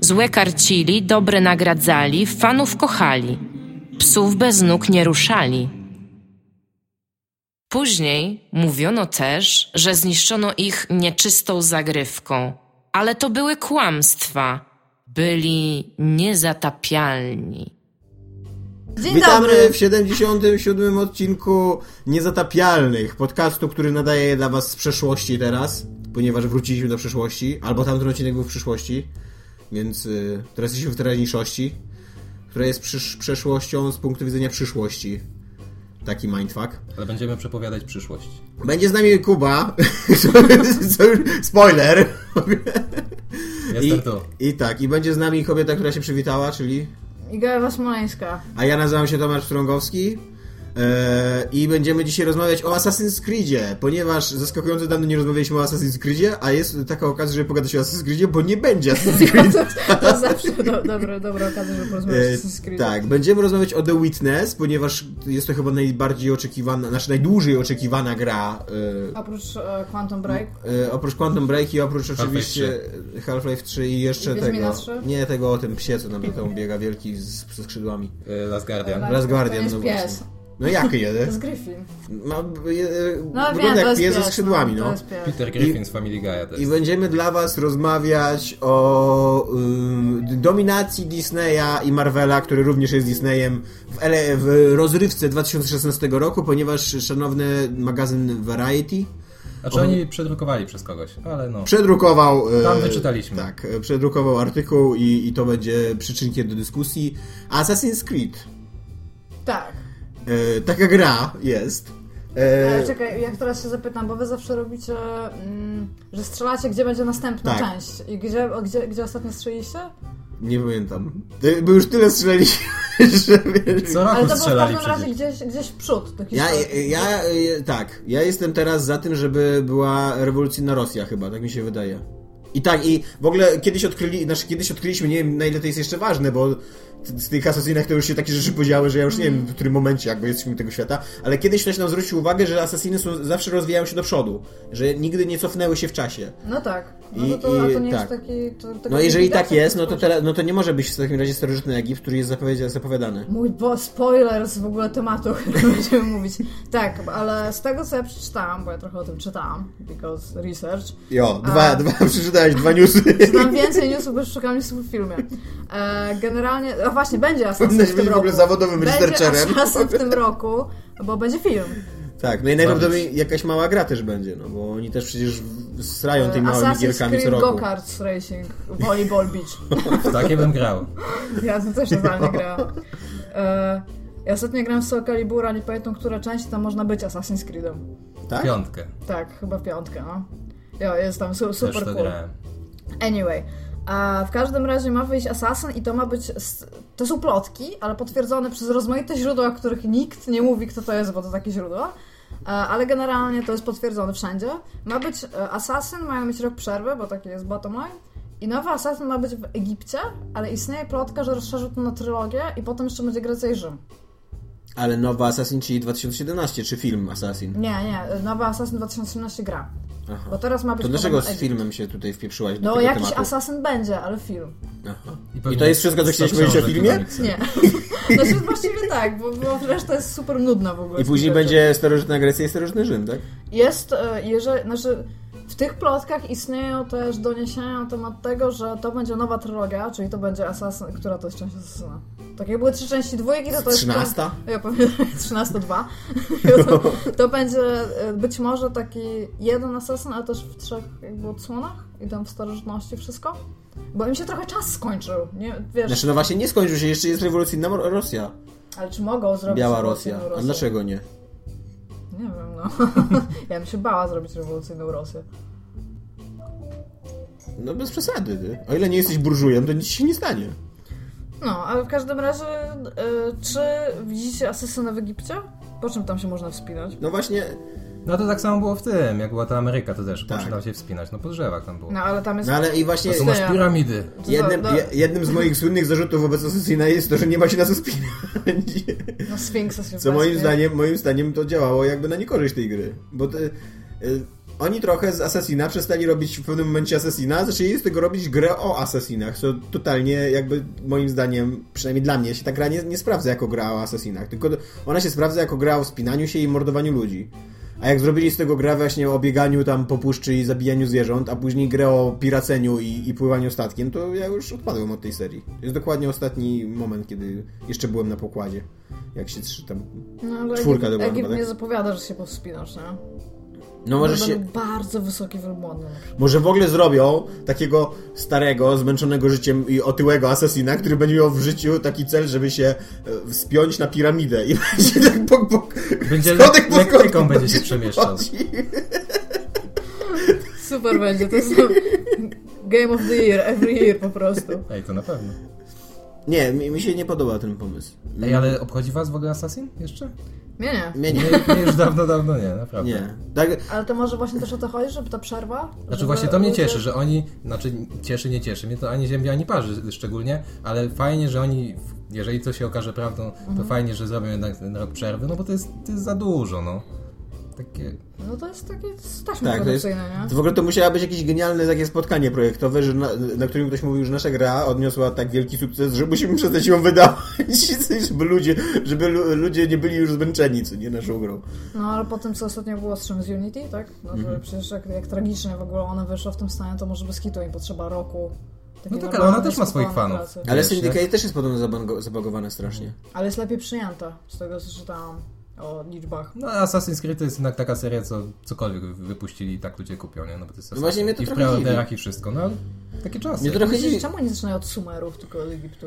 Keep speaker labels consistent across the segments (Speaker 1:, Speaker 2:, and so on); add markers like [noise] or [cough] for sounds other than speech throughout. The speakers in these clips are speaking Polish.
Speaker 1: Złe karcili, dobre nagradzali, fanów kochali. Psów bez nóg nie ruszali. Później mówiono też, że zniszczono ich nieczystą zagrywką, ale to były kłamstwa. Byli niezatapialni.
Speaker 2: Dzień
Speaker 3: Witamy
Speaker 2: dobry.
Speaker 3: w 77 odcinku Niezatapialnych, podcastu, który nadaje dla Was z przeszłości teraz, ponieważ wróciliśmy do przeszłości, albo tamten odcinek był w przyszłości, więc y, teraz jesteśmy w teraźniejszości, która jest przysz- przeszłością z punktu widzenia przyszłości. Taki mindfuck.
Speaker 4: Ale będziemy przepowiadać przyszłość.
Speaker 3: Będzie z nami Kuba. [laughs] Co- co- Spoiler!
Speaker 4: Jestem to.
Speaker 3: I tak, i będzie z nami kobieta, która się przywitała, czyli
Speaker 2: Iga
Speaker 3: [laughs]
Speaker 2: Wasmolańska.
Speaker 3: A ja nazywam się Tomasz Strągowski e, i będziemy dzisiaj rozmawiać o Assassin's Creedzie, ponieważ zaskakująco dawno nie rozmawialiśmy o Assassin's Creedzie, a jest taka okazja, żeby pogadać o Assassin's Creedzie, bo nie będzie Assassin's Creed.
Speaker 2: To zawsze do, dobra, dobra okazja, żeby porozmawiać
Speaker 3: E,
Speaker 2: z [laughs] Assassin's Creed.
Speaker 3: tak, będziemy rozmawiać o The Witness, ponieważ jest to chyba najbardziej oczekiwana, znaczy najdłużej oczekiwana gra e,
Speaker 2: Oprócz e, Quantum Break.
Speaker 3: E, oprócz Quantum Break i oprócz
Speaker 4: Half-Life
Speaker 3: oczywiście Half-Life 3 i jeszcze
Speaker 2: I Wiedźmina
Speaker 3: tego.
Speaker 2: 3?
Speaker 3: Nie tego o tym psie, co nam
Speaker 2: [laughs]
Speaker 3: za tą biega wielki z, ze skrzydłami.
Speaker 4: Y, Last Guardian.
Speaker 2: Ale-
Speaker 3: Raz
Speaker 2: to
Speaker 3: Guardian,
Speaker 2: jest
Speaker 3: no
Speaker 2: pies.
Speaker 3: właśnie.
Speaker 2: [laughs]
Speaker 3: No jaki
Speaker 2: To
Speaker 3: jeden?
Speaker 2: jest Griffin.
Speaker 3: Ma, je,
Speaker 2: No
Speaker 3: wygląda
Speaker 2: wiem, to
Speaker 3: jak
Speaker 2: jest
Speaker 3: pies
Speaker 2: pies.
Speaker 3: ze skrzydłami,
Speaker 2: To
Speaker 3: no.
Speaker 2: jest pies.
Speaker 4: Peter Griffin z Family Guy'a też.
Speaker 3: I będziemy dla was rozmawiać o ym, dominacji Disneya i Marvela, który również jest Disneyem w, ele, w rozrywce 2016 roku, ponieważ szanowny magazyn Variety
Speaker 4: Znaczy oni przedrukowali przez kogoś, ale no.
Speaker 3: przedrukował... e,
Speaker 4: Tam wyczytaliśmy.
Speaker 3: Tak, e, przedrukował artykuł i, i to będzie przyczynkiem do dyskusji. Assassin's Creed.
Speaker 2: Tak.
Speaker 3: E, taka gra jest. E,
Speaker 2: Ale czekaj, jak teraz się zapytam, bo wy zawsze robicie, mm, że strzelacie, gdzie będzie następna
Speaker 3: Tak.
Speaker 2: część. I gdzie, o, gdzie, gdzie ostatnio strzeliście?
Speaker 3: nie pamiętam. E, Bo już tyle strzeliliśmy, [laughs] że... wiesz,
Speaker 4: Co
Speaker 2: Ale
Speaker 4: roku
Speaker 2: to było w
Speaker 4: strzelali
Speaker 2: każdym razie
Speaker 4: przecież.
Speaker 2: gdzieś, gdzieś w przód. Do
Speaker 3: Tak, Ja,
Speaker 2: historii.
Speaker 3: ja, ja, tak, ja jestem teraz za tym, żeby była rewolucyjna Rosja chyba, tak mi się wydaje. I tak, i w ogóle kiedyś odkryli, znaczy kiedyś odkryliśmy, nie wiem na ile to jest jeszcze ważne, bo z z tych asasinach to już się takie rzeczy podziały, że ja już nie wiem w którym momencie jakby jesteśmy tego świata, ale kiedyś ktoś nam zwrócił uwagę, że asasiny są, zawsze rozwijają się do przodu, że nigdy nie cofnęły się w czasie.
Speaker 2: No tak. No
Speaker 3: I-
Speaker 2: to, to, a
Speaker 3: i-
Speaker 2: to nie
Speaker 3: tak.
Speaker 2: jest taki... To, tego
Speaker 3: No
Speaker 2: nie
Speaker 3: jeżeli
Speaker 2: widać,
Speaker 3: tak jest, no to,
Speaker 2: spojrzeć.
Speaker 3: teraz, no to nie może być w takim razie starożytny Egipt, który jest zapowiedzi- zapowiadany.
Speaker 2: Mój bo spoiler z w ogóle tematu, [laughs] o którym będziemy mówić. Tak, ale z tego co ja przeczytałam, bo ja trochę o tym czytałam, because research,
Speaker 3: Jo, dwa,
Speaker 2: A.
Speaker 3: dwa, [laughs] przeczytałeś dwa newsy.
Speaker 2: znam więcej newsów, bo szukam newsów w filmie. E, generalnie, a właśnie, będzie Assassin
Speaker 3: Powinnaś
Speaker 2: w
Speaker 3: być
Speaker 2: tym
Speaker 3: w ogóle
Speaker 2: roku.
Speaker 3: zawodowym
Speaker 2: Będzie
Speaker 3: researcherem.
Speaker 2: Assassin w tym roku, bo będzie film.
Speaker 3: Tak, no i najprawdopodobniej jakaś mała gra też będzie, no bo oni też przecież w- srają tymi małymi
Speaker 2: E, Assassin's
Speaker 3: gierkami co
Speaker 2: Creed
Speaker 3: roku.
Speaker 2: Go-Karts Racing, Volleyball Beach.
Speaker 4: W takie bym grał.
Speaker 2: Ja to też totalnie grałam. E, ja ostatnio grałam w Soul Calibura, nie pamiętam, która część tam można być Assassin's Creedem.
Speaker 3: Tak?
Speaker 4: Piątkę.
Speaker 2: Tak, chyba w piątkę, no. Jo, jest tam su-
Speaker 4: Też
Speaker 2: super
Speaker 4: to
Speaker 2: cool.
Speaker 4: grałem.
Speaker 2: Anyway. A w każdym razie ma wyjść Assassin i to ma być... s- To są plotki, ale potwierdzone przez rozmaite źródła, których nikt nie mówi, kto to jest, bo to takie źródła. E, Ale generalnie to jest potwierdzone wszędzie. Ma być e, Assassin, mają mieć rok przerwy, bo taki jest bottom line. I nowy Assassin ma być w Egipcie, ale istnieje plotka, że rozszerzy to na trylogię i potem jeszcze będzie Grecja i Rzym.
Speaker 3: Ale nowa Assassin, czyli 2017, czy film Assassin?
Speaker 2: Nie, nie, nowy Assassin 2018 gra.
Speaker 3: Aha.
Speaker 2: Bo teraz ma być...
Speaker 3: To dlaczego
Speaker 2: potem
Speaker 3: z
Speaker 2: Egipt.
Speaker 3: filmem się tutaj wpieprzyłaś do
Speaker 2: No
Speaker 3: tego
Speaker 2: jakiś
Speaker 3: tematu?
Speaker 2: asasyn będzie, ale
Speaker 3: [laughs]
Speaker 2: film.
Speaker 3: Aha.
Speaker 4: pewnie
Speaker 3: I to jest wszystko, co chcieliśmy
Speaker 4: sto
Speaker 3: powiedzieć o
Speaker 4: książek
Speaker 3: filmie?
Speaker 4: do końca.
Speaker 2: Nie. [laughs] Znaczy właściwie tak, bo, bo reszta jest super nudna w ogóle.
Speaker 3: I później
Speaker 2: Rzeczy.
Speaker 3: będzie starożytna Grecja i starożytny Rzym, tak?
Speaker 2: Jest, e, jeżeli, znaczy w tych plotkach istnieją też doniesienia na temat tego, że to będzie nowa trylogia, czyli to będzie Assassin, która to jest część Assassina. Tak jak były trzy części dwójki, No to to jest...
Speaker 3: 13?
Speaker 2: Ja powiem [laughs] 13-2. To, to będzie e, być może taki jeden asasyn, ale też w trzech jakby odsłonach i tam w starożytności wszystko. Bo im się trochę czas skończył, nie? Wiesz,
Speaker 3: Znaczy, no właśnie, nie skończył się, jeszcze jest rewolucyjna Ro- Rosja.
Speaker 2: Ale czy mogą zrobić
Speaker 3: Biała
Speaker 2: rewolucyjną
Speaker 3: Rosja. A dlaczego nie?
Speaker 2: Nie wiem, no. [laughs] ja bym się bała zrobić rewolucyjną Rosję.
Speaker 3: No bez przesady, ty. O ile nie jesteś burżujem, to nic się nie stanie.
Speaker 2: No, ale w każdym razie, y, czy widzicie asesyna w Egipcie? Po czym tam się można wspinać?
Speaker 3: No właśnie,
Speaker 4: No to tak samo było w tym, jak była ta Ameryka, to też
Speaker 3: Tak.
Speaker 4: tak. się wspinać, no po drzewach tam było.
Speaker 2: No, ale tam jest...
Speaker 3: no ale i właśnie...
Speaker 4: To są
Speaker 2: Nie.
Speaker 4: masz piramidy.
Speaker 3: Jednym,
Speaker 2: no, no,
Speaker 3: je, jednym z moich słynnych zarzutów wobec Assassina jest to, że nie ma się na co spinać.
Speaker 2: no Sfinksa się
Speaker 3: Co moim
Speaker 2: wpaśnie.
Speaker 3: zdaniem, moim zdaniem to działało jakby na niekorzyść tej gry. Bo te, y, oni trochę z Assassina przestali robić w pewnym momencie Assassina, zaczęli z tego robić grę o Assassinach, co totalnie jakby moim zdaniem, przynajmniej dla mnie, się ta gra nie, nie sprawdza jako gra o Assassinach, tylko ona się sprawdza jako gra o wspinaniu się i mordowaniu ludzi. A jak zrobili z tego grę właśnie o bieganiu tam po puszczy i zabijaniu zwierząt, a później grę o piraceniu i, i pływaniu statkiem, to ja już odpadłem od tej serii. To jest dokładnie ostatni moment, kiedy jeszcze byłem na pokładzie. Jak się trzy tam
Speaker 2: No, ale
Speaker 3: Czwórka
Speaker 2: Egipt,
Speaker 3: dobra,
Speaker 2: Egipt
Speaker 3: chyba, tak?
Speaker 2: nie zapowiada, że się powspinasz, nie?
Speaker 3: No może się,
Speaker 2: Będą bardzo wysokie wielbłądy. na przykład.
Speaker 3: może w ogóle zrobią takiego starego, zmęczonego życiem i otyłego asesina, który będzie miał w życiu taki cel, żeby się e, wspiąć na piramidę i [laughs] będzie tak po, po,
Speaker 4: Będzie
Speaker 3: schodek po
Speaker 4: lek- lektyką
Speaker 3: schodku
Speaker 4: będzie się przemieszczał.
Speaker 3: wchodzi.
Speaker 2: Super będzie, to jest [laughs] Game of the Year, every year po prostu.
Speaker 4: Ej, to na pewno.
Speaker 3: Nie, mi, mi się nie podoba ten pomysł.
Speaker 4: Ej, ale obchodzi was w ogóle Assassin jeszcze?
Speaker 2: Nie, nie.
Speaker 3: Mnie nie,
Speaker 4: Nie, nie już dawno, dawno nie, naprawdę.
Speaker 3: nie. Tak,
Speaker 2: Ale to może właśnie też o to chodzi, żeby ta przerwa?
Speaker 4: Znaczy
Speaker 2: żeby
Speaker 4: właśnie to mnie
Speaker 2: ludzie-
Speaker 4: cieszy, że oni, znaczy cieszy, nie cieszy mnie to ani ziemia, ani parzy szczególnie, ale fajnie, że oni, w- jeżeli to się okaże prawdą, to
Speaker 2: Mhm.
Speaker 4: fajnie, że zrobią jednak ten rok przerwy, no bo to jest, to jest za dużo, no. Takie,
Speaker 2: No to jest takie staśma
Speaker 3: tak, to jest,
Speaker 2: produkcyjne,
Speaker 3: to w ogóle to musiało być jakieś genialne takie spotkanie projektowe, że na, na którym ktoś mówił, że nasza gra odniosła tak wielki sukces, że musimy przestać ją wydawać, [laughs] żeby ludzie, żeby lu, ludzie nie byli już zmęczeni, co nie, naszą grą.
Speaker 2: nie? No ale po tym, co ostatnio było z czymś z Unity, tak? No że
Speaker 4: Mhm.
Speaker 2: przecież jak, jak tragicznie w ogóle ona wyszła w tym stanie, to może bez kitu im potrzeba roku. takiej
Speaker 4: No tak, ale
Speaker 2: normalnej,
Speaker 4: ona też ma swoich
Speaker 2: skupowanej
Speaker 4: fanów.
Speaker 2: pracy.
Speaker 3: Ale
Speaker 4: Wiesz,
Speaker 3: Syndicate też jest podobno zabango- zabagowane strasznie.
Speaker 2: Ale jest lepiej przyjęta, z tego co czytałam o liczbach.
Speaker 4: no a Assassin's Creed to jest jednak taka seria, co cokolwiek wy- wypuścili i tak ludzie kupią, nie? No bo to jest
Speaker 3: No właśnie
Speaker 4: Assassin.
Speaker 3: mnie to
Speaker 4: I w
Speaker 3: trochę
Speaker 4: preorderach i wszystko, no ale takie czasy.
Speaker 3: Mnie to trochę dziwi.
Speaker 2: Myślisz, czemu nie zaczynają od Sumerów, tylko od Egiptu?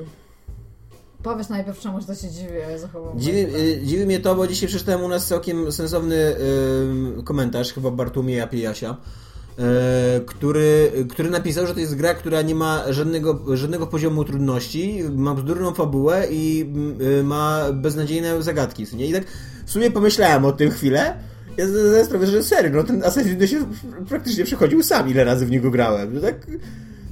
Speaker 2: Powiedz najpierw czemuś, to się dziwię, a ja zachowam.
Speaker 3: Dziwi, y, dziwi mnie to, bo dzisiaj przeczytałem u nas całkiem sensowny ym, komentarz, chyba Bartłomieja Pijasia, y, który, który napisał, że to jest gra, która nie ma żadnego, żadnego poziomu trudności, ma bzdurną fabułę i mm, y, ma beznadziejne zagadki. co Nie? I tak w sumie pomyślałem o tym chwilę. Ja z- zdałem sprawę, że serio, no ten Assassin to się praktycznie przechodził sam, ile razy w niego grałem. No tak,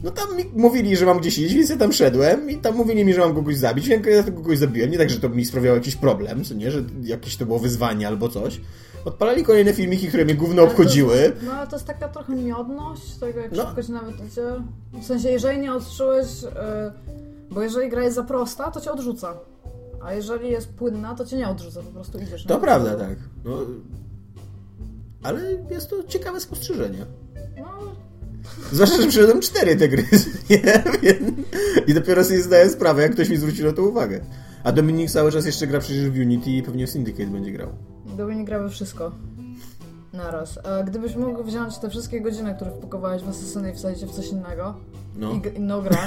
Speaker 3: no tam mi mówili, że mam gdzieś iść, więc ja tam szedłem i tam mówili mi, że mam kogoś zabić, więc ja tego kogoś zabiłem. Nie tak, że to mi sprawiało jakiś problem, co nie, że jakieś to było wyzwanie albo coś. Odpalali kolejne filmiki, które mnie gówno obchodziły.
Speaker 2: No ale to jest taka trochę miodność tego, jak
Speaker 3: No.
Speaker 2: szybko się nawet idzie. W sensie, jeżeli nie odczułeś... y, bo jeżeli gra jest za prosta, to cię odrzuca. A jeżeli jest płynna, to cię nie odrzuca, po prostu idziesz.
Speaker 3: To
Speaker 2: nie?
Speaker 3: prawda, tak. No, ale jest to ciekawe spostrzeżenie.
Speaker 2: No,
Speaker 3: Zwłaszcza, że przyszedłem cztery te gry, [laughs] nie? Więc- I dopiero sobie zdaję sprawę, jak ktoś mi zwrócił na to uwagę. A Dominik cały czas jeszcze gra przecież w Unity i pewnie w Syndicate będzie grał.
Speaker 2: Gdyby nie grały wszystko. Naraz. A gdybyś mógł wziąć te wszystkie godziny, które wpakowałeś w Assassiny i wsadzić je w coś innego,
Speaker 3: No.
Speaker 2: i g- inną
Speaker 3: [laughs]
Speaker 2: grę,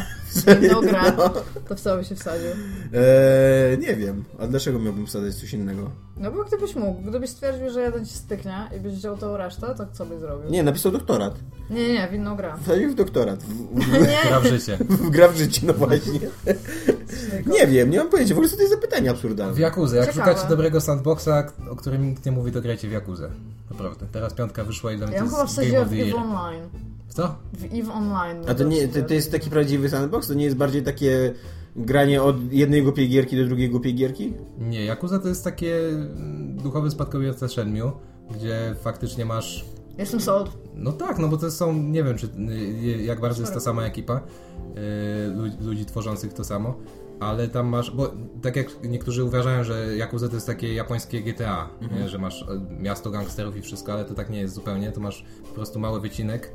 Speaker 2: i inną grę,
Speaker 3: No.
Speaker 2: to w co byś się wsadził?
Speaker 3: Eee, nie wiem. A dlaczego miałbym wsadzać coś innego?
Speaker 2: No bo gdybyś mógł, gdybyś stwierdził, że jeden ci styknie i byś wziął tą resztę, to co byś zrobił?
Speaker 3: Nie, napisał doktorat.
Speaker 2: nie, nie, w inną grę.
Speaker 3: Wsadził w doktorat. W, w,
Speaker 2: [laughs]
Speaker 4: Gra w
Speaker 3: [laughs]
Speaker 4: życie.
Speaker 3: w gra w życie, no właśnie. Nie wiem, nie mam pojęcia. W ogóle są to jest zapytanie
Speaker 4: W
Speaker 3: absurdalne.
Speaker 4: Jakuzę. Jak
Speaker 2: Ciekawe.
Speaker 4: szukacie dobrego sandboxa, o którym nikt nie mówi, to grajcie w Jakuzę. Naprawdę. Teraz piątka wyszła i dla mnie
Speaker 2: Ja
Speaker 4: to
Speaker 2: bym chyba
Speaker 4: jest Game
Speaker 2: wsadziła
Speaker 4: of
Speaker 2: w
Speaker 4: the
Speaker 2: Eve
Speaker 4: Year.
Speaker 2: Online.
Speaker 4: Co?
Speaker 2: W Eve Online.
Speaker 3: A to nie, to, to jest taki prawdziwy sandbox? To nie jest bardziej takie granie od jednej głupiej gierki do drugiej głupiej gierki?
Speaker 4: Nie, Yakuza to jest takie mm, duchowy spadkobierca Shenmue, gdzie faktycznie masz...
Speaker 2: Jestem sold.
Speaker 4: No tak, no bo to są, nie wiem czy, y, jak bardzo jest ta sama ekipa y, ludzi, ludzi tworzących to samo, ale tam masz, bo tak jak niektórzy uważają, że Yakuza to jest takie japońskie GTA,
Speaker 2: Mhm.
Speaker 4: nie, że masz y, miasto gangsterów i wszystko, ale to tak nie jest zupełnie, to masz po prostu mały wycinek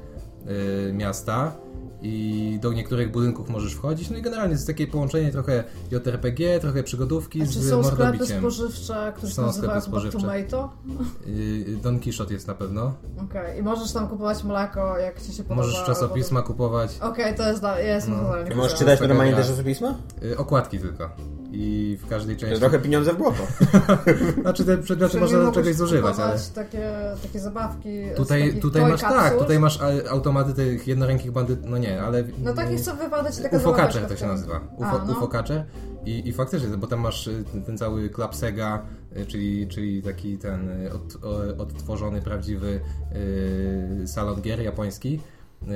Speaker 4: y, miasta i do niektórych budynków możesz wchodzić, no i generalnie to jest takie połączenie trochę JRPG, trochę przygodówki
Speaker 2: A czy
Speaker 4: z
Speaker 2: są sklepy
Speaker 4: mordobiciem.
Speaker 2: spożywcze, które się
Speaker 4: Są sklepy
Speaker 2: nazywają chyba
Speaker 4: spożywcze.
Speaker 2: Tomato?
Speaker 4: Y, Don Quixote jest na pewno.
Speaker 2: Okej, i możesz tam kupować mleko, jak ci się podoba.
Speaker 4: Możesz
Speaker 2: albo
Speaker 4: czasopisma kupować.
Speaker 2: Okej, to jest dla... Ja jestem no.
Speaker 3: Możesz czytać normalnie też czasopisma?
Speaker 4: Y, Okładki tylko. I w każdej części...
Speaker 3: Trochę pieniądze w błoto.
Speaker 4: Znaczy te przedmioty
Speaker 2: Czyli
Speaker 4: można do
Speaker 2: mogłeś
Speaker 4: czegoś zużywać, ale...
Speaker 2: kupować Takie, takie zabawki. z
Speaker 4: Tutaj,
Speaker 2: takich
Speaker 4: tutaj
Speaker 2: toy
Speaker 4: masz
Speaker 2: capsule.
Speaker 4: tak, tutaj masz e, automaty tych jednorękich bandyt, no nie, ale...
Speaker 2: No takich, co wypada ci taka
Speaker 4: Ufokacze
Speaker 2: zabaweczka
Speaker 4: to się
Speaker 2: w tym.
Speaker 4: nazywa.
Speaker 2: A,
Speaker 4: Ufo,
Speaker 2: no.
Speaker 4: Ufokacze. I, I faktycznie, bo tam masz y, ten, ten cały klap Sega, y, czyli, czyli taki ten y, od, o- odtworzony, prawdziwy y, salon gier japoński.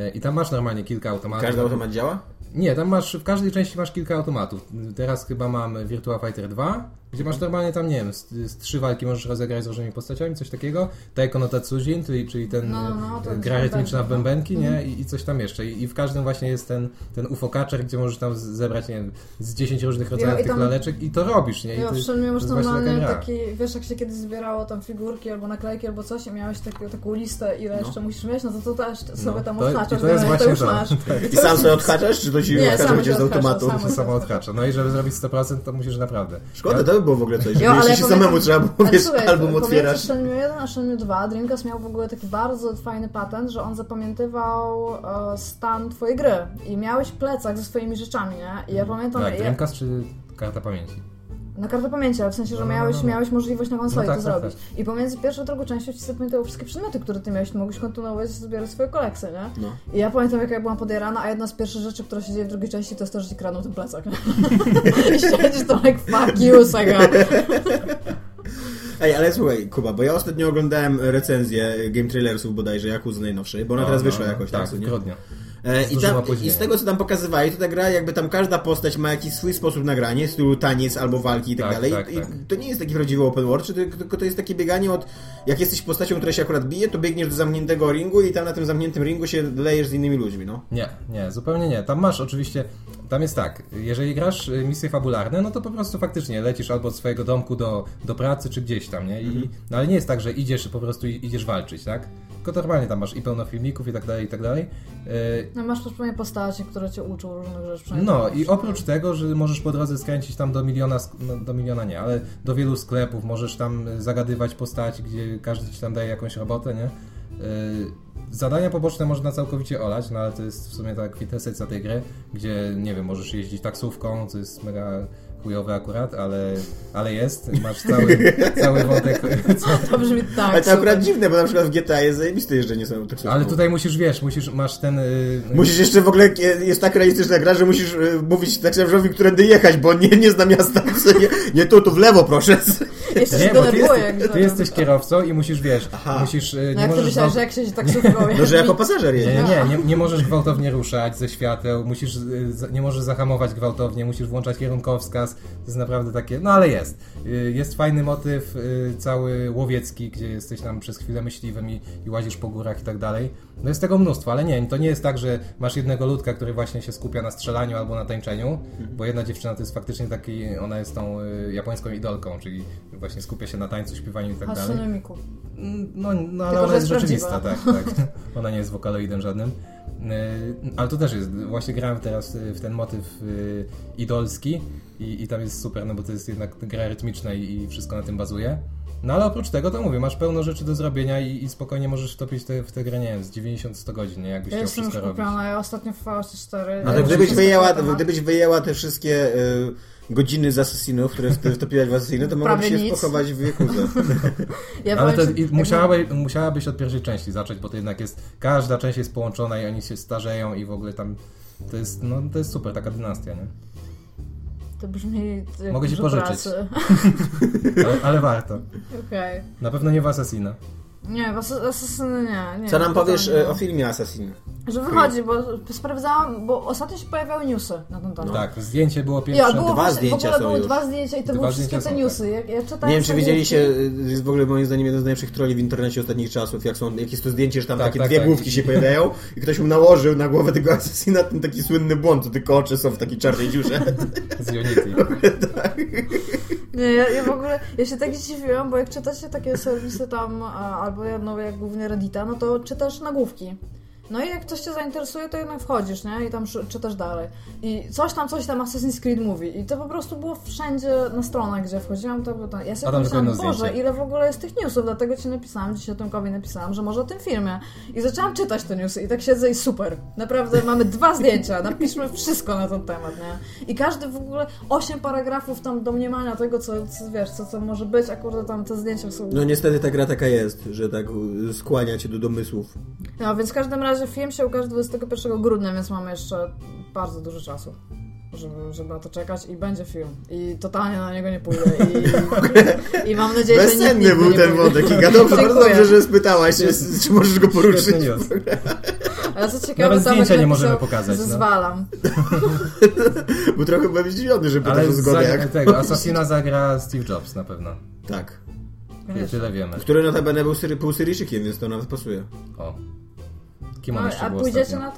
Speaker 4: Y, I tam masz normalnie kilka automatów.
Speaker 3: Każdy automat działa?
Speaker 4: Nie, tam masz, w każdej części masz kilka automatów. Teraz chyba mam Virtua Fighter 2, gdzie masz normalnie tam, nie wiem, z, z trzy walki możesz rozegrać z różnymi postaciami, coś takiego. Taiko no Tatsujin, czyli, czyli ten
Speaker 2: No, no, no, Mhm. to
Speaker 4: e,
Speaker 2: jest
Speaker 4: gra rytmiczna w bębenki, nie? I, I coś tam jeszcze. I, I w każdym właśnie jest ten, ten UFO catcher, gdzie możesz tam z- zebrać, nie wiem, z 10 różnych rodzajów
Speaker 2: Ja- i
Speaker 4: tych
Speaker 2: tam-
Speaker 4: laleczek i to robisz, nie? I
Speaker 2: Ja
Speaker 4: to,
Speaker 2: wszędzie masz
Speaker 4: to jest właśnie
Speaker 2: normalnie
Speaker 4: gra.
Speaker 2: taki, wiesz jak się kiedyś zbierało tam figurki albo naklejki albo coś i miałeś taki, taką listę ile jeszcze musisz mieć, no to to też sobie tam
Speaker 4: to-
Speaker 2: odhaczasz,
Speaker 4: to jest
Speaker 2: no, to
Speaker 4: właśnie
Speaker 2: już
Speaker 4: to.
Speaker 2: masz.
Speaker 3: I sam sobie odhaczasz, czy to ci
Speaker 2: Nie,
Speaker 3: odhacza
Speaker 2: sam
Speaker 3: Tak. będzie z
Speaker 2: się odhacza,
Speaker 3: automatu?
Speaker 2: sam.
Speaker 4: Samo odkacza. No i żeby zrobić 100%, to musisz naprawdę.
Speaker 3: Szkoda, to by było w ogóle coś.
Speaker 2: Jo,
Speaker 3: Żeby
Speaker 2: ale
Speaker 3: jeśli
Speaker 2: pamiętam-
Speaker 3: samemu trzeba było,
Speaker 2: Ale
Speaker 3: wiesz,
Speaker 2: słuchaj,
Speaker 3: album
Speaker 2: pomiędzy
Speaker 3: otwierasz.
Speaker 2: Shenmue 1 a Shenmue 2 Dreamcast miał w ogóle taki bardzo fajny patent, że on zapamiętywał e, stan twojej gry i miałeś plecak ze swoimi rzeczami, nie? I ja pamiętam,
Speaker 4: Tak,
Speaker 2: ja,
Speaker 4: Dreamcast czy karta pamięci?
Speaker 2: na kartę pamięci, ale w sensie, że
Speaker 4: No, no,
Speaker 2: miałeś,
Speaker 4: no, no.
Speaker 2: miałeś możliwość na konsoli
Speaker 4: No tak,
Speaker 2: to
Speaker 4: tak,
Speaker 2: zrobić. I pomiędzy pierwszą a drugą częścią ci zapamiętały wszystkie przedmioty, które ty miałeś, ty mogłeś kontynuować zbierać swoje kolekcje, nie?
Speaker 3: No.
Speaker 2: I ja pamiętam, jak ja byłam podjarana, a jedna z pierwszych rzeczy, która się dzieje w drugiej części, to jest to, że ci kradną ten plecak,
Speaker 4: [laughs]
Speaker 2: nie? I siedzisz tam jak fuck you, Sega.
Speaker 3: Ej, ale słuchaj, Kuba, bo ja ostatnio oglądałem recenzję Game Trailersów bodajże, Jakuzy najnowszej, bo ona teraz
Speaker 4: No,
Speaker 3: wyszła
Speaker 4: no,
Speaker 3: jakoś
Speaker 4: Tak,
Speaker 3: tam,
Speaker 4: w
Speaker 3: nie?
Speaker 4: grudniu.
Speaker 3: E,
Speaker 4: Z
Speaker 3: i,
Speaker 4: dużym
Speaker 3: tam, I
Speaker 4: opóźnieniem.
Speaker 3: z tego, co tam pokazywali, to ta gra, jakby tam każda postać ma jakiś swój sposób nagrania, w stylu taniec albo walki i tak,
Speaker 4: Tak,
Speaker 3: dalej.
Speaker 4: tak,
Speaker 3: I,
Speaker 4: tak.
Speaker 3: I to nie jest taki prawdziwy open world, czy to- tylko to jest takie bieganie od... Jak jesteś postacią, która się akurat bije, to biegniesz do zamkniętego ringu i tam na tym zamkniętym ringu się lejesz z innymi ludźmi, no.
Speaker 4: Nie, nie, zupełnie nie. Tam masz oczywiście, tam jest tak, jeżeli grasz y, misje fabularne, no to po prostu faktycznie lecisz albo od swojego domku do, do pracy, czy gdzieś tam, nie? I, no, ale nie jest tak, że idziesz po prostu i- idziesz walczyć, tak? Tylko normalnie tam masz i pełno filmików i tak dalej, i tak dalej. Y,
Speaker 2: No masz też pewnie postacie, które cię uczą różnych rzeczy. przynajmniej
Speaker 4: No
Speaker 2: tak
Speaker 4: i
Speaker 2: się-
Speaker 4: oprócz tego, że możesz po drodze skręcić tam do miliona, sk- no, do miliona nie, ale do wielu sklepów, możesz tam y, zagadywać postaci, gdzie każdy ci tam daje jakąś robotę, nie? Y, Zadania poboczne można całkowicie olać, no ale to jest w sumie ta kwintesencja tej gry, gdzie, nie wiem, możesz jeździć taksówką, co jest mega chujowe akurat, ale, ale jest, masz
Speaker 2: [laughs]
Speaker 4: cały, cały wątek,
Speaker 2: To brzmi tak.
Speaker 3: Ale to akurat
Speaker 2: super.
Speaker 3: dziwne, bo na przykład w GTA jest zajebiste jeżdżenie tak samą taksówką.
Speaker 4: ale tutaj musisz, wiesz, musisz, masz ten... y,
Speaker 3: Musisz jeszcze w ogóle, e, jest tak realistyczna gra, że musisz e, mówić taksówkarzowi, którędy jechać, bo nie, nie zna miasta. W sensie, nie tu, tu w lewo, proszę.
Speaker 2: Jeszcze się
Speaker 4: Nie, bo ty,
Speaker 2: denerwuję, jak
Speaker 4: jesteś, ty
Speaker 2: zaraz-
Speaker 4: jesteś kierowcą i musisz, wiesz, musisz... y,
Speaker 2: No
Speaker 4: nie
Speaker 2: jak ty
Speaker 4: możesz
Speaker 2: myślałeś,
Speaker 4: za-
Speaker 2: że jak się tak
Speaker 4: [laughs]
Speaker 2: taksówką
Speaker 3: No, że jako pasażer jedzie.
Speaker 4: Nie, nie, nie, nie możesz gwałtownie ruszać ze świateł, musisz, y, za- nie możesz zahamować gwałtownie, musisz włączać kierunkowskaz, to jest naprawdę takie, no ale jest. Y, Jest fajny motyw y, cały łowiecki, gdzie jesteś tam przez chwilę myśliwym i, i łazisz po górach i tak dalej. No jest tego mnóstwo, ale nie, to nie jest tak, że masz jednego ludka, który właśnie się skupia na strzelaniu albo na tańczeniu, bo jedna dziewczyna to jest faktycznie taki, ona jest tą y, japońską idolką, czyli właśnie skupia się na tańcu, śpiewaniu i tak dalej.
Speaker 2: Astronomiku.
Speaker 4: No, no ale
Speaker 2: Tylko,
Speaker 4: ona
Speaker 2: że
Speaker 4: jest
Speaker 2: jest
Speaker 4: rzeczywista, tak, tak.
Speaker 2: [laughs]
Speaker 4: Ona nie jest wokaloidem żadnym. Yy, Ale to też jest, właśnie grałem teraz y, w ten motyw y, idolski i, i tam jest super, no bo to jest jednak gra rytmiczna i, i wszystko na tym bazuje. No ale oprócz tego, to mówię, masz pełno rzeczy do zrobienia i, i spokojnie możesz wtopić te, w tę grę, nie wiem, z 90-100 godzin, nie? Jakbyś
Speaker 2: Ja
Speaker 4: chciał
Speaker 2: jestem już
Speaker 4: wszystko robić.
Speaker 2: kupiona, ja ostatnio w Faustie 4.
Speaker 4: No
Speaker 3: Ale
Speaker 4: to
Speaker 3: gdybyś wyjęła, gdybyś wyjęła te wszystkie y, godziny z Assassinów, które wt- wtopiłaś w Assassiny, to mogłabyś się
Speaker 2: Prawie nic.
Speaker 3: pochować w Jakudze.
Speaker 2: Ja tak
Speaker 4: Ale to
Speaker 2: powiem ci,
Speaker 4: i
Speaker 2: jak
Speaker 4: musiałaby, musiałabyś od pierwszej części zacząć, bo to jednak jest, każda część jest połączona i oni się starzeją i w ogóle tam, to jest, no to jest super, taka dynastia, nie?
Speaker 2: To brzmi. jak
Speaker 4: Mogę ci
Speaker 2: dużo
Speaker 4: pożyczyć.
Speaker 2: pracy. [laughs]
Speaker 4: Ale, ale warto.
Speaker 2: Okej.
Speaker 4: Na pewno nie w Assassina.
Speaker 2: Nie, w As- Assassiny nie, nie.
Speaker 3: [laughs] Co nam
Speaker 2: to
Speaker 3: powiesz
Speaker 4: e,
Speaker 2: tam nie.
Speaker 3: y, o filmie Assassin?
Speaker 2: Że wychodzi, bo sprawdzałam, bo ostatnio się pojawiały newsy na ten temat.
Speaker 4: Tak, zdjęcie było pierwsze.
Speaker 2: No. Ja, było
Speaker 3: No. Dwa
Speaker 2: właśnie-
Speaker 3: zdjęcia
Speaker 2: w ogóle
Speaker 3: są
Speaker 2: były
Speaker 3: już.
Speaker 2: dwa zdjęcia i to
Speaker 4: Dwa
Speaker 2: były wszystkie te
Speaker 4: zdjęcia są, tak.
Speaker 2: newsy. Ja, ja czytałem
Speaker 3: Nie wiem, czy
Speaker 2: sobie-
Speaker 3: widzieliście, y, jest w ogóle moim zdaniem jeden z najlepszych troli w internecie ostatnich czasów, jak są, jak jest to zdjęcie, że tam
Speaker 4: Tak,
Speaker 3: takie
Speaker 4: tak,
Speaker 3: dwie
Speaker 4: tak.
Speaker 3: główki się pojawiają i ktoś mu nałożył na głowę tego Assassina ten taki słynny błąd, to tylko oczy są w takiej czarnej [laughs] dziurze.
Speaker 4: Z
Speaker 2: [laughs]
Speaker 4: Unity.
Speaker 2: Nie, ja, ja w ogóle, ja się tak zdziwiłam, bo jak czyta się takie serwisy tam, a, albo ja, no, jak głównie Reddita, no to czytasz nagłówki. No i jak coś cię zainteresuje, to jednak wchodzisz, nie? I tam szy- czytasz dalej. I coś tam, coś tam Assassin's Creed mówi. I to po prostu było wszędzie na stronach, gdzie wchodziłam, to było tam... Ja
Speaker 4: A
Speaker 2: sobie
Speaker 4: tam
Speaker 2: pomyślałam,
Speaker 4: tylko jedno
Speaker 2: Boże,
Speaker 4: zdjęcie.
Speaker 2: ile w ogóle jest tych newsów, dlatego ci napisałam, dzisiaj Tomkowi napisałam, że może o tym filmie. I zaczęłam czytać te newsy i tak siedzę i super. Naprawdę mamy dwa [laughs] zdjęcia, napiszmy wszystko na ten temat, nie? I każdy w ogóle, osiem paragrafów tam domniemania tego, co, co wiesz, co, co może być, a kurde tam te zdjęcia są...
Speaker 3: No niestety ta gra taka jest, że tak y, skłania cię do domysłów.
Speaker 2: No, więc w każdym razie film się ukaże 21 grudnia, więc mamy jeszcze bardzo dużo czasu, żeby, żeby na to czekać i będzie film. I totalnie na niego nie pójdę.
Speaker 3: [laughs]
Speaker 2: I, i mam nadzieję, że nikt
Speaker 3: Bezsenny
Speaker 2: nigdy
Speaker 3: był
Speaker 2: nie
Speaker 3: ten
Speaker 2: pójdzie.
Speaker 3: wodek,
Speaker 2: [laughs]
Speaker 3: Iga. Dobrze, bardzo
Speaker 2: Dziękuję.
Speaker 3: dobrze, że spytałaś, czy, czy możesz go poruszyć.
Speaker 4: Świetny news.
Speaker 2: Ale co ciekawe,
Speaker 4: Nawet
Speaker 2: Tomek
Speaker 4: zdjęcia
Speaker 2: napisał,
Speaker 4: nie możemy pokazać, no.
Speaker 2: Zezwalam.
Speaker 3: Bo trochę byłem zdziwiony, że
Speaker 4: Ale
Speaker 3: pytasz o
Speaker 4: za,
Speaker 3: zgodę. Jak...
Speaker 4: tego, Assassina zagra Steve Jobs na pewno.
Speaker 3: [laughs] Tak.
Speaker 4: Tyle, tyle wiemy.
Speaker 3: Który notabene był syry, półsyryjczykiem, więc to nawet pasuje.
Speaker 4: O. Kim
Speaker 2: No,
Speaker 4: on jeszcze
Speaker 2: a
Speaker 4: był
Speaker 2: pójdziecie
Speaker 4: ostatnio?
Speaker 2: na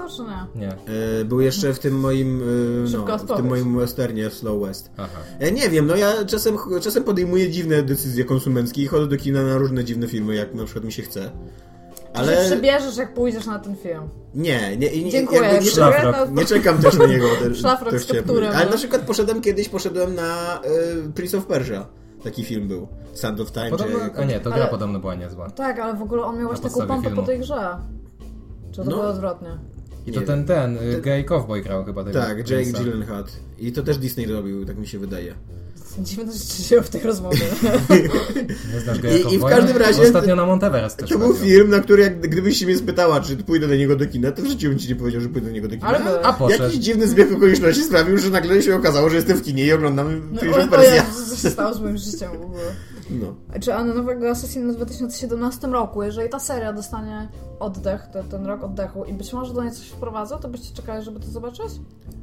Speaker 2: to, czy nie?
Speaker 4: Nie.
Speaker 3: E, był jeszcze w tym moim, e,
Speaker 2: Szybka
Speaker 3: no, w
Speaker 2: odpowiedź.
Speaker 3: tym moim westernie Slow West.
Speaker 4: Aha.
Speaker 3: Ja nie wiem, no ja czasem, czasem podejmuję dziwne decyzje konsumenckie i chodzę do kina na różne dziwne filmy, jak na przykład mi się chce.
Speaker 2: Ale... Czy
Speaker 3: Ale
Speaker 2: się przebierzesz, jak pójdziesz na ten film?
Speaker 3: nie, nie, nie,
Speaker 2: Dziękuję.
Speaker 3: jakby
Speaker 2: Dziękuję.
Speaker 3: nie, czekam,
Speaker 4: Szlafrok.
Speaker 2: No,
Speaker 3: nie czekam też na niego. Też,
Speaker 2: Szlafrok
Speaker 3: też
Speaker 2: z
Speaker 3: chciałem
Speaker 2: kapturem,
Speaker 3: powiedzieć. Ale
Speaker 2: no.
Speaker 3: na przykład poszedłem kiedyś, poszedłem na y, Prince of Persia. Taki film był. Sand of Time.
Speaker 4: Podobno,
Speaker 3: czy-
Speaker 4: a nie, to gra
Speaker 2: Ale-
Speaker 4: podobno była niezła.
Speaker 2: Tak, ale w ogóle on miał właśnie taką
Speaker 4: podstawie
Speaker 2: pompę po
Speaker 4: filmu.
Speaker 2: tej grze. Czy to
Speaker 3: No.
Speaker 2: było odwrotnie?
Speaker 4: I
Speaker 3: nie
Speaker 4: to
Speaker 3: wiem.
Speaker 4: ten, ten, y, gay cowboy grał chyba tego.
Speaker 3: Tak, Jake
Speaker 4: Jamesa.
Speaker 3: Gyllenhaal. I to też Disney robił, tak mi się wydaje.
Speaker 2: Dziwne rzeczy się w tych
Speaker 3: [laughs]
Speaker 2: rozmowach.
Speaker 4: Nie znasz gay
Speaker 3: I- i w
Speaker 4: cowboya?
Speaker 3: każdym razie-
Speaker 4: Ostatnio na Monteveres też
Speaker 3: To był
Speaker 4: chodził.
Speaker 3: film, na który jak, gdybyś się mnie spytała, czy pójdę do niego do kina, to w życiu bym ci nie powiedział, że pójdę do niego do kina.
Speaker 2: Ale byłeś.
Speaker 4: A poszedł.
Speaker 3: Jakiś dziwny zbieg okoliczności sprawił, że nagle się okazało, że jestem w kinie i oglądam
Speaker 2: No,
Speaker 3: Prince
Speaker 2: o, o
Speaker 3: of Persia.
Speaker 2: Jezu, co się stało z moim życiem w ogóle?
Speaker 3: No.
Speaker 2: Czy Anna nowego Assassina w 2017 roku, jeżeli ta seria dostanie oddech, te, ten rok oddechu i być może do niej coś wprowadza, to byście czekali, żeby to zobaczyć?
Speaker 3: Tak.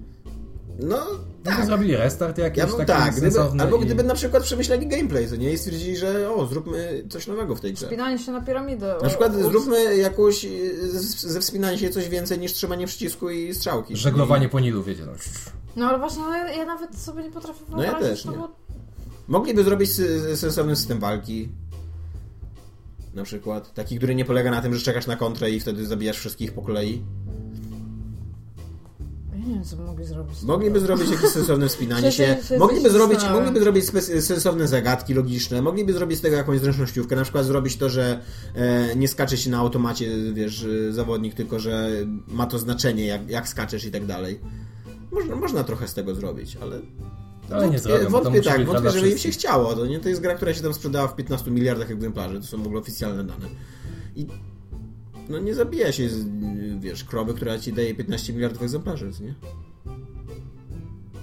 Speaker 3: No,
Speaker 4: Gdyby zrobili restart jakiś
Speaker 3: ja bym
Speaker 4: taki
Speaker 3: tak, gdyby,
Speaker 4: sensowny
Speaker 3: albo
Speaker 4: i-
Speaker 3: gdyby na przykład przemyśleli gameplay, co nie, i stwierdzili, że o, zróbmy coś nowego w tej grze.
Speaker 2: Wspinanie się na piramidy.
Speaker 3: Na przykład
Speaker 2: ups.
Speaker 3: zróbmy jakąś, y, z- ze wspinania się coś więcej niż trzymanie przycisku i strzałki.
Speaker 4: Żeglowanie po Nilu, wiecie. No.
Speaker 2: No ale właśnie, ale ja, ja nawet sobie nie potrafię
Speaker 3: No ja
Speaker 2: wyobrazić,
Speaker 3: też
Speaker 2: to
Speaker 3: nie.
Speaker 2: było...
Speaker 3: Mogliby zrobić sy- sensowny system walki. Na przykład. Taki, który nie polega na tym, że czekasz na kontrę i wtedy zabijasz wszystkich po kolei.
Speaker 2: Ja nie wiem, co by mogli zrobić.
Speaker 3: Mogliby zrobić jakieś sensowne wspinanie się.
Speaker 2: Przecież się
Speaker 3: Mogliby
Speaker 2: coś
Speaker 3: zrobić,
Speaker 2: zastanawiam.
Speaker 3: mogliby zrobić spe- sensowne zagadki logiczne. Mogliby zrobić z tego jakąś zręcznościówkę. Na przykład zrobić to, że e, nie skacze się na automacie, wiesz, e, zawodnik, tylko że ma to znaczenie, jak, jak skaczesz i tak dalej. Można, można trochę z tego zrobić, ale
Speaker 4: Ale nie zrobią, bo to
Speaker 3: wątpię
Speaker 4: musi
Speaker 3: tak,
Speaker 4: być dla
Speaker 3: wątpię, żeby im się
Speaker 4: wszystkich.
Speaker 3: chciało. To, nie, to jest gra, która się tam sprzedała w 15 miliardach egzemplarzy, to są w ogóle oficjalne dane. I no nie zabija się, z, wiesz, krowy, która ci daje 15 miliardów egzemplarzy, co nie?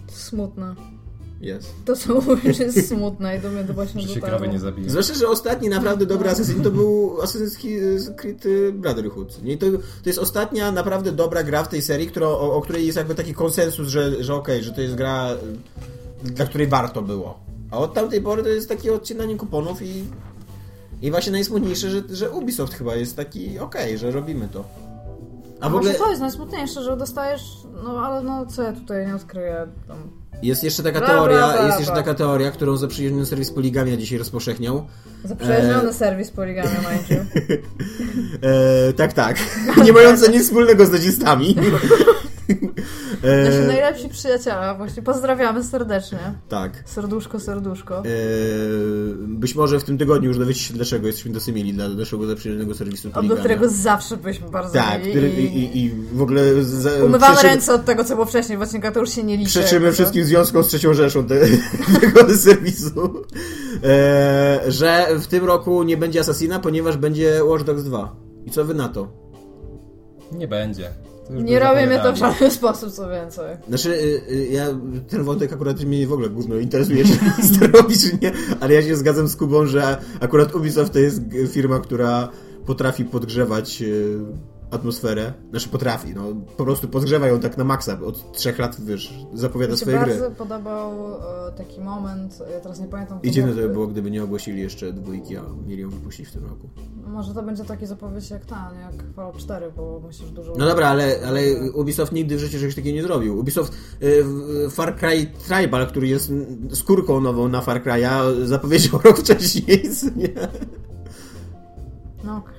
Speaker 2: Smutne.
Speaker 3: Jest.
Speaker 2: To, co mówisz, jest smutne i do mnie to właśnie
Speaker 4: Że się
Speaker 2: dotarło.
Speaker 4: krowy nie zabije.
Speaker 3: Zwłaszcza, że ostatni naprawdę dobry Assassin to był Assassin's Creed y, Brotherhood. Nie, to, to jest ostatnia naprawdę dobra gra w tej serii, która, o, o której jest jakby taki konsensus, że, że okej, że to jest gra, y, dla której warto było. A od tamtej pory to jest takie odcinanie kuponów i, i właśnie najsmutniejsze, że, że Ubisoft chyba jest taki okej, że robimy to. A w ogóle
Speaker 2: Właśnie to jest najsmutniejsze, że dostajesz, no ale no co ja tutaj nie odkryję, tam
Speaker 3: jest jeszcze taka
Speaker 2: Bra, bra,
Speaker 3: teoria,
Speaker 2: bra,
Speaker 3: jest jeszcze
Speaker 2: bra.
Speaker 3: taka teoria, którą zaprzyjaźniony serwis Poligamia dzisiaj rozpowszechniał.
Speaker 2: Zaprzyjaźniony
Speaker 3: E.
Speaker 2: serwis poligami, mind you.
Speaker 3: E, tak, tak. Nie mające nic wspólnego z nazistami.
Speaker 2: Nasi
Speaker 3: E,
Speaker 2: najlepsi przyjaciele, właśnie pozdrawiamy serdecznie.
Speaker 3: tak.
Speaker 2: Serduszko, serduszko.
Speaker 3: E, być może w tym tygodniu już dowiecie się, dlaczego jesteśmy dosyć mili dla naszego zaprzyjaźnionego serwisu
Speaker 2: Od do
Speaker 3: Poligania.
Speaker 2: którego zawsze byliśmy bardzo
Speaker 3: Tak,
Speaker 2: mili
Speaker 3: który,
Speaker 2: i,
Speaker 3: i, i, i w ogóle... z- za-
Speaker 2: umywamy
Speaker 3: przyczy-
Speaker 2: ręce no. od tego, co było wcześniej w odcinkach, to już się nie liczy.
Speaker 3: Przeczymy
Speaker 2: jakby.
Speaker 3: wszystkim związkom z Trzecią Rzeszą te, [laughs] tego serwisu, e, że w tym roku nie będzie Assassina, ponieważ będzie Watch Dogs 2. I co wy na to?
Speaker 4: Nie będzie. To już
Speaker 2: Nie
Speaker 4: by
Speaker 2: robimy to w
Speaker 4: zapowiadali.
Speaker 2: żaden sposób, co więcej.
Speaker 3: Znaczy, y, y, ja ten wątek akurat mnie w ogóle gówno interesuje, [laughs] czy to robi, czy nie, ale ja się zgadzam z Kubą, że akurat Ubisoft to jest g- firma, która potrafi podgrzewać y, atmosferę. Znaczy potrafi, no po prostu podgrzewa ją tak na maksa, bo od trzech lat, wiesz, zapowiada
Speaker 2: Mi się
Speaker 3: swoje
Speaker 2: bardzo
Speaker 3: gry.
Speaker 2: podobał e, taki moment, ja teraz nie pamiętam... kto
Speaker 3: I dziwne
Speaker 2: był.
Speaker 3: to by było, gdyby nie ogłosili jeszcze dwójki, a mieli ją wypuścić w tym roku.
Speaker 2: Może to będzie taki zapowiedź jak ta, nie? jak Fallout 4, bo musisz dużo...
Speaker 3: No dobra, ale, ale Ubisoft nigdy w życiu czegoś takiego nie zrobił. Ubisoft y, w- Far Cry Tribal, który jest mm, skórką nową na Far Cry'a, zapowiedział rok wcześniej. [laughs] co Nie?
Speaker 2: No okej.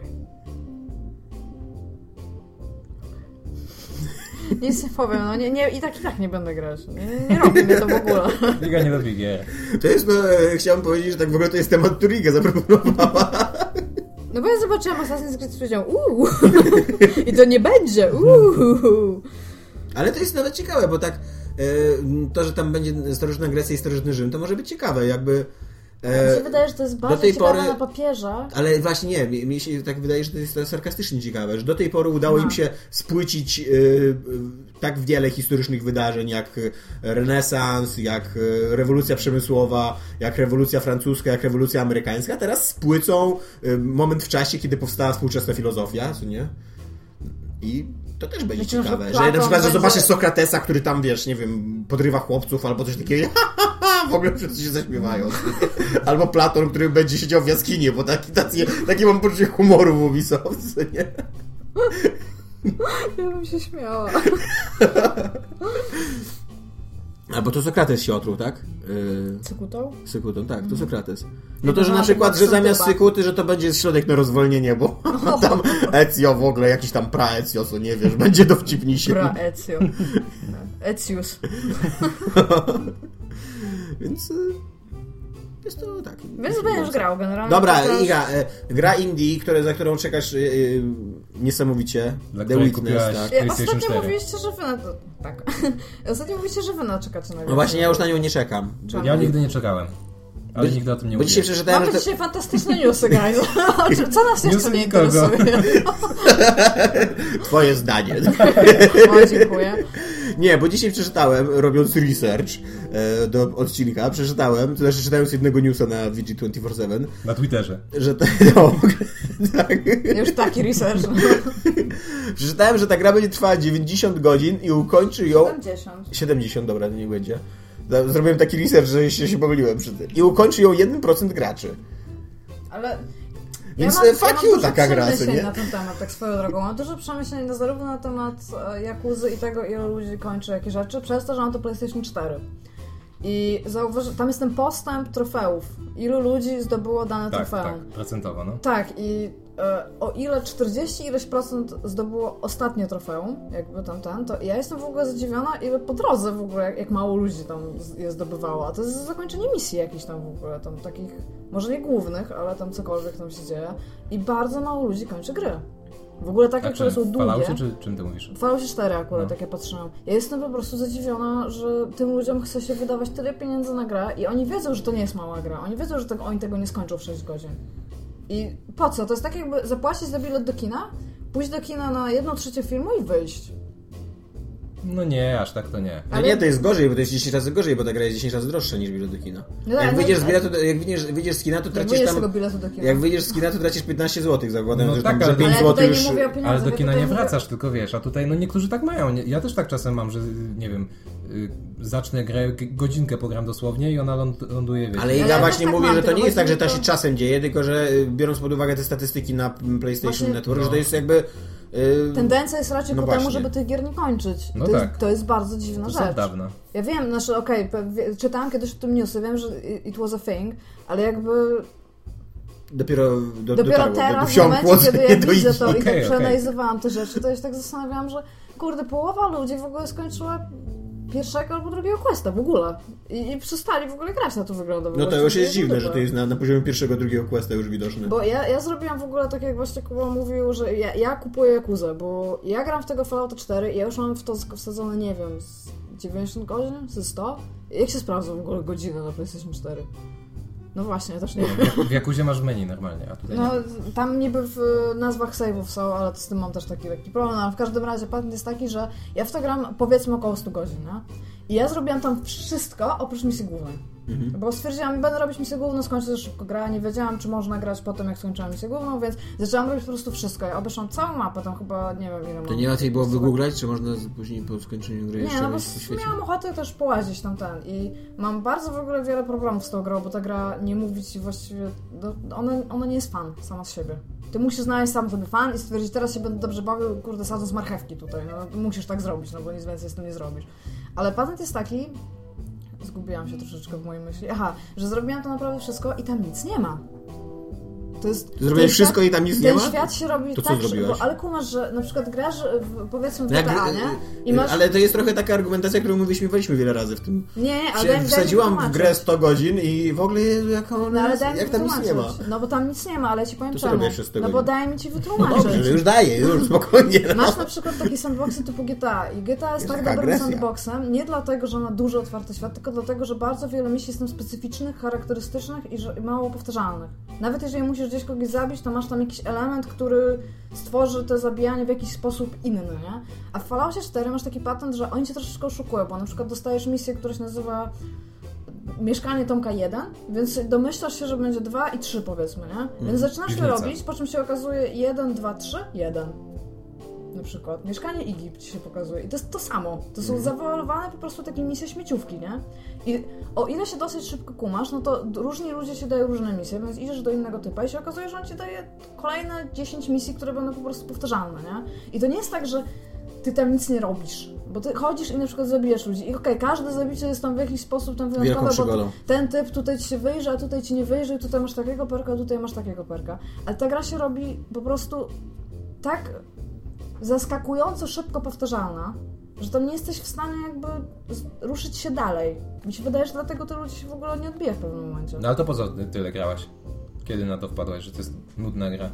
Speaker 2: Nic nie powiem, no nie, nie, i tak i tak nie będę grać. Nie, nie robi mnie to w ogóle.
Speaker 4: Liga nie robi gier.
Speaker 3: To jest, no, e, chciałem powiedzieć, że tak w ogóle to jest temat, który Iga zaproponowała.
Speaker 2: No bo ja zobaczyłam Assassin's Creed i powiedziałam uuu, i to nie będzie, uuu.
Speaker 3: Ale to jest nawet ciekawe, bo tak e, to, że tam będzie starożytna Grecja i starożytny Rzym, to może być ciekawe, jakby... e,
Speaker 2: Mi się wydaje, że to jest
Speaker 3: do
Speaker 2: bardzo
Speaker 3: tej
Speaker 2: ciekawe
Speaker 3: pory-
Speaker 2: na papierze.
Speaker 3: Ale właśnie nie, mi, mi się tak wydaje, że to jest to sarkastycznie ciekawe, że do tej pory udało
Speaker 2: No.
Speaker 3: im się spłycić y, y, tak wiele historycznych wydarzeń, jak y, renesans, jak y, rewolucja przemysłowa, jak rewolucja francuska, jak rewolucja amerykańska, teraz spłycą y, moment w czasie, kiedy powstała współczesna filozofia, co nie? I to też będzie
Speaker 2: Myślę, że
Speaker 3: ciekawe, że, na
Speaker 2: Platon
Speaker 3: przykład, że
Speaker 2: będzie-
Speaker 3: zobaczysz Sokratesa, który tam, wiesz, nie wiem, podrywa chłopców albo coś takiego, [laughs] w ogóle wszyscy się zaśmiewają. Albo Platon, który będzie siedział w jaskini, bo taki, tacy, taki mam poczucie humoru w Ubisoft, co nie?
Speaker 2: Ja bym się śmiała.
Speaker 3: Albo to Sokrates się otruł, tak? Yy, [laughs]
Speaker 2: Cykutą?
Speaker 3: Sykutą, tak, to Sokrates. No to, że na
Speaker 2: No,
Speaker 3: przykład, że
Speaker 2: chyba
Speaker 3: zamiast
Speaker 2: Sodyba.
Speaker 3: Sykuty, że to będzie środek na rozwolnienie, bo [laughs] tam Ezio w ogóle, jakiś tam praezio, co nie wiesz, będzie dowcipniejszy.
Speaker 2: Pra Ezio. Ecius.
Speaker 3: Więc y, jest to tak.
Speaker 2: Więc będziesz grał generalnie. E,
Speaker 3: Dobra,
Speaker 2: Chociaż-
Speaker 3: Iga, y, gra Indie, które, za którą czekasz y, y, niesamowicie.
Speaker 4: Dla której kupiłaś-
Speaker 3: tak.
Speaker 2: Ja,
Speaker 4: PlayStation
Speaker 2: ostatnio
Speaker 4: 4.
Speaker 2: mówiliście, że wy na to... Tak. [laughs] Ostatnio mówiliście, że wy na czekacie na grę.
Speaker 3: No właśnie, ja już na nią nie czekam.
Speaker 4: Ja nigdy nie czekałem. Ale
Speaker 3: Bo-
Speaker 4: nigdy o tym nie
Speaker 3: Bo
Speaker 4: mówiłem.
Speaker 3: dzisiaj przeczytałem,
Speaker 2: Mamy
Speaker 3: że to...
Speaker 2: dzisiaj fantastyczne newsy,
Speaker 3: [laughs]
Speaker 2: guys. Co nas jeszcze
Speaker 4: Newsy
Speaker 2: nie
Speaker 4: nikogo.
Speaker 2: interesuje?
Speaker 3: Twoje zdanie. [laughs]
Speaker 2: O, dziękuję.
Speaker 3: Nie, bo dzisiaj przeczytałem, robiąc research e, do odcinka, przeczytałem, to znaczy czytając jednego newsa na VG247,
Speaker 4: Na Twitterze.
Speaker 3: że ta, [laughs] no, tak,
Speaker 2: Już taki research.
Speaker 3: przeczytałem, że ta gra będzie trwała 90 godzin i ukończy ją
Speaker 2: 70.
Speaker 3: 70, dobra, nie będzie. Za- Zrobiłem taki research, że się, się pomyliłem przy tym. I ukończy ją 1% graczy.
Speaker 2: Ale...
Speaker 3: Więc
Speaker 2: ja mam,
Speaker 3: e, fuck
Speaker 2: ja mam
Speaker 3: you
Speaker 2: dużo
Speaker 3: taka gra, co
Speaker 2: przemyśleń
Speaker 3: nie?
Speaker 2: na ten temat, tak swoją drogą. Mam dużo przemyśleń na- zarówno na temat e, Jakuzy i tego, ilu ludzi kończy jakie rzeczy, przez to, że mam to PlayStation 4. I zauważy, tam jest ten postęp trofeów. Ilu ludzi zdobyło dane
Speaker 4: Tak,
Speaker 2: trofeum.
Speaker 4: tak, procentowo, no.
Speaker 2: No Tak, i e, o ile 40 ileś procent zdobyło ostatnie trofeum, jakby tam ten, to ja jestem w ogóle zadziwiona, ile po drodze w ogóle, jak, jak mało ludzi tam z- je zdobywało. A to jest zakończenie misji jakichś tam w ogóle, tam takich, może nie głównych, ale tam cokolwiek tam się dzieje. I bardzo mało ludzi kończy gry. W ogóle takie,
Speaker 4: A
Speaker 2: które
Speaker 4: czym?
Speaker 2: tak, są
Speaker 4: W
Speaker 2: długie.
Speaker 4: Falloutie, czy czym ty mówisz?
Speaker 2: Falały się 4 akurat,
Speaker 4: No.
Speaker 2: tak ja patrzyłam. Ja jestem po prostu zadziwiona, że tym ludziom chce się wydawać tyle pieniędzy na grę i oni wiedzą, że to nie jest mała gra. Oni wiedzą, że tego, oni tego nie skończą w 6 godzin. I po co? To jest tak jakby zapłacić za bilet do kina, pójść do kina na 1 trzecie filmu i wyjść.
Speaker 4: No nie, aż tak to nie.
Speaker 3: No
Speaker 2: Ale-
Speaker 3: nie, to jest gorzej, bo to jest 10 razy gorzej, bo ta gra jest 10 razy droższa niż bilet do kina.
Speaker 2: No tak,
Speaker 3: jak
Speaker 2: no
Speaker 3: wyjdziesz z,
Speaker 2: tak.
Speaker 3: biletu, jak wyjdziesz, wyjdziesz z kina, to
Speaker 2: Nie
Speaker 3: tracisz
Speaker 2: wyjdziesz z tego
Speaker 3: tam...
Speaker 2: biletu do kina.
Speaker 3: Jak wyjdziesz z kina, to tracisz 15 zł, zakładam,
Speaker 4: No
Speaker 3: że,
Speaker 4: tak,
Speaker 3: tam, że
Speaker 4: ale-
Speaker 3: 5
Speaker 2: Ale ja
Speaker 3: zł
Speaker 2: tutaj
Speaker 3: już...
Speaker 2: nie mówię o pieniądzach.
Speaker 4: Ale do
Speaker 2: ja
Speaker 4: kina
Speaker 2: tutaj
Speaker 4: nie
Speaker 2: mówię-
Speaker 4: wracasz, tylko wiesz, a tutaj no niektórzy tak mają. Nie- Ja też tak czasem mam, że nie wiem, y, zacznę grę, g- godzinkę pogram dosłownie i ona ląd- ląduje, wiesz.
Speaker 3: Ale
Speaker 2: Ale
Speaker 3: Iga
Speaker 2: ja
Speaker 3: właśnie
Speaker 2: też tak
Speaker 3: mówi,
Speaker 2: mam,
Speaker 3: że to
Speaker 2: tylko
Speaker 3: nie jest tak, że to
Speaker 2: właśnie
Speaker 3: się
Speaker 2: to-
Speaker 3: czasem dzieje, tylko że y, biorąc pod uwagę te statystyki na mm, PlayStation
Speaker 2: Właśnie-
Speaker 3: Network, że
Speaker 4: No.
Speaker 3: to jest jakby... y,
Speaker 2: Tendencja jest raczej
Speaker 3: No
Speaker 2: ku temu,
Speaker 3: właśnie.
Speaker 2: żeby tych gier nie kończyć. I
Speaker 4: No
Speaker 2: to,
Speaker 4: tak.
Speaker 2: jest, to jest bardzo dziwna
Speaker 4: To są
Speaker 2: rzecz.
Speaker 4: od dawna.
Speaker 2: Ja wiem, znaczy okej, pe- wie- czytałam kiedyś o tym newsy, wiem, że it was a thing, ale jakby
Speaker 3: Dopiero, do,
Speaker 2: Dopiero
Speaker 3: dotarło,
Speaker 2: teraz, w
Speaker 3: wsiąkło,
Speaker 2: momencie, kiedy
Speaker 3: nie
Speaker 2: ja
Speaker 3: [laughs] do
Speaker 2: widzę
Speaker 3: Igi.
Speaker 2: to i tak
Speaker 4: Okej, okej.
Speaker 2: przeanalizowałam te rzeczy, to ja się tak zastanawiałam, że kurde, połowa ludzi w ogóle skończyła pierwszego albo drugiego questa w ogóle. I, i przestali w ogóle grać na to wygląda. w
Speaker 3: No
Speaker 2: ogóle.
Speaker 3: to już
Speaker 2: Czyli
Speaker 3: jest dziwne, że
Speaker 2: dupy.
Speaker 3: to jest na, na poziomie pierwszego, drugiego questa już widoczne.
Speaker 2: Bo ja, ja zrobiłam w ogóle tak, jak właśnie Kuba mówił, że ja, ja kupuję Jakuzę, bo ja gram w tego Fallout 4 i ja już mam w to sk- wsadzone, nie wiem, z 90 godzin, ze 100? Jak się sprawdza w ogóle godziny na PlayStation 4? No właśnie, ja też nie wiem.
Speaker 4: W Jakuzie masz menu normalnie, a tutaj
Speaker 2: No,
Speaker 4: nie.
Speaker 2: tam niby w y, nazwach save'ów są, ale z tym mam też taki lekki problem. Ale w każdym razie patent jest taki, że ja w to gram powiedzmy około 100 godzin, no? I ja zrobiłam tam wszystko oprócz misji głównej.
Speaker 3: Mhm.
Speaker 2: Bo stwierdziłam, będę robić misję główną, skończę szybko grę, nie wiedziałam, czy można grać potem, jak skończyłam misję główną, więc zaczęłam robić po prostu wszystko. Ja obeszłam całą mapę, tam chyba, nie wiem ile mam.
Speaker 3: To nie łatwiej było wygooglać, czy można z- później po skończeniu gry
Speaker 2: Nie,
Speaker 3: jeszcze
Speaker 2: no bo
Speaker 3: wejść w świecie?
Speaker 2: miałam ochotę też połazić tam ten i mam bardzo w ogóle wiele problemów z tą grą, bo ta gra nie mówi ci właściwie, no, ona, ona nie jest fan sama z siebie. Ty musisz znaleźć sam sobie fan i stwierdzić, teraz się będę dobrze bawił, kurde, sadzą z marchewki tutaj, no musisz tak zrobić, no bo nic więcej z tym nie zrobisz. Ale patent jest taki, zgubiłam się troszeczkę w mojej myśli, aha, że zrobiłam to naprawdę wszystko i tam nic nie ma. To jest...
Speaker 3: Zrobiłeś
Speaker 2: ten
Speaker 3: wszystko
Speaker 2: świat-
Speaker 3: i tam nic
Speaker 2: ten
Speaker 3: nie ma?
Speaker 2: świat się robi
Speaker 3: To co
Speaker 2: tak, że,
Speaker 3: zrobiłaś?
Speaker 2: bo, ale kumasz, że na przykład grasz w, powiedzmy w
Speaker 3: No jak-
Speaker 2: DPA, nie? I masz...
Speaker 3: Ale to jest trochę taka argumentacja, którą my wyśmiewaliśmy wiele razy w tym.
Speaker 2: Nie, nie, ale daj
Speaker 3: Się
Speaker 2: mi- daj mi
Speaker 3: Wsadziłam w
Speaker 2: wytłumaczyć.
Speaker 3: grę 100 godzin i w ogóle Jezu, jak,
Speaker 2: No
Speaker 3: ona,
Speaker 2: ale daj mi
Speaker 3: jak tam nic nie ma.
Speaker 2: wytłumaczyć. No bo tam nic nie ma, ale ja ci powiem
Speaker 3: To co
Speaker 2: czemu.
Speaker 3: robię jeszcze z tego
Speaker 2: no bo
Speaker 3: dnia?
Speaker 2: daj mi ci wytłumaczyć.
Speaker 3: Dobrze, no już daję, już spokojnie. No.
Speaker 2: Masz na przykład takie sandboxy typu GTA i GTA jest tak
Speaker 3: Jest taka
Speaker 2: dobrym
Speaker 3: agresja.
Speaker 2: sandboxem nie dlatego, że ma duży otwarty świat, tylko dlatego, że bardzo wiele misji jest tam specyficznych, charakterystycznych i że i mało powtarzalnych. Nawet jeżeli musisz gdzieś kogoś zabić, to masz tam jakiś element, który stworzy to zabijanie w jakiś sposób inny, nie? A w Falloutie 4 masz taki patent, że oni cię troszeczkę oszukują, bo na przykład dostajesz misję, która się nazywa mieszkanie Tomka 1, więc domyślasz się, że będzie 2 i 3 powiedzmy, nie?
Speaker 3: Mhm.
Speaker 2: Więc zaczynasz to
Speaker 4: piwnica.
Speaker 2: robić, po czym się okazuje 1, 2, 3, 1 na przykład. Mieszkanie Igip ci się pokazuje. I to jest to samo. To są zawoalowane po prostu takie misje śmieciówki, nie? I o ile się dosyć szybko kumasz, no to d- różni ludzie się dają różne misje, więc idziesz do innego typa i się okazuje, że on ci daje kolejne 10 misji, które będą po prostu powtarzalne, nie? I to nie jest tak, że ty tam nic nie robisz, bo ty chodzisz i na przykład zabijesz ludzi. I okej, każde zabicie jest tam w jakiś sposób tam
Speaker 3: [laughs]
Speaker 2: wyjątkowe, bo
Speaker 3: przygodą.
Speaker 2: ten typ tutaj ci się wyjrzy, a tutaj ci nie wyjrzy, i tutaj masz takiego perka, tutaj masz takiego perka. Ale ta gra się robi po prostu tak zaskakująco szybko powtarzalna, że tam nie jesteś w stanie jakby z- ruszyć się dalej. Mi się wydaje, że dlatego to ludzie się w ogóle nie odbija w pewnym momencie.
Speaker 4: No ale to po co ty- tyle grałaś? Kiedy na to wpadłaś, że to jest nudna gra?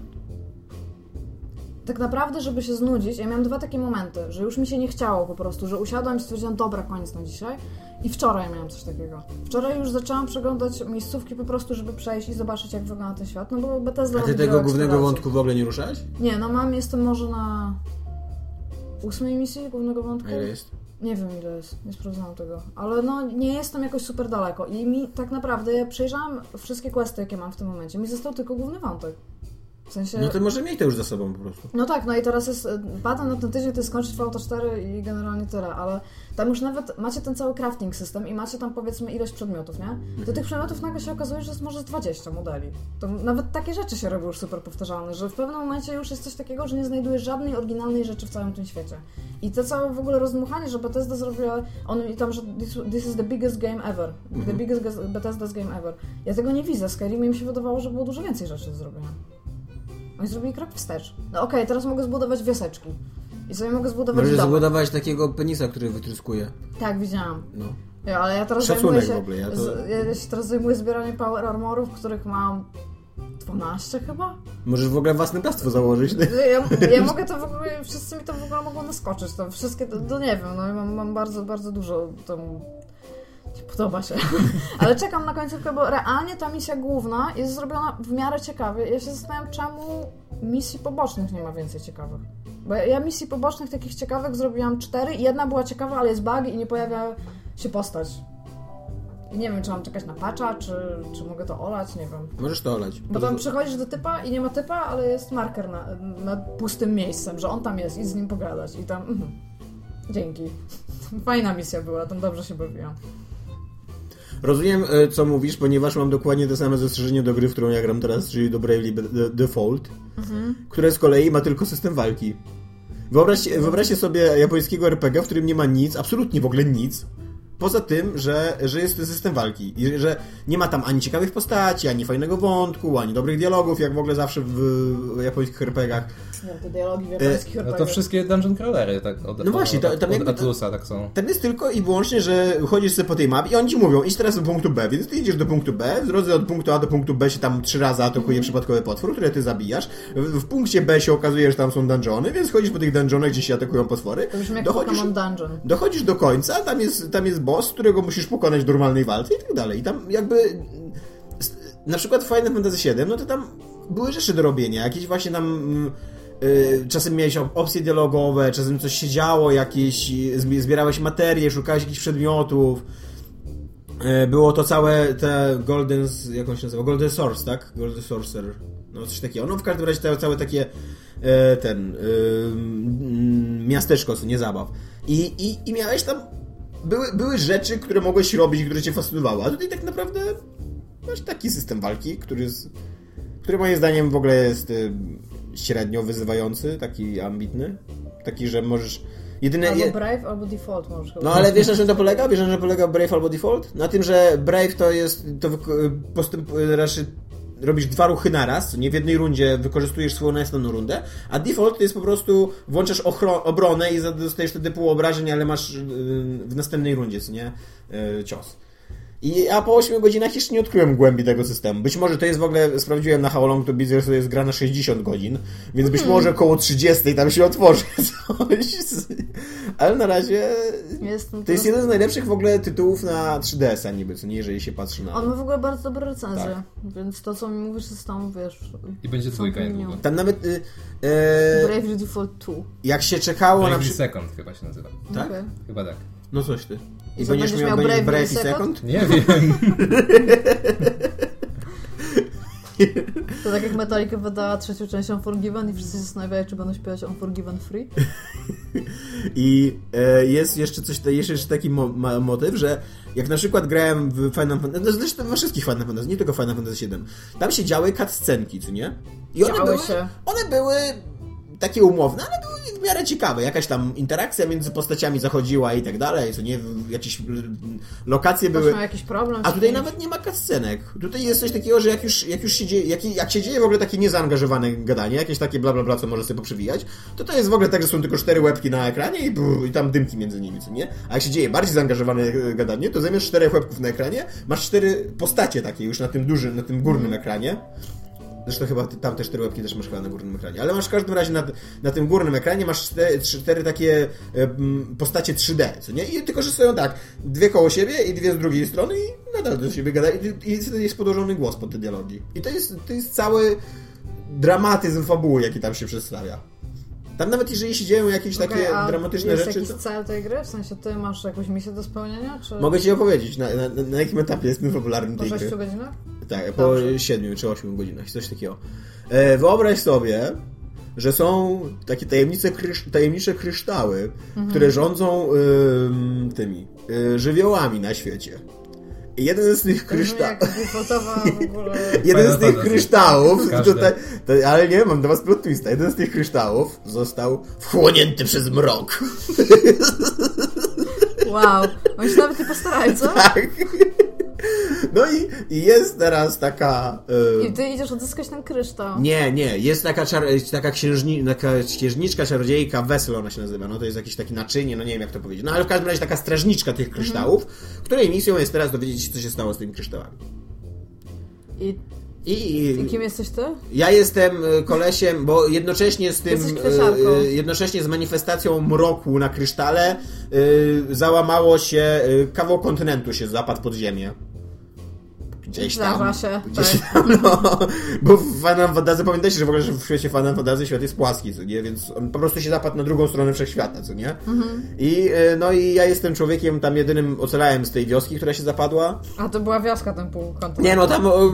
Speaker 2: Tak naprawdę, żeby się znudzić, ja miałam dwa takie momenty, że już mi się nie chciało po prostu, że usiadłam i stwierdziłam, dobra, koniec na dzisiaj. I wczoraj miałam coś takiego. Wczoraj już zaczęłam przeglądać miejscówki po prostu, żeby przejść i zobaczyć, jak wygląda ten świat, no bo Bethesda
Speaker 3: A ty
Speaker 2: robi
Speaker 3: tego
Speaker 2: wiele
Speaker 3: głównego
Speaker 2: eksploracji.
Speaker 3: wątku w ogóle nie ruszałeś?
Speaker 2: Nie, no mam, jestem może na ósmej misji głównego wątku.
Speaker 3: A ile jest?
Speaker 2: Nie wiem ile jest, nie sprawdzałam tego. Ale no nie jestem jakoś super daleko. I mi tak naprawdę ja przejrzałam wszystkie questy, jakie mam w tym momencie. Mi został tylko główny wątek. W sensie.
Speaker 3: No to może miej to już za sobą po prostu.
Speaker 2: No tak, no i teraz jest e, patent na ten tydzień, to jest skończyć Fallouta 4 i generalnie tyle, ale tam już nawet macie ten cały crafting system i macie tam powiedzmy ilość przedmiotów, nie? Do tych przedmiotów nagle się okazuje, że jest może z 20 modeli. To nawet takie rzeczy się robią już super powtarzalne, że w pewnym momencie już jest coś takiego, że nie znajdujesz żadnej oryginalnej rzeczy w całym tym świecie. I to całe w ogóle rozdmuchanie, że Bethesda zrobiła, on i tam, że this, this is the biggest game ever, the biggest ge- Bethesda's game ever. Ja tego nie widzę, w Skyrimie mi się wydawało, że było dużo więcej rzeczy do zrobienia. Oni zrobili krok wstecz. No okej, teraz mogę zbudować wioseczki. I sobie mogę zbudować
Speaker 3: Może
Speaker 2: dom.
Speaker 3: zabudować takiego penisa, który wytryskuje.
Speaker 2: Tak, widziałam.
Speaker 3: No.
Speaker 2: Ja, ale ja teraz
Speaker 3: Szacunek
Speaker 2: zajmuję się,
Speaker 3: w ogóle, ja to-
Speaker 2: z, ja się teraz zajmuję zbieraniem power armorów, których mam 12 chyba?
Speaker 3: Możesz w ogóle własne bractwo założyć.
Speaker 2: Mhm. Ja, ja mogę to w ogóle, wszyscy mi to w ogóle mogą naskoczyć, to wszystkie, to, to nie wiem, no ja mam, mam bardzo, bardzo dużo temu, nie podoba się. [laughs] Ale czekam na końcówkę, bo realnie ta misja główna jest zrobiona w miarę ciekawie. Ja się zastanawiam, czemu misji pobocznych nie ma więcej ciekawych. Bo ja misji pobocznych takich ciekawych zrobiłam cztery i jedna była ciekawa, ale jest bug i nie pojawia się postać. I nie wiem, czy mam czekać na patcha, czy, czy mogę to olać, nie wiem.
Speaker 3: Możesz to olać.
Speaker 2: Bo tam przychodzisz do typa i nie ma typa, ale jest marker na, nad pustym miejscem, że on tam jest i z nim pogadać. I tam. Mhm. Dzięki. [laughs] Fajna misja była, tam dobrze się bawiłam.
Speaker 3: Rozumiem, e, co mówisz, ponieważ mam dokładnie to same zastrzeżenie do gry, w którą ja gram teraz, czyli do Bravely Be- De- Default, które z kolei ma tylko system walki. Wyobraźcie, wyobraźcie sobie japońskiego RPG, w którym nie ma nic, absolutnie w ogóle nic, poza tym, że, że jest to system walki. I że nie ma tam ani ciekawych postaci, ani fajnego wątku, ani dobrych dialogów, jak w ogóle zawsze w, w japońskich RPGach.
Speaker 2: Ja, te dialogi w
Speaker 3: E,
Speaker 2: japońskich
Speaker 4: No to
Speaker 2: RPG.
Speaker 4: wszystkie dungeon crawlery tak od,
Speaker 3: No właśnie, to-
Speaker 4: od,
Speaker 3: tam
Speaker 4: od,
Speaker 3: jakby to-
Speaker 4: Atlusa tak są.
Speaker 3: Tam jest tylko i wyłącznie, że chodzisz sobie po tej mapie i oni ci mówią, idź teraz do punktu B, więc ty idziesz do punktu B, w drodze od punktu A do punktu B się tam trzy razy
Speaker 2: Mhm.
Speaker 3: atakuje przypadkowy potwór, które ty zabijasz, w, w punkcie B się okazuje, że tam są dungeony, więc chodzisz po tych dungeonach, gdzie się atakują potwory,
Speaker 2: To brzmi jak
Speaker 3: dochodzisz,
Speaker 2: Pokemon Dungeon.
Speaker 3: dochodzisz do końca, tam jest, tam jest boss, którego musisz pokonać w normalnej walce i tak dalej. I tam jakby... s- Na przykład w Final Fantasy VII, no to tam były rzeczy do robienia, jakieś właśnie tam... mm, y, Czasem miałeś op- opcje dialogowe, czasem coś się działo, jakieś, y, zbi- zbierałeś materię, szukałeś jakichś przedmiotów. Y, Było to całe te Golden, jak on się nazywa? Golden Source, tak? Golden Sorcerer. No coś takiego. No w każdym razie te, całe takie e, ten e, mm, miasteczko, co nie zabaw. I, i, i miałeś tam były, były rzeczy, które mogłeś robić, które cię fascynowały. A tutaj tak naprawdę masz taki system walki, który jest, który moim zdaniem w ogóle jest e, średnio wyzywający, taki ambitny, taki, że możesz jedyne
Speaker 2: Albo
Speaker 3: je-
Speaker 2: Brave, albo Default możesz chyba.
Speaker 3: no ale wiesz na czym to polega? Wiesz na czym polega Brave albo Default? Na tym, że Brave to jest to wyko- postęp, znaczy robisz dwa ruchy naraz, co nie w jednej rundzie wykorzystujesz swoją następną rundę, a default to jest po prostu włączasz ochro- obronę i za- dostajesz wtedy pół obrażeń, ale masz yy, w następnej rundzie, co nie, yy, cios. I ja po 8 godzinach jeszcze nie odkryłem głębi tego systemu. Być może to jest w ogóle, sprawdziłem na How Long to Beat, że to jest gra na 60 godzin, więc być może koło 30 tam się otworzy [laughs] coś. Ale na razie
Speaker 2: Jestem
Speaker 3: to
Speaker 2: teraz-
Speaker 3: jest jeden z najlepszych w ogóle tytułów na 3DS-a niby, co nie, jeżeli się patrzy na...
Speaker 2: On ma w ogóle bardzo dobre recenzje,
Speaker 3: Tak.
Speaker 2: więc to co mi mówisz jest tam, wiesz...
Speaker 4: I będzie dwójka
Speaker 2: Zapomniałam.
Speaker 4: niedługo.
Speaker 3: Tam nawet y, e,
Speaker 2: Bravely Default 2.
Speaker 3: jak się czekało na
Speaker 4: Bravely
Speaker 3: przykład...
Speaker 4: Second chyba się nazywa.
Speaker 3: Tak?
Speaker 2: Okej.
Speaker 4: Chyba tak.
Speaker 3: No coś ty. I
Speaker 2: I co,
Speaker 3: będziesz miał, miał Brave, Brave i Second?
Speaker 4: Nie [laughs] wiem.
Speaker 2: To tak jak Metallica wydała trzecią część Unforgiven i wszyscy się zastanawiają, czy będą śpiewać Unforgiven Free.
Speaker 3: I e, jest jeszcze coś, ta- jeszcze jeszcze taki mo, ma, motyw, że jak na przykład grałem w Final Fantasy, no zresztą we wszystkich Final Fantasy, nie tylko Final Fantasy VII, tam się działy cutscenki, czy nie? I one
Speaker 2: Działy
Speaker 3: były,
Speaker 2: się.
Speaker 3: one były takie umowne, ale były w miarę ciekawe. Jakaś tam interakcja między postaciami zachodziła i tak dalej, co nie, jakieś l- lokacje
Speaker 2: Ktoś
Speaker 3: były...
Speaker 2: miał jakiś problem.
Speaker 3: A
Speaker 2: czy
Speaker 3: tutaj
Speaker 2: nie?
Speaker 3: nawet nie ma cutscenek. Tutaj jest coś takiego, że jak już, jak już się dzieje, jak, jak się dzieje w ogóle takie niezaangażowane gadanie, jakieś takie bla bla bla, co może sobie poprzewijać, to to jest w ogóle tak, że są tylko cztery łebki na ekranie i, brrr, i tam dymki między nimi, co nie? A jak się dzieje bardziej zaangażowane e, gadanie, to zamiast czterech łebków na ekranie, masz cztery postacie takie już na tym dużym, na tym górnym ekranie. Zresztą chyba ty, tam te cztery łapki też masz chyba na górnym ekranie. Ale masz w każdym razie na, na tym górnym ekranie masz cztery, cztery takie em, postacie 3D, co nie? I tylko, że stoją tak, dwie koło siebie i dwie z drugiej strony i nadal do siebie gadają. I, i wtedy jest podłożony głos pod te dialogi. I to jest, to jest cały dramatyzm fabuły, jaki tam się przedstawia. Tam nawet jeżeli się dzieją jakieś
Speaker 2: Okej,
Speaker 3: takie
Speaker 2: a
Speaker 3: dramatyczne
Speaker 2: jest
Speaker 3: rzeczy...
Speaker 2: jakiś
Speaker 3: to-
Speaker 2: cel tej gry? W sensie ty masz jakąś misję do spełnienia? Czy
Speaker 3: Mogę ci opowiedzieć, na, na, na jakim etapie jestem fabularnym
Speaker 2: po
Speaker 3: tej gry.
Speaker 2: 6 godzinach?
Speaker 3: Tak, po
Speaker 2: Dobrze.
Speaker 3: 7 czy 8 godzinach, coś takiego. E, wyobraź sobie, że są takie tajemnice, krysz, tajemnicze kryształy,
Speaker 2: Mhm.
Speaker 3: które rządzą ym, tymi y, żywiołami na świecie. I jeden z tych kryształów.
Speaker 2: Mhm, Jak defaultowa w ogóle...
Speaker 3: [laughs] Jeden z
Speaker 4: Fajna
Speaker 3: tych
Speaker 4: fantazja.
Speaker 3: kryształów,
Speaker 4: Każdy.
Speaker 3: tutaj, to, ale nie mam dla was plot twista, jeden z tych kryształów został wchłonięty przez mrok. [laughs]
Speaker 2: Wow, oni się nawet nie postarali, co?
Speaker 3: Tak. No i, i jest teraz taka... y,
Speaker 2: I ty idziesz odzyskać ten kryształ.
Speaker 3: Nie, nie, jest taka, czar... taka, księżni... taka księżniczka, czarodziejka, Wesel ona się nazywa, no to jest jakieś takie naczynie, no nie wiem jak to powiedzieć, no ale w każdym razie taka strażniczka tych kryształów, której misją jest teraz dowiedzieć się, co się stało z tymi kryształami.
Speaker 2: I,
Speaker 3: I,
Speaker 2: I kim jesteś ty?
Speaker 3: ja jestem y, kolesiem, bo jednocześnie z tym,
Speaker 2: Jesteś kwieciarką.
Speaker 3: y, y, jednocześnie z manifestacją mroku na krysztale y, załamało się, y, kawał kontynentu się zapadł pod ziemię. Gdzieś
Speaker 2: Zdarza
Speaker 3: tam.
Speaker 2: się,
Speaker 3: Gdzieś
Speaker 2: tak.
Speaker 3: tam, no. Bo w Final Fantasy, pamiętajcie, że w ogóle że w świecie Final Fantasy świat jest płaski, co nie? Więc on po prostu się zapadł na drugą stronę wszechświata, co nie?
Speaker 2: Mhm.
Speaker 3: I y, no i ja jestem człowiekiem tam jedynym ocalałem z tej wioski, która się zapadła.
Speaker 2: A to była wioska ten półkąt.
Speaker 3: Nie no, tam o,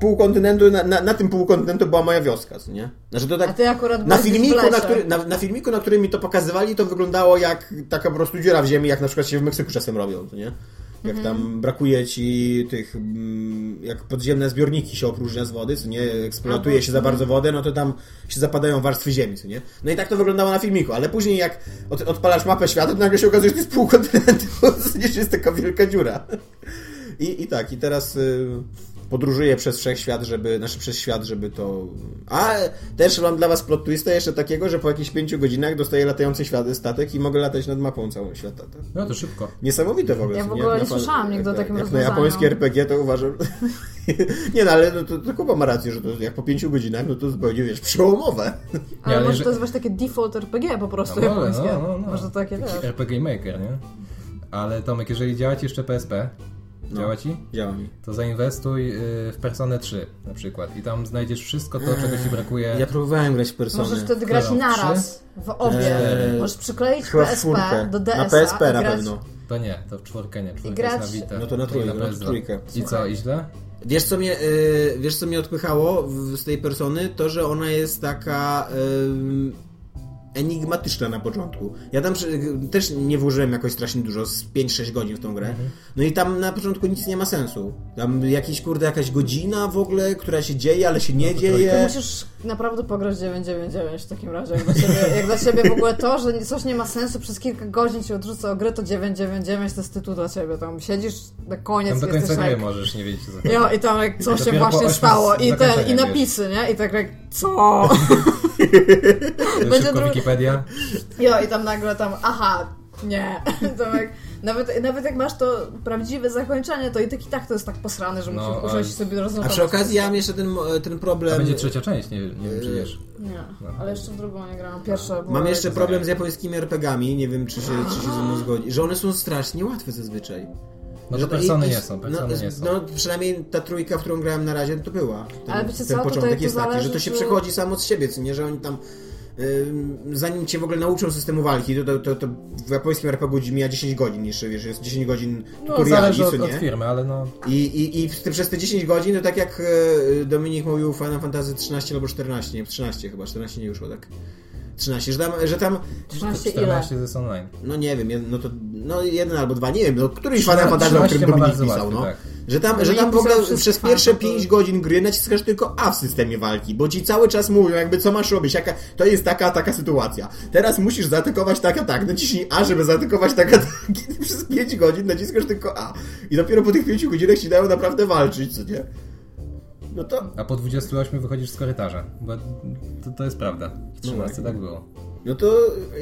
Speaker 3: pół kontynentu, na, na, na tym pół kontynentu była moja wioska, co nie? Znaczy to tak...
Speaker 2: A ty akurat
Speaker 3: na
Speaker 2: byłeś w
Speaker 3: filmiku,
Speaker 2: lesie.
Speaker 3: na, który, na, na filmiku, na którym mi to pokazywali, to wyglądało jak taka po prostu dziura w ziemi, jak na przykład się w Meksyku czasem robią, co nie? Jak tam brakuje ci tych, mm, jak podziemne zbiorniki się opróżnia z wody, co nie eksploatuje się za bardzo wodę, no to tam się zapadają warstwy ziemi, co nie? No i tak to wyglądało na filmiku, ale później jak od, odpalasz mapę świata, to nagle się okazuje, że to jest pół kontynentu, [laughs] co nie, że jest taka wielka dziura. I, I tak, i teraz y, podróżuję przez wszechświat, żeby, znaczy przez świat, żeby to... A, też mam dla was plot twista jeszcze takiego, że po jakichś pięciu godzinach dostaję latający świat, statek i mogę latać nad mapą całą świata. To
Speaker 4: No to szybko.
Speaker 3: Niesamowite w ogóle.
Speaker 2: Ja w
Speaker 3: co
Speaker 2: ogóle
Speaker 3: Jak
Speaker 2: nie
Speaker 3: na pan-
Speaker 2: słyszałam nigdy o
Speaker 3: jak-
Speaker 2: takim
Speaker 3: Jak na
Speaker 2: rozwiązaniu.
Speaker 3: japońskie RPG to uważam... [laughs] nie no, ale no, to, to Kuba ma rację, że to jak po pięciu godzinach, no to zupełnie, wiesz, przełomowe. [laughs]
Speaker 2: Ale
Speaker 4: Nie, ale
Speaker 2: może
Speaker 4: że-
Speaker 2: to jest właśnie takie default RPG po prostu
Speaker 4: No,
Speaker 2: japońskie.
Speaker 4: no, no, no.
Speaker 2: Może takie, wiesz.
Speaker 4: RPG Maker, nie? Ale Tomek, jeżeli działa ci jeszcze PSP,
Speaker 3: No.
Speaker 4: działa ci?
Speaker 3: Działa mi.
Speaker 4: To zainwestuj y, w Personę 3 na przykład i tam znajdziesz wszystko to, czego ci brakuje.
Speaker 3: Ja próbowałem grać w Persony.
Speaker 2: Możesz wtedy grać
Speaker 4: Dobra,
Speaker 2: naraz, w obie.
Speaker 3: Eee,
Speaker 2: Możesz przykleić
Speaker 3: Chyba w
Speaker 2: PSP
Speaker 3: czwórkę.
Speaker 2: do DS-a
Speaker 3: Na PSP
Speaker 2: i
Speaker 3: na
Speaker 2: grać...
Speaker 3: pewno.
Speaker 4: To nie, to w czwórkę nie, czwórkę
Speaker 2: grać-
Speaker 4: jest na Vita.
Speaker 3: No to na trójkę,
Speaker 4: I
Speaker 3: na
Speaker 4: PS2.
Speaker 3: trójkę.
Speaker 4: I co, i źle?
Speaker 3: Wiesz co, mnie, y, wiesz, co mnie odpychało w, z tej persony? To, że ona jest taka. ym, y, enigmatyczna na początku. Ja tam przy- też nie włożyłem jakoś strasznie dużo, z 5-6 godzin w tą grę. No i tam na początku nic nie ma sensu. Tam jakiś, kurde, jakaś godzina w ogóle, która się dzieje, ale się nie
Speaker 2: To
Speaker 3: dzieje.
Speaker 2: musisz naprawdę pograć 999 w takim razie. Jak dla, siebie, jak dla siebie w ogóle to, że coś nie ma sensu, przez kilka godzin cię odrzuca o gry, to 999 to jest tytuł dla ciebie. Tam siedzisz na koniec,
Speaker 4: Tam do końca
Speaker 2: jesteś
Speaker 4: gry
Speaker 2: jak...
Speaker 4: możesz nie wiedzieć co to
Speaker 2: Jo, i tam jak co
Speaker 4: I
Speaker 2: się
Speaker 4: dopiero po
Speaker 2: właśnie
Speaker 4: ośmiu
Speaker 2: stało, i, ten, i
Speaker 4: zakończeniach
Speaker 2: napisy, nie? I tak jak,
Speaker 4: [laughs]
Speaker 2: co? [laughs] będzie
Speaker 4: Szybko
Speaker 2: drugi-
Speaker 4: Wikipedia.
Speaker 2: Jo, i tam nagle tam, aha, nie. [laughs] To jak, nawet, nawet jak masz to prawdziwe zakończenie, to i tak i tak to jest tak posrane, że
Speaker 4: No,
Speaker 2: musisz
Speaker 4: a-
Speaker 2: usiąść i sobie
Speaker 3: A
Speaker 2: rozmawiać.
Speaker 3: przy okazji ja mam jeszcze ten, mo- ten problem...
Speaker 4: To będzie trzecia część, nie, nie wiem
Speaker 3: Yy,
Speaker 4: czy wiesz.
Speaker 2: Nie,
Speaker 4: No.
Speaker 2: ale jeszcze w drugą nie grałam. Pierwsza była...
Speaker 3: Mam jeszcze problem z japońskimi RPG-ami, nie wiem czy się, czy się ze mną zgodzi, że one są strasznie łatwe zazwyczaj.
Speaker 4: No
Speaker 3: Że
Speaker 4: to persony
Speaker 3: i- i-
Speaker 4: nie są, persony
Speaker 3: no,
Speaker 4: nie są.
Speaker 3: No przynajmniej ta trójka, w którą grałem na razie, no to była. Ten,
Speaker 2: Ale wiecie co,
Speaker 3: ten początek
Speaker 2: tutaj to
Speaker 3: jest taki,
Speaker 2: zależy,
Speaker 3: że to się
Speaker 2: czy-
Speaker 3: przechodzi samo z siebie, co nie, że oni tam ym, zanim cię w ogóle nauczą systemu walki, to, to, to, to w japońskim RPG mija 10 godzin jeszcze, wiesz, jest 10 godzin
Speaker 4: No,
Speaker 3: tutoriali,
Speaker 4: zależy
Speaker 3: co
Speaker 4: od,
Speaker 3: nie?
Speaker 4: od firmy, ale no...
Speaker 3: I, i, i w- przez te 10 godzin, to tak jak e, Dominik mówił w Final Fantasy 13 albo 14, nie, 13 chyba, 14 nie wyszło tak. 13, że tam, że tam
Speaker 2: 13 ile?
Speaker 4: 14 to jest online.
Speaker 3: no nie wiem, jed- no to no jeden albo dwa, nie wiem, no któryś Final
Speaker 4: Trzyna-
Speaker 3: Fantasy, o którym
Speaker 4: trzynaście ma
Speaker 3: Dominik
Speaker 4: bardzo
Speaker 3: pisał,
Speaker 4: łatwy,
Speaker 3: no.
Speaker 4: tak.
Speaker 3: Że tam,
Speaker 2: No
Speaker 3: że
Speaker 2: i
Speaker 3: tam w ogóle
Speaker 2: pisał wszystko
Speaker 3: przez pierwsze
Speaker 2: fan, to-
Speaker 3: 5 godzin gry naciskasz tylko A w systemie walki, bo ci cały czas mówią jakby co masz robić, jaka, to jest taka, taka sytuacja. Teraz musisz zaatakować tak, a tak, naciśnij A, żeby zaatakować tak, a tak. [laughs] I ty przez 5 godzin naciskasz tylko A. I dopiero po tych 5 godzinach ci dają naprawdę walczyć, co nie? No to,
Speaker 4: A po 28 wychodzisz z korytarza, bo to, to jest prawda. W 13 tak było.
Speaker 3: no to,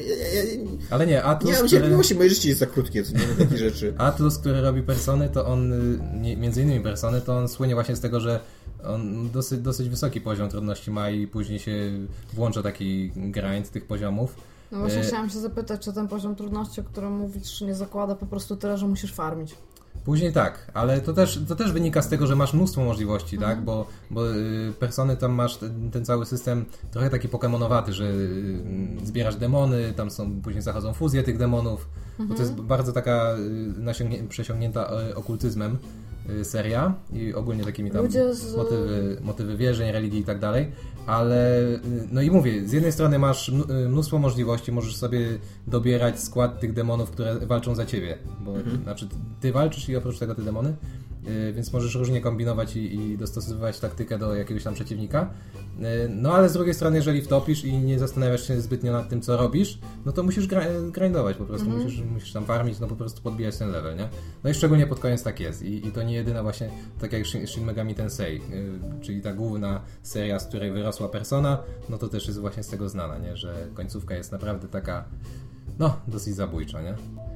Speaker 3: ja, ja, ja,
Speaker 4: Ale nie, Atlus,
Speaker 3: nie mam
Speaker 4: który,
Speaker 3: cierpliwości, moje życie jest za krótkie, co nie, na takie rzeczy. [laughs]
Speaker 4: Atlus, który robi persony, to on, y, nie, między innymi persony, to on słynie właśnie z tego, że on dosyć, dosyć wysoki poziom trudności ma i później się włącza taki grind tych poziomów.
Speaker 2: No właśnie
Speaker 4: E,
Speaker 2: chciałam się zapytać, czy ten poziom trudności, o którym mówisz, nie zakłada po prostu tyle, że musisz farmić.
Speaker 4: Później tak, ale to też, to też wynika z tego, że masz mnóstwo możliwości,
Speaker 2: Mhm.
Speaker 4: tak? Bo, bo y, persony tam masz ten, ten cały system trochę taki pokemonowaty, że y, zbierasz demony, tam są, później zachodzą fuzje tych demonów, bo to jest
Speaker 2: Mhm.
Speaker 4: bardzo taka y, nasiągnie, przesiągnięta y, okultyzmem y, seria i ogólnie takimi tam
Speaker 2: Ludzie z-
Speaker 4: motywy, motywy wierzeń, religii i tak dalej, ale y, no i mówię, z jednej strony masz mn- y, mnóstwo możliwości, możesz sobie dobierać skład tych demonów, które walczą za ciebie, bo znaczy ty walczysz i oprócz tego te demony, y, więc możesz różnie kombinować i, i dostosowywać taktykę do jakiegoś tam przeciwnika, Y, no ale z drugiej strony, jeżeli wtopisz i nie zastanawiasz się zbytnio nad tym, co robisz, no to musisz gra- grindować po prostu, musisz, musisz tam farmić, no po prostu podbijać ten level, nie? No i szczególnie pod koniec tak jest i, i to nie jedyna właśnie, tak jak Shin Shin Megami Tensei, y, czyli ta główna seria, z której wyrosła Persona, no to też jest właśnie z tego znana, nie? Że końcówka jest naprawdę taka, no, dosyć zabójcza, nie?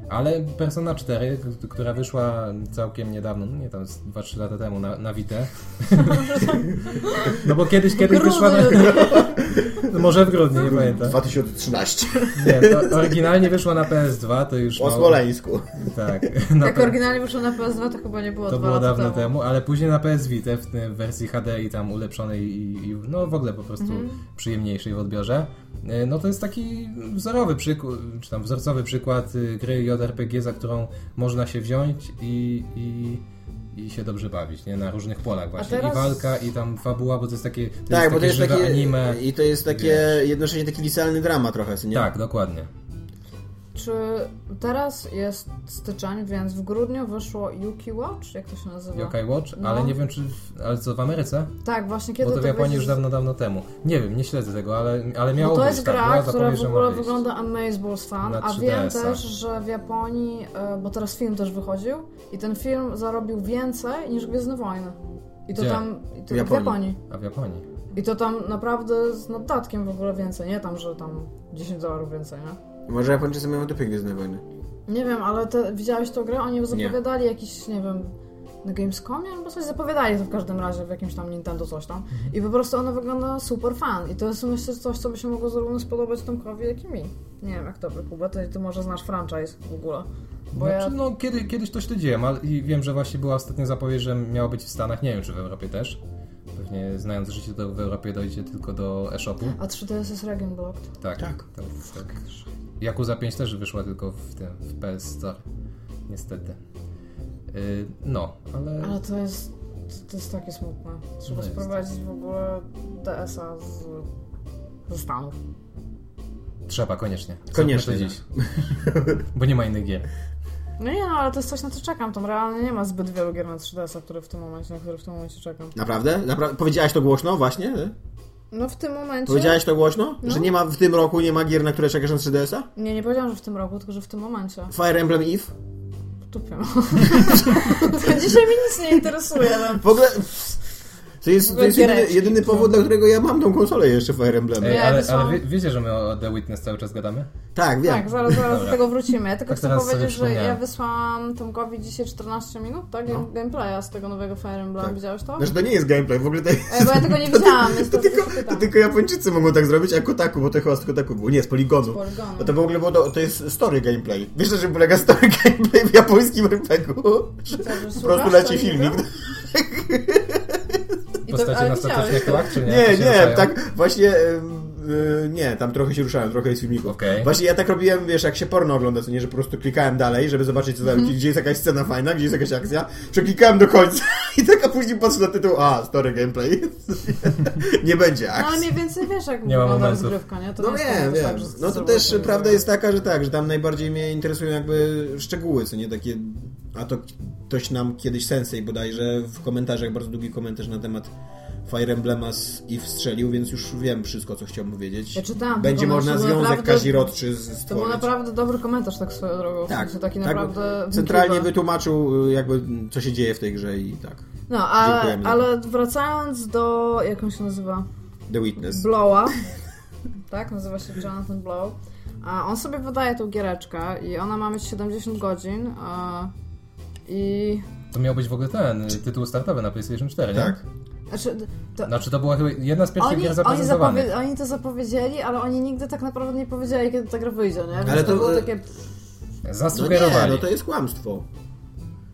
Speaker 4: Ale Persona 4, k- która wyszła całkiem niedawno, no nie tam z 2-3 lata temu na, na Vita. [laughs] No bo kiedyś, kiedyś wyszła na... No Może w grudniu, nie pamiętam.
Speaker 3: 2013.
Speaker 4: Nie, to oryginalnie wyszła na PS2, to już...
Speaker 3: O
Speaker 4: mało-
Speaker 3: Smoleńsku.
Speaker 4: Tak. [laughs] Na
Speaker 2: Jak
Speaker 4: P-
Speaker 2: oryginalnie wyszło na PS2, to chyba nie było
Speaker 4: to
Speaker 2: dwa
Speaker 4: było
Speaker 2: lata
Speaker 4: dawno temu.
Speaker 2: temu.
Speaker 4: ale później na PS Vita w tym wersji HD i tam ulepszonej i, i no w ogóle po prostu
Speaker 2: Mhm.
Speaker 4: przyjemniejszej w odbiorze. E, No to jest taki wzorowy przykład, czy tam wzorcowy przykład y, gry JRPG, za którą można się wziąć i, i, i się dobrze bawić, nie? Na różnych polach właśnie.
Speaker 2: teraz-
Speaker 4: I walka, i tam fabuła, bo to jest takie, to
Speaker 3: Tak, bo to
Speaker 4: jest takie
Speaker 3: jest
Speaker 4: żywe
Speaker 3: takie
Speaker 4: anime.
Speaker 3: i to jest takie jednocześnie taki licealny drama trochę, co nie?
Speaker 4: Tak, dokładnie.
Speaker 2: Czy teraz jest styczeń, więc w grudniu wyszło Yuki Watch? Jak to się nazywa?
Speaker 4: Yokai Watch,
Speaker 2: No.
Speaker 4: ale nie wiem czy... W, ale co, w Ameryce?
Speaker 2: Tak, właśnie kiedy
Speaker 4: Bo to w
Speaker 2: tak
Speaker 4: Japonii
Speaker 2: będzie-
Speaker 4: już dawno, dawno temu. Nie wiem, nie śledzę tego, ale, ale
Speaker 2: Bo
Speaker 4: miało
Speaker 2: No to
Speaker 4: być,
Speaker 2: jest
Speaker 4: tak,
Speaker 2: gra,
Speaker 4: była
Speaker 2: która
Speaker 4: zapowiedź,
Speaker 2: w
Speaker 4: że
Speaker 2: ogóle
Speaker 4: ma wyjść.
Speaker 2: wygląda Amazeballs fan,
Speaker 4: Na
Speaker 2: a wiem
Speaker 4: 3DS-a.
Speaker 2: też, że w Japonii, e, bo teraz film też wychodził i ten film zarobił więcej niż Gwiezdne Wojny. I to
Speaker 4: Gdzie?
Speaker 2: tam, i to
Speaker 3: W
Speaker 2: w
Speaker 3: Japonii.
Speaker 2: Japonii.
Speaker 4: A w Japonii.
Speaker 2: I to tam naprawdę z naddatkiem w ogóle więcej, nie tam, że tam 10 dolarów więcej, nie?
Speaker 3: Może Japończycy mają dupie Gwiezdne Wojny.
Speaker 2: Nie wiem, ale te, widziałeś tą grę? Oni zapowiadali jakiś, nie wiem, na Gamescomie albo coś zapowiadali to w każdym razie w jakimś tam Nintendo coś tam. I po prostu ona wygląda super fan. I to jest myślę coś, co by się mogło zarówno spodobać Tomkowi, jak i mi. Nie wiem, jak tobie, Kuba, ty, ty może znasz franchise w ogóle. Bo ja...
Speaker 4: Znaczy, no, kiedy, kiedyś to śledziłem, ale i wiem, że właśnie była ostatnia zapowiedź, że miało być w Stanach, nie wiem czy w Europie też. Pewnie znając życie, to w Europie dojdzie tylko do e-shopu.
Speaker 2: A 3DS jest region blocked.
Speaker 4: Tak.
Speaker 3: Tak.
Speaker 4: tak, tak. Yakuza 5 też wyszła tylko w tym, w PS Store. Niestety. Yy, no, ale...
Speaker 2: Ale to jest... To jest takie smutne. Trzeba
Speaker 4: No jest.
Speaker 2: sprowadzić w ogóle DS-a z, ze Stanów.
Speaker 4: Trzeba, koniecznie. Zróbmy
Speaker 3: Koniecznie,
Speaker 4: To dziś.
Speaker 3: [laughs]
Speaker 4: Bo nie ma innych gier.
Speaker 2: No nie no, ale to jest coś, na co czekam. Tam realnie nie ma zbyt wielu gier na 3DS-a, które w tym momencie, na które w tym momencie czekam.
Speaker 3: Naprawdę? Napra- powiedziałaś to głośno właśnie? Nie?
Speaker 2: No w tym momencie...
Speaker 3: Powiedziałaś to głośno? Że nie ma w tym roku nie ma gier, na które czekasz na 3DS-a?
Speaker 2: Nie, nie powiedziałam, że w tym roku, tylko że w tym momencie.
Speaker 3: Fire Emblem Eve?
Speaker 2: Tupię. [laughs] to dzisiaj mi nic nie interesuje, ale...
Speaker 3: W ogóle... pff, To
Speaker 2: W
Speaker 3: jest, to
Speaker 2: ogóle
Speaker 3: jest jedyny,
Speaker 2: giereczki.
Speaker 3: jedyny powód, dla którego ja mam tą konsolę jeszcze Fire Emblem.
Speaker 4: Ej,
Speaker 2: Ja
Speaker 4: ale
Speaker 2: wysłałam-
Speaker 4: ale wie, wiecie, że my o The Witness cały czas gadamy?
Speaker 3: Tak, wiem.
Speaker 2: Tak, zaraz, zaraz do tego wrócimy. Ja tylko
Speaker 4: Tak
Speaker 2: chcę
Speaker 4: teraz sobie
Speaker 2: powiedzieć, że ja
Speaker 4: przypomniałem.
Speaker 2: wysłałam Tomkowi dzisiaj 14 minut, tak? Game- Gameplaya z tego nowego Fire Emblem.
Speaker 3: No. Tak.
Speaker 2: Widziałeś to?
Speaker 3: Znaczy to nie jest gameplay, w ogóle [laughs] to jest...
Speaker 2: E, bo ja tego nie widziałam, więc
Speaker 3: To
Speaker 2: to
Speaker 3: tylko,
Speaker 2: się
Speaker 3: to
Speaker 2: pytam.
Speaker 3: tylko Japończycy mogą tak zrobić, a Kotaku, bo to chyba z Kotaku było. Nie, z Poligonu.
Speaker 2: Poligonu.
Speaker 3: Bo No to w ogóle było, to, to jest story gameplay. Wiesz, że polega story gameplay w japońskim RPG-u? Że Po prostu
Speaker 2: słuchasz
Speaker 3: leci
Speaker 2: tego?
Speaker 3: filmik.
Speaker 2: I to-
Speaker 4: Postacie
Speaker 2: ale
Speaker 4: na
Speaker 2: widziałeś
Speaker 4: statystykach,
Speaker 2: to.
Speaker 4: tak? Czy nie?
Speaker 3: Nie,
Speaker 4: Jak się
Speaker 3: nie,
Speaker 4: ruszają?
Speaker 3: tak właśnie... em, y, Nie, tam trochę się ruszałem, trochę jest filmików.
Speaker 4: Okej.
Speaker 3: Właśnie ja tak robiłem, wiesz, jak się porno ogląda, co nie, że po prostu klikałem dalej, żeby zobaczyć, co tam, gdzie jest jakaś scena fajna, gdzie jest jakaś akcja. Przeklikałem do końca [laughs] i tak, a później patrzę na tytuł, a, story gameplay. [laughs] nie będzie
Speaker 2: No ale
Speaker 3: akcji.
Speaker 2: mniej więcej wiesz, jak
Speaker 4: Nie ma
Speaker 2: wygląda
Speaker 4: momentów.
Speaker 2: rozgrywka, nie? To
Speaker 3: No
Speaker 2: nie jest
Speaker 3: wiem,
Speaker 2: tak, że
Speaker 3: wiem.
Speaker 2: tak, że
Speaker 3: No to
Speaker 2: chcesz
Speaker 3: też
Speaker 2: zobaczyć,
Speaker 3: prawda
Speaker 2: że-
Speaker 3: jest taka, że tak, że tam najbardziej mnie interesują jakby szczegóły, co nie takie... A to ktoś nam kiedyś sensej bodajże w komentarzach, bardzo długi komentarz na temat Fire Emblema z i wstrzelił, więc już wiem wszystko, co chciałbym wiedzieć.
Speaker 2: Ja czytałam
Speaker 3: Będzie
Speaker 2: tylko,
Speaker 3: można
Speaker 2: że to
Speaker 3: związek
Speaker 2: naprawdę-
Speaker 3: kazirodczy z-
Speaker 2: To był
Speaker 3: stworzyć.
Speaker 2: naprawdę dobry komentarz, tak swoją drogą. Tak. W sensie taki naprawdę...
Speaker 3: Centralnie
Speaker 2: wnikliwy.
Speaker 3: wytłumaczył y, jakby m, co się dzieje w tej grze i tak.
Speaker 2: No, ale,
Speaker 3: Dziękujemy.
Speaker 2: ale wracając do... Jak on się nazywa?
Speaker 3: The Witness. [laughs]
Speaker 2: Blowa. tak, nazywa się Jonathan Blow. A on sobie wydaje tą giereczkę i ona ma mieć 70 godzin. A, I.
Speaker 4: To miał być w ogóle ten y, tytuł startowy na PlayStation 4, nie?
Speaker 3: tak.
Speaker 2: Znaczy, to,
Speaker 4: Znaczy to była chyba jedna z pierwszych
Speaker 2: oni,
Speaker 4: gier
Speaker 2: oni,
Speaker 4: zaprezentowanych.
Speaker 2: zapowie, oni to zapowiedzieli, ale oni nigdy tak naprawdę nie powiedzieli, kiedy ta gra wyjdzie, nie? Więc
Speaker 3: Ale
Speaker 2: ale
Speaker 3: to,
Speaker 2: to było
Speaker 3: e,
Speaker 2: takie.
Speaker 3: No nie,
Speaker 4: Zasugerowali.
Speaker 3: no to jest kłamstwo.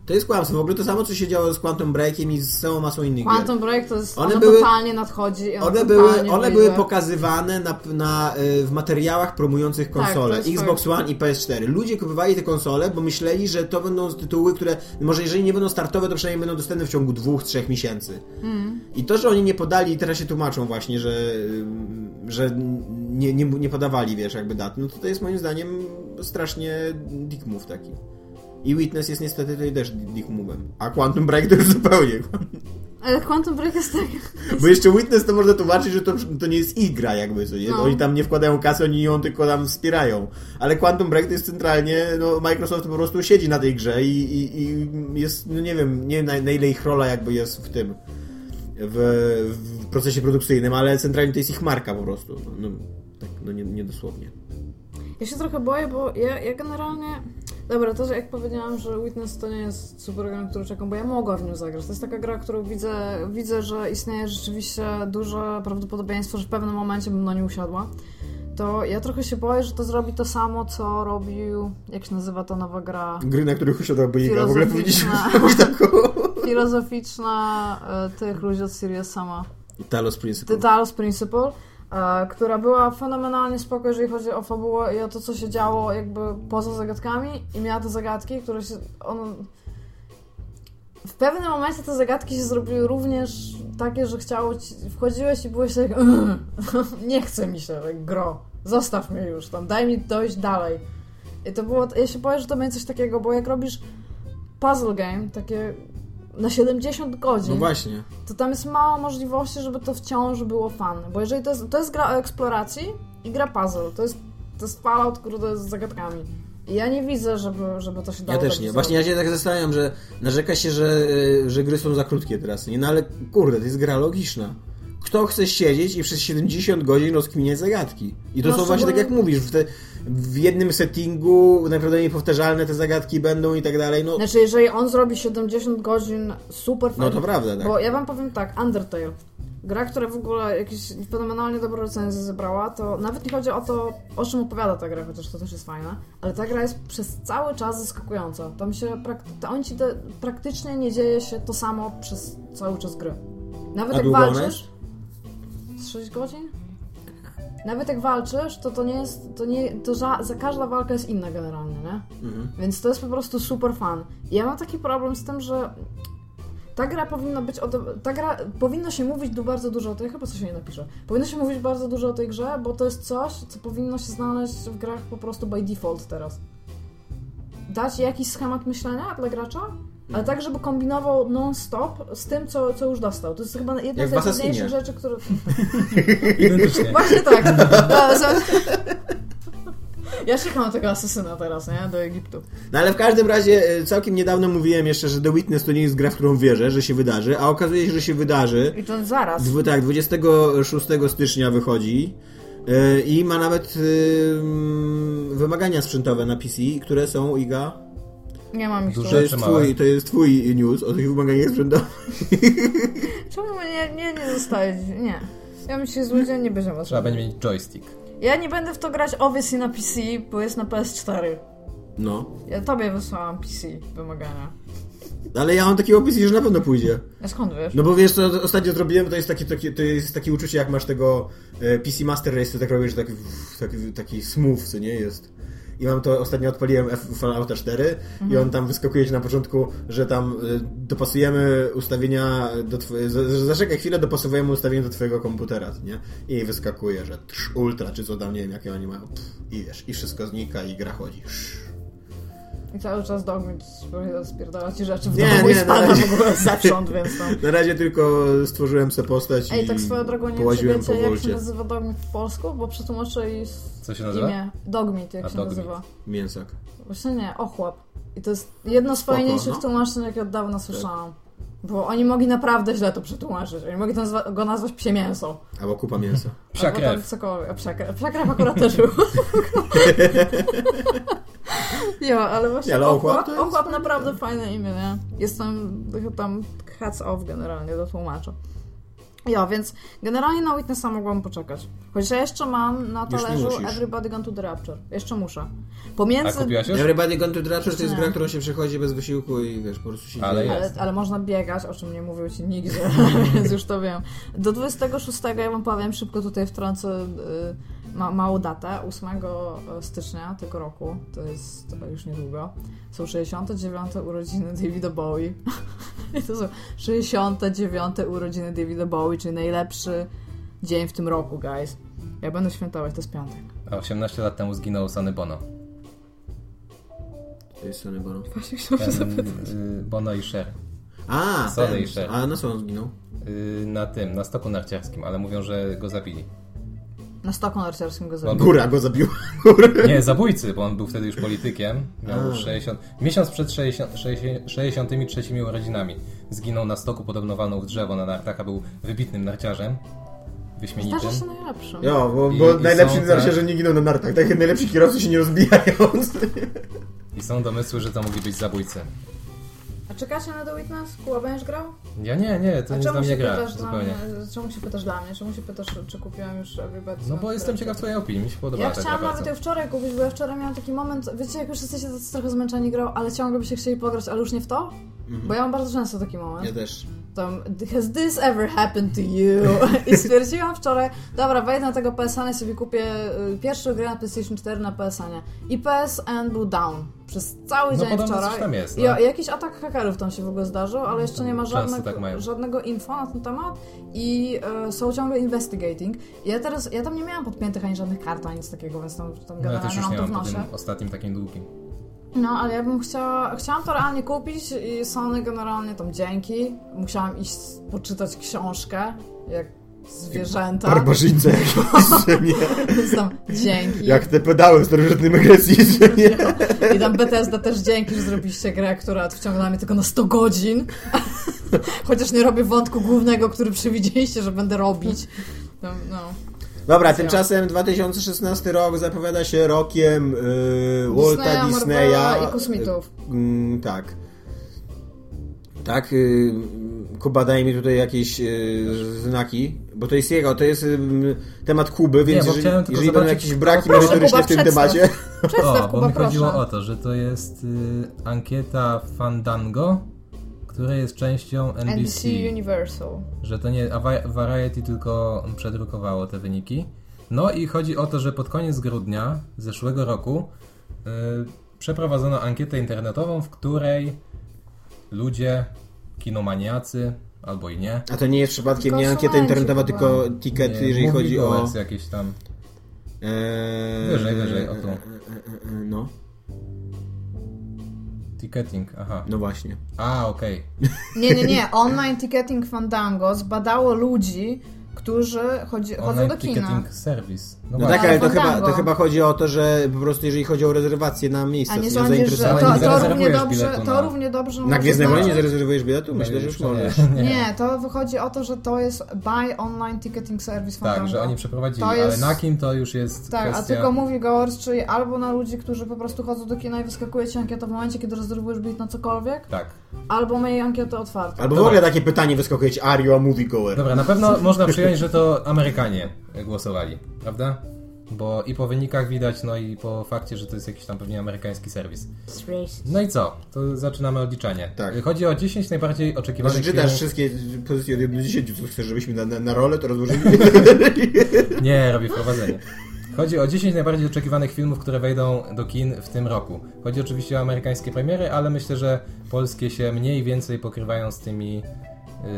Speaker 3: To jest kłamstwo. W ogóle to samo, co się działo z Quantum Breakiem i z całą masą innych gier.
Speaker 2: Quantum Break to jest.
Speaker 3: One
Speaker 2: One,
Speaker 3: były-
Speaker 2: totalnie nadchodzi. i
Speaker 3: One
Speaker 2: totalnie
Speaker 3: były, one były
Speaker 2: wyjdzie.
Speaker 3: pokazywane na, na, y, w materiałach promujących
Speaker 2: Tak, to
Speaker 3: konsole
Speaker 2: jest
Speaker 3: Xbox One i PS4. Ludzie kupowali te konsole, bo myśleli, że to będą tytuły, które może jeżeli nie będą startowe, to przynajmniej będą dostępne w ciągu dwóch, trzech miesięcy.
Speaker 2: Hmm.
Speaker 3: I to, że oni nie podali, teraz się tłumaczą właśnie, że, y, że nie, nie, nie podawali, wiesz, jakby dat, no to, to jest moim zdaniem strasznie dick move taki. I Witness jest niestety tutaj też dick move'em. A Quantum Break to już zupełnie.
Speaker 2: Ale Quantum Break jest tak.
Speaker 3: Bo jeszcze Witness to można tłumaczyć, że to, to nie jest ich gra jakby, co nie?
Speaker 2: No.
Speaker 3: Oni tam nie wkładają kasy, oni ją tylko tam wspierają. Ale Quantum Break to jest centralnie, no Microsoft po prostu siedzi na tej grze i, i, i jest, no nie wiem, nie wiem na, na ile ich rola jakby jest w tym, w, w procesie produkcyjnym, ale centralnie to jest ich marka po prostu. No, tak, no nie, nie dosłownie.
Speaker 2: Ja się trochę boję, bo ja, ja generalnie. Dobra, to, że jak powiedziałam, że Witness to nie jest super gra, na którą czekam, bo ja mogła w nią zagrać. To jest taka gra, którą widzę, widzę że istnieje rzeczywiście duże prawdopodobieństwo, że w pewnym momencie bym na nie usiadła. To ja trochę się boję, że to zrobi to samo, co robił, jak się nazywa ta nowa gra,
Speaker 3: Gry, na których usiadłaby jej gra, w ogóle powinniśmy
Speaker 2: Filozoficzna. [laughs]
Speaker 3: zrobić taką...
Speaker 2: filozoficzna e, tych ludzi od Sirius sama.
Speaker 3: Talos
Speaker 2: The
Speaker 3: Principle.
Speaker 2: Talos Principle, e, która była fenomenalnie spoko, jeżeli chodzi o fabułę i o to, co się działo jakby poza zagadkami i miała te zagadki, które się... On... W pewnym momencie te zagadki się zrobiły również takie, że chciało ci... Wchodziłeś i byłeś tak... [laughs] nie chce mi się, tak, gro. Zostaw mnie już tam, daj mi dojść dalej. I to było... Ja się boję, że to będzie coś takiego, bo jak robisz puzzle game, takie na 70 godzin
Speaker 3: No właśnie.
Speaker 2: to tam jest mało możliwości, żeby to wciąż było fun. Bo jeżeli to jest, to jest gra o eksploracji i gra puzzle, to jest, to jest Fallout, kurde, z zagadkami. I ja nie widzę, żeby, żeby to się
Speaker 3: Ja
Speaker 2: dało
Speaker 3: też
Speaker 2: tak
Speaker 3: nie.
Speaker 2: zrobić.
Speaker 3: Właśnie ja się tak zastanawiam, że narzeka się, że, y, że gry są za krótkie teraz. Nie, no ale kurde, to jest gra logiczna. Kto chce siedzieć i przez 70 godzin rozkminiać zagadki? I to
Speaker 2: No,
Speaker 3: są właśnie tak jak
Speaker 2: szczególnie-
Speaker 3: mówisz, w, te, w jednym settingu naprawdę niepowtarzalne te zagadki będą i tak dalej. No,
Speaker 2: Znaczy, jeżeli on zrobi 70 godzin super
Speaker 3: no
Speaker 2: fajnie,
Speaker 3: to prawda, tak.
Speaker 2: Bo ja wam powiem tak, Undertale. Gra, która w ogóle jakieś fenomenalnie dobre recenzje zebrała, to nawet nie chodzi o to, o czym opowiada ta gra, chociaż to też jest fajne, ale ta gra jest przez cały czas zaskakująca. Tam się prak- to oni ci te, praktycznie nie dzieje się to samo przez cały czas gry. Nawet
Speaker 3: A
Speaker 2: jak
Speaker 3: długo ona
Speaker 2: walczysz. Z 6 godzin? Nawet jak walczysz, to to nie jest, to nie, to za, za każda walka jest inna generalnie, nie?
Speaker 3: Mhm.
Speaker 2: Więc to jest po prostu super fan. Ja mam taki problem z tym, że Ta gra powinna być. Ode... Ta gra... Powinno się mówić tu bardzo dużo o tej. Chyba coś się nie napisze. Powinno się mówić bardzo dużo o tej grze, bo to jest coś, co powinno się znaleźć w grach po prostu by default teraz. Dać jakiś schemat myślenia dla gracza, ale tak, żeby kombinował non-stop z tym, co, co już dostał. To jest chyba jedna
Speaker 3: Jak
Speaker 2: z
Speaker 3: w Assassinie.
Speaker 2: najważniejszych rzeczy, które. [laughs]
Speaker 4: Identycznie.
Speaker 2: Właśnie tak. [laughs] No, za- [laughs] Ja szukam tego asesyna teraz, nie? Do Egiptu.
Speaker 3: No ale w każdym razie e, całkiem niedawno mówiłem jeszcze, że The Witness to nie jest gra, w którą wierzę, że się wydarzy, a okazuje się, że się wydarzy.
Speaker 2: I to zaraz.
Speaker 3: Dwu, tak, 26 stycznia wychodzi e, i ma nawet e, wymagania sprzętowe na PC, które są Iga.
Speaker 2: Nie mam ich tu.
Speaker 3: To
Speaker 4: Duże.
Speaker 3: jest,
Speaker 4: Zatrzymałem.
Speaker 3: twój, to jest twój news o tych wymaganiach sprzętowych.
Speaker 2: Czemu nie, nie, nie zostaje? Nie. Ja mi się zły dzień nie będzie
Speaker 4: Trzeba
Speaker 2: można.
Speaker 4: będzie mieć joystick.
Speaker 2: Ja nie będę w to grać obviously na PC, bo jest na PS4.
Speaker 3: No.
Speaker 2: Ja tobie wysłałam PC wymagania.
Speaker 3: Ale ja mam taki opis, że na pewno pójdzie.
Speaker 2: A skąd wiesz?
Speaker 3: No bo wiesz, co ostatnio zrobiłem, to jest takie, takie, to jest takie uczucie, jak masz tego e, PC Master Race, to tak robisz, taki, taki, taki smooth, co nie jest. I mam to, ostatnio odpaliłem F- Fallouta 4 i
Speaker 2: Mhm.
Speaker 3: on tam wyskakuje ci na początku, że tam e, dopasujemy ustawienia do twoje, za- że zaczekaj chwilę, dopasowujemy ustawienie do twojego komputera, co nie? I wyskakuje, że trz, ultra, czy co tam, nie wiem, jakie oni mają. Pff, I wiesz, i wszystko znika i gra chodzi.
Speaker 2: I cały czas dogmić, spierdala ci rzeczy w
Speaker 3: Nie,
Speaker 2: domu
Speaker 3: nie,
Speaker 2: i spada
Speaker 3: no.
Speaker 2: w ogóle zewsząd, więc
Speaker 4: [laughs]
Speaker 2: tam.
Speaker 3: Na razie tylko stworzyłem sobie postać i
Speaker 2: Ej, tak swoją drogą nie wiem, czy
Speaker 3: połaziłem
Speaker 2: wiecie,
Speaker 3: po
Speaker 2: jak się
Speaker 3: wolcie.
Speaker 2: nazywa dogmit w polsku, bo przetłumaczę i s-
Speaker 4: Co się nazywa?
Speaker 2: imię. Dogmit, jak
Speaker 4: A,
Speaker 2: się
Speaker 4: dogmit.
Speaker 2: nazywa.
Speaker 3: Mięsak.
Speaker 2: Właśnie nie, ochłap. I to jest jedno z
Speaker 3: Spoko,
Speaker 2: fajniejszych
Speaker 3: no.
Speaker 2: tłumaczeń, jakie od dawna słyszałam. Bo oni mogli naprawdę źle to przetłumaczyć. Oni mogli to nazwa- go nazwać psie mięso.
Speaker 3: Albo kupa mięsa.
Speaker 4: Psia
Speaker 2: Albo tam
Speaker 4: krew.
Speaker 2: cokolwiek. A psia krew. Psia krew akurat też był. [laughs] nie ma, ale właśnie
Speaker 3: Nie, ale ochłap
Speaker 2: ochłap,
Speaker 3: to jest
Speaker 2: ochłap naprawdę fajne imię, nie? Jestem trochę tam hats off generalnie do tłumacza. Ja, więc generalnie na Witnessa mogłam poczekać. Chociaż ja jeszcze mam na
Speaker 3: Już nie
Speaker 2: talerzu
Speaker 3: musisz.
Speaker 2: Everybody Gone to the Rapture. Jeszcze muszę.
Speaker 4: A
Speaker 2: Pomiędzy...
Speaker 4: kupiłaś już?
Speaker 3: Everybody Gone to the Rapture to jest
Speaker 2: Nie.
Speaker 3: gra, którą się przechodzi bez wysiłku i wiesz, po prostu się
Speaker 4: Ale
Speaker 3: dzieje.
Speaker 2: Ale, ale można biegać, o czym nie mówił ci nigdzie, [laughs] więc już to wiem. Do 26, ja wam powiem, szybko tutaj wtrącę y, ma, małą datę, 8 stycznia tego roku, to jest to już niedługo, są 69 urodziny Davida Bowie. [laughs] I to są 69 urodziny Davida Bowie, czyli najlepszy dzień w tym roku, guys. Ja będę świętować, to jest piątek.
Speaker 4: A 18 lat temu zginął
Speaker 2: [laughs]
Speaker 4: Sonny Bono.
Speaker 3: To jest Sonny Bono.
Speaker 2: Właśnie chciałam
Speaker 4: Ten,
Speaker 2: zapytać.
Speaker 4: y, Bono i Cher.
Speaker 3: A,
Speaker 4: Sorry,
Speaker 3: ten,
Speaker 4: Sher.
Speaker 3: a na co on zginął?
Speaker 4: Y, Na tym, na stoku narciarskim, ale mówią, że go zabili.
Speaker 2: Na stoku narciarskim go zrobię.
Speaker 3: Góra go zabiła. [laughs]
Speaker 4: Nie, zabójcy, bo on był wtedy już politykiem. Miał 60, miesiąc przed 60, 60, 63 urodzinami. Zginął na stoku, podobno walnął w drzewo na nartach, a był wybitnym narciarzem. Wyśmienitym.
Speaker 2: Zdarza się najlepszym.
Speaker 3: Jo, bo,
Speaker 4: I-
Speaker 3: bo
Speaker 4: i
Speaker 3: najlepsi
Speaker 4: są,
Speaker 3: są,
Speaker 4: tak?
Speaker 3: że nie giną na nartach. Tak jak najlepsi kierowcy się nie rozbijają.
Speaker 4: I są domysły, że to mogli być zabójcy.
Speaker 2: A czekacie na The Witness? Kuba, będziesz grał?
Speaker 4: Ja
Speaker 2: A
Speaker 4: nie, nie, to nie jest dla
Speaker 2: czemu
Speaker 4: mnie
Speaker 2: się,
Speaker 4: gra.
Speaker 2: pytasz dla
Speaker 4: Zupełnie.
Speaker 2: mnie, czemu się pytasz dla mnie? Czemu się pytasz, czy kupiłam już Everybody?
Speaker 4: No bo jestem ciekaw twojej opinii, mi się podoba
Speaker 2: Ja
Speaker 4: ta
Speaker 2: chciałam
Speaker 4: gra
Speaker 2: nawet
Speaker 4: bardzo.
Speaker 2: ją wczoraj kupić, bo ja wczoraj miałam taki moment, wiecie, jak już jesteście tacy trochę zmęczeni grą, ale ciągle byście chcieli pograć, ale już nie w to?
Speaker 4: Mhm.
Speaker 2: Bo ja mam bardzo często taki moment.
Speaker 3: też.
Speaker 2: Tam, has this ever happened to you? [laughs] I stwierdziłam wczoraj, dobra, wejdę na tego PSN i sobie kupię y, pierwszą grę na PlayStation 4 na PSN. I PSN był down przez cały
Speaker 4: No
Speaker 2: dzień
Speaker 4: podobno
Speaker 2: wczoraj.
Speaker 4: coś tam jest,
Speaker 2: I,
Speaker 4: no.
Speaker 2: I jakiś atak hakerów tam się w ogóle zdarzył, ale jeszcze nie ma
Speaker 4: Często
Speaker 2: żadnych,
Speaker 4: tak mają.
Speaker 2: żadnego info na ten temat i e, są ciągle investigating. I ja teraz, ja tam nie miałam podpiętych ani żadnych kart, ani nic takiego, więc tam, tam
Speaker 4: No ja
Speaker 2: generalnie
Speaker 4: też już
Speaker 2: mam
Speaker 4: nie
Speaker 2: to w
Speaker 4: mam po
Speaker 2: nosie.
Speaker 4: tym ostatnim takim
Speaker 2: [laughs]
Speaker 4: długim.
Speaker 2: No, ale ja bym chciała, chciałam to realnie kupić i Sony generalnie tam dzięki. Musiałam iść s- poczytać książkę, jak
Speaker 4: Tak?
Speaker 2: zwierzęta,
Speaker 3: Barbarzyńca jakiś, że nie.
Speaker 2: [laughs] więc tam dzięki.
Speaker 3: Jak te pedały w starożytnym Grecji, że nie.
Speaker 2: I tam Bethesda też dzięki, że zrobiliście grę, która wciągnęła mnie tylko na 100 godzin. [laughs] Chociaż nie robię wątku głównego, który przewidzieliście, że będę robić. No, no.
Speaker 3: Dobra, tymczasem 2016 rok zapowiada się rokiem y, Walta
Speaker 2: Disneya,
Speaker 3: Disneya.
Speaker 2: Marvela i kosmitów.
Speaker 3: Mm, tak. Tak, y, Kuba daje mi tutaj jakieś y, znaki, bo to jest jego, to jest ym, temat Kuby, więc
Speaker 4: bo
Speaker 3: jeżeli,
Speaker 4: chciałem tylko
Speaker 3: jeżeli będą
Speaker 4: zobaczyć-
Speaker 3: jakieś braki
Speaker 2: No Proszę,
Speaker 3: merytoryczne
Speaker 2: Kuba,
Speaker 3: w tym
Speaker 2: przedstaw.
Speaker 3: temacie,
Speaker 2: Przedstaw,
Speaker 4: o, bo
Speaker 2: Kuba,
Speaker 4: mi chodziło
Speaker 2: proszę.
Speaker 4: o to, że to jest y, ankieta Fandango, która jest częścią NBC,
Speaker 2: NBC Universal.
Speaker 4: że to nie a Vari- Variety tylko przedrukowało te wyniki. No i chodzi o to, że pod koniec grudnia zeszłego roku y, przeprowadzono ankietę internetową, w której ludzie kinomaniacy, albo i nie.
Speaker 3: A to nie jest przypadkiem nie
Speaker 2: Konsumenci
Speaker 3: ankieta internetowa,
Speaker 2: chyba.
Speaker 3: tylko ticket,
Speaker 4: Nie,
Speaker 3: jeżeli
Speaker 4: Movie
Speaker 3: chodzi o...
Speaker 4: Goers jakieś tam.
Speaker 3: Eee,
Speaker 4: Wyżej, wyżej, o to.
Speaker 3: e, e, e, No,
Speaker 4: Ticketing, aha.
Speaker 3: no właśnie.
Speaker 4: A, okej.
Speaker 2: Nie, nie, nie. Online Ticketing Fandango zbadało ludzi, którzy chodzi, chodzą do
Speaker 4: Online
Speaker 2: kina.
Speaker 4: Ticketing Service. No,
Speaker 3: No
Speaker 4: właśnie.
Speaker 3: tak, ale to
Speaker 2: Fandango.
Speaker 3: chyba, to chyba chodzi o to, że po prostu jeżeli chodzi o rezerwację na miejsce,
Speaker 2: A nie
Speaker 3: nie
Speaker 2: sądzisz, że to,
Speaker 3: zainteresowanie.
Speaker 4: nie
Speaker 2: to, No. równie
Speaker 4: zarezerwujesz
Speaker 2: dobrze,
Speaker 4: biletu
Speaker 2: to
Speaker 4: no. na-
Speaker 2: równie dobrze
Speaker 3: Na
Speaker 2: może
Speaker 3: Gwiezdne
Speaker 2: znaczyć-
Speaker 3: Wojny nie zarezerwujesz biletu? Myślę, że już
Speaker 4: jeszcze
Speaker 3: możesz.
Speaker 4: [laughs] nie.
Speaker 2: Nie, to wychodzi o to, że to jest Buy Online Ticketing Service Fandango.
Speaker 4: Tak, że oni przeprowadzili,
Speaker 2: To jest-
Speaker 4: ale na kim to już jest
Speaker 2: Tak, a
Speaker 4: kwestia...
Speaker 2: tylko mówi Goers, czyli albo na ludzi, którzy po prostu chodzą do kina i wyskakuje ci ankieta w momencie, kiedy rezerwujesz bilet na cokolwiek,
Speaker 4: Tak.
Speaker 2: albo miej ankietę otwartą.
Speaker 3: Albo w ogóle takie pytanie wyskakuje ci, are you a moviegoer?
Speaker 4: Dobra, na pewno można przyjąć, że to Amerykanie głosowali, prawda? Bo i po wynikach widać, no i po fakcie, że to jest jakiś tam pewnie amerykański serwis. No i co? To zaczynamy odliczanie.
Speaker 3: Tak.
Speaker 4: Chodzi o 10 najbardziej oczekiwanych
Speaker 3: Znaczy czytasz
Speaker 4: filmów.
Speaker 3: wszystkie pozycje od 1 do 10, co chcesz, żebyśmy na, na, na rolę to rozłożyli?
Speaker 4: Nie, robię wprowadzenie. Chodzi o 10 najbardziej oczekiwanych filmów, które wejdą do kin w tym roku. Chodzi oczywiście o amerykańskie premiery, ale myślę, że polskie się mniej więcej pokrywają z tymi,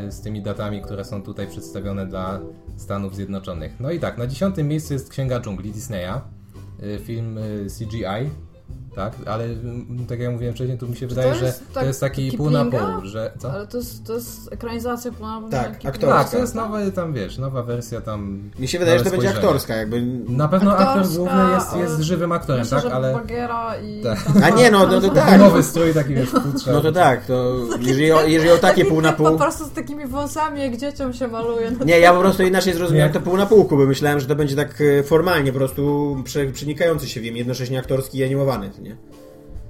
Speaker 4: y, z tymi datami, które są tutaj przedstawione dla Stanów Zjednoczonych. No i tak, na 10 miejscu jest Księga Dżungli Disneya, y, film y, CGI. Tak, ale mm, tak jak mówiłem wcześniej, tu mi się wydaje, że
Speaker 2: jest
Speaker 4: to
Speaker 2: tak
Speaker 4: jest taki pół na
Speaker 2: Kiplinga?
Speaker 4: pół, że co?
Speaker 2: Ale to jest, to jest ekranizacja ponownie.
Speaker 3: Tak,
Speaker 2: Kiplinga.
Speaker 3: aktorska.
Speaker 4: Tak, to jest nowa tam, wiesz, nowa wersja tam.
Speaker 3: [laughs] Mi się wydaje, że
Speaker 4: nowe
Speaker 3: to będzie
Speaker 4: spojrzenie.
Speaker 3: aktorska, jakby...
Speaker 4: Na pewno aktor
Speaker 2: Aktorska,
Speaker 4: główny jest,
Speaker 2: ale
Speaker 4: jest żywym aktorem,
Speaker 2: Myślę,
Speaker 4: tak?
Speaker 2: że
Speaker 4: Ale
Speaker 2: Bagiera i...
Speaker 4: Tak.
Speaker 2: tam-
Speaker 3: A nie, no, no to tak.
Speaker 4: [laughs] nowy strój taki wiesz, futrza.
Speaker 3: No to tak, to jeżeli o, jeżeli o takie
Speaker 2: Taki
Speaker 3: pół na
Speaker 2: typ Po
Speaker 3: pół...
Speaker 2: prostu z takimi wąsami, jak dzieciom się maluje. No,
Speaker 3: Nie, ja po prostu inaczej zrozumiałem
Speaker 4: Nie.
Speaker 3: to pół na półku, bo myślałem, że to będzie tak e, formalnie po prostu prze, przenikający się, wiem, jednocześnie aktorski i animowany, to nie?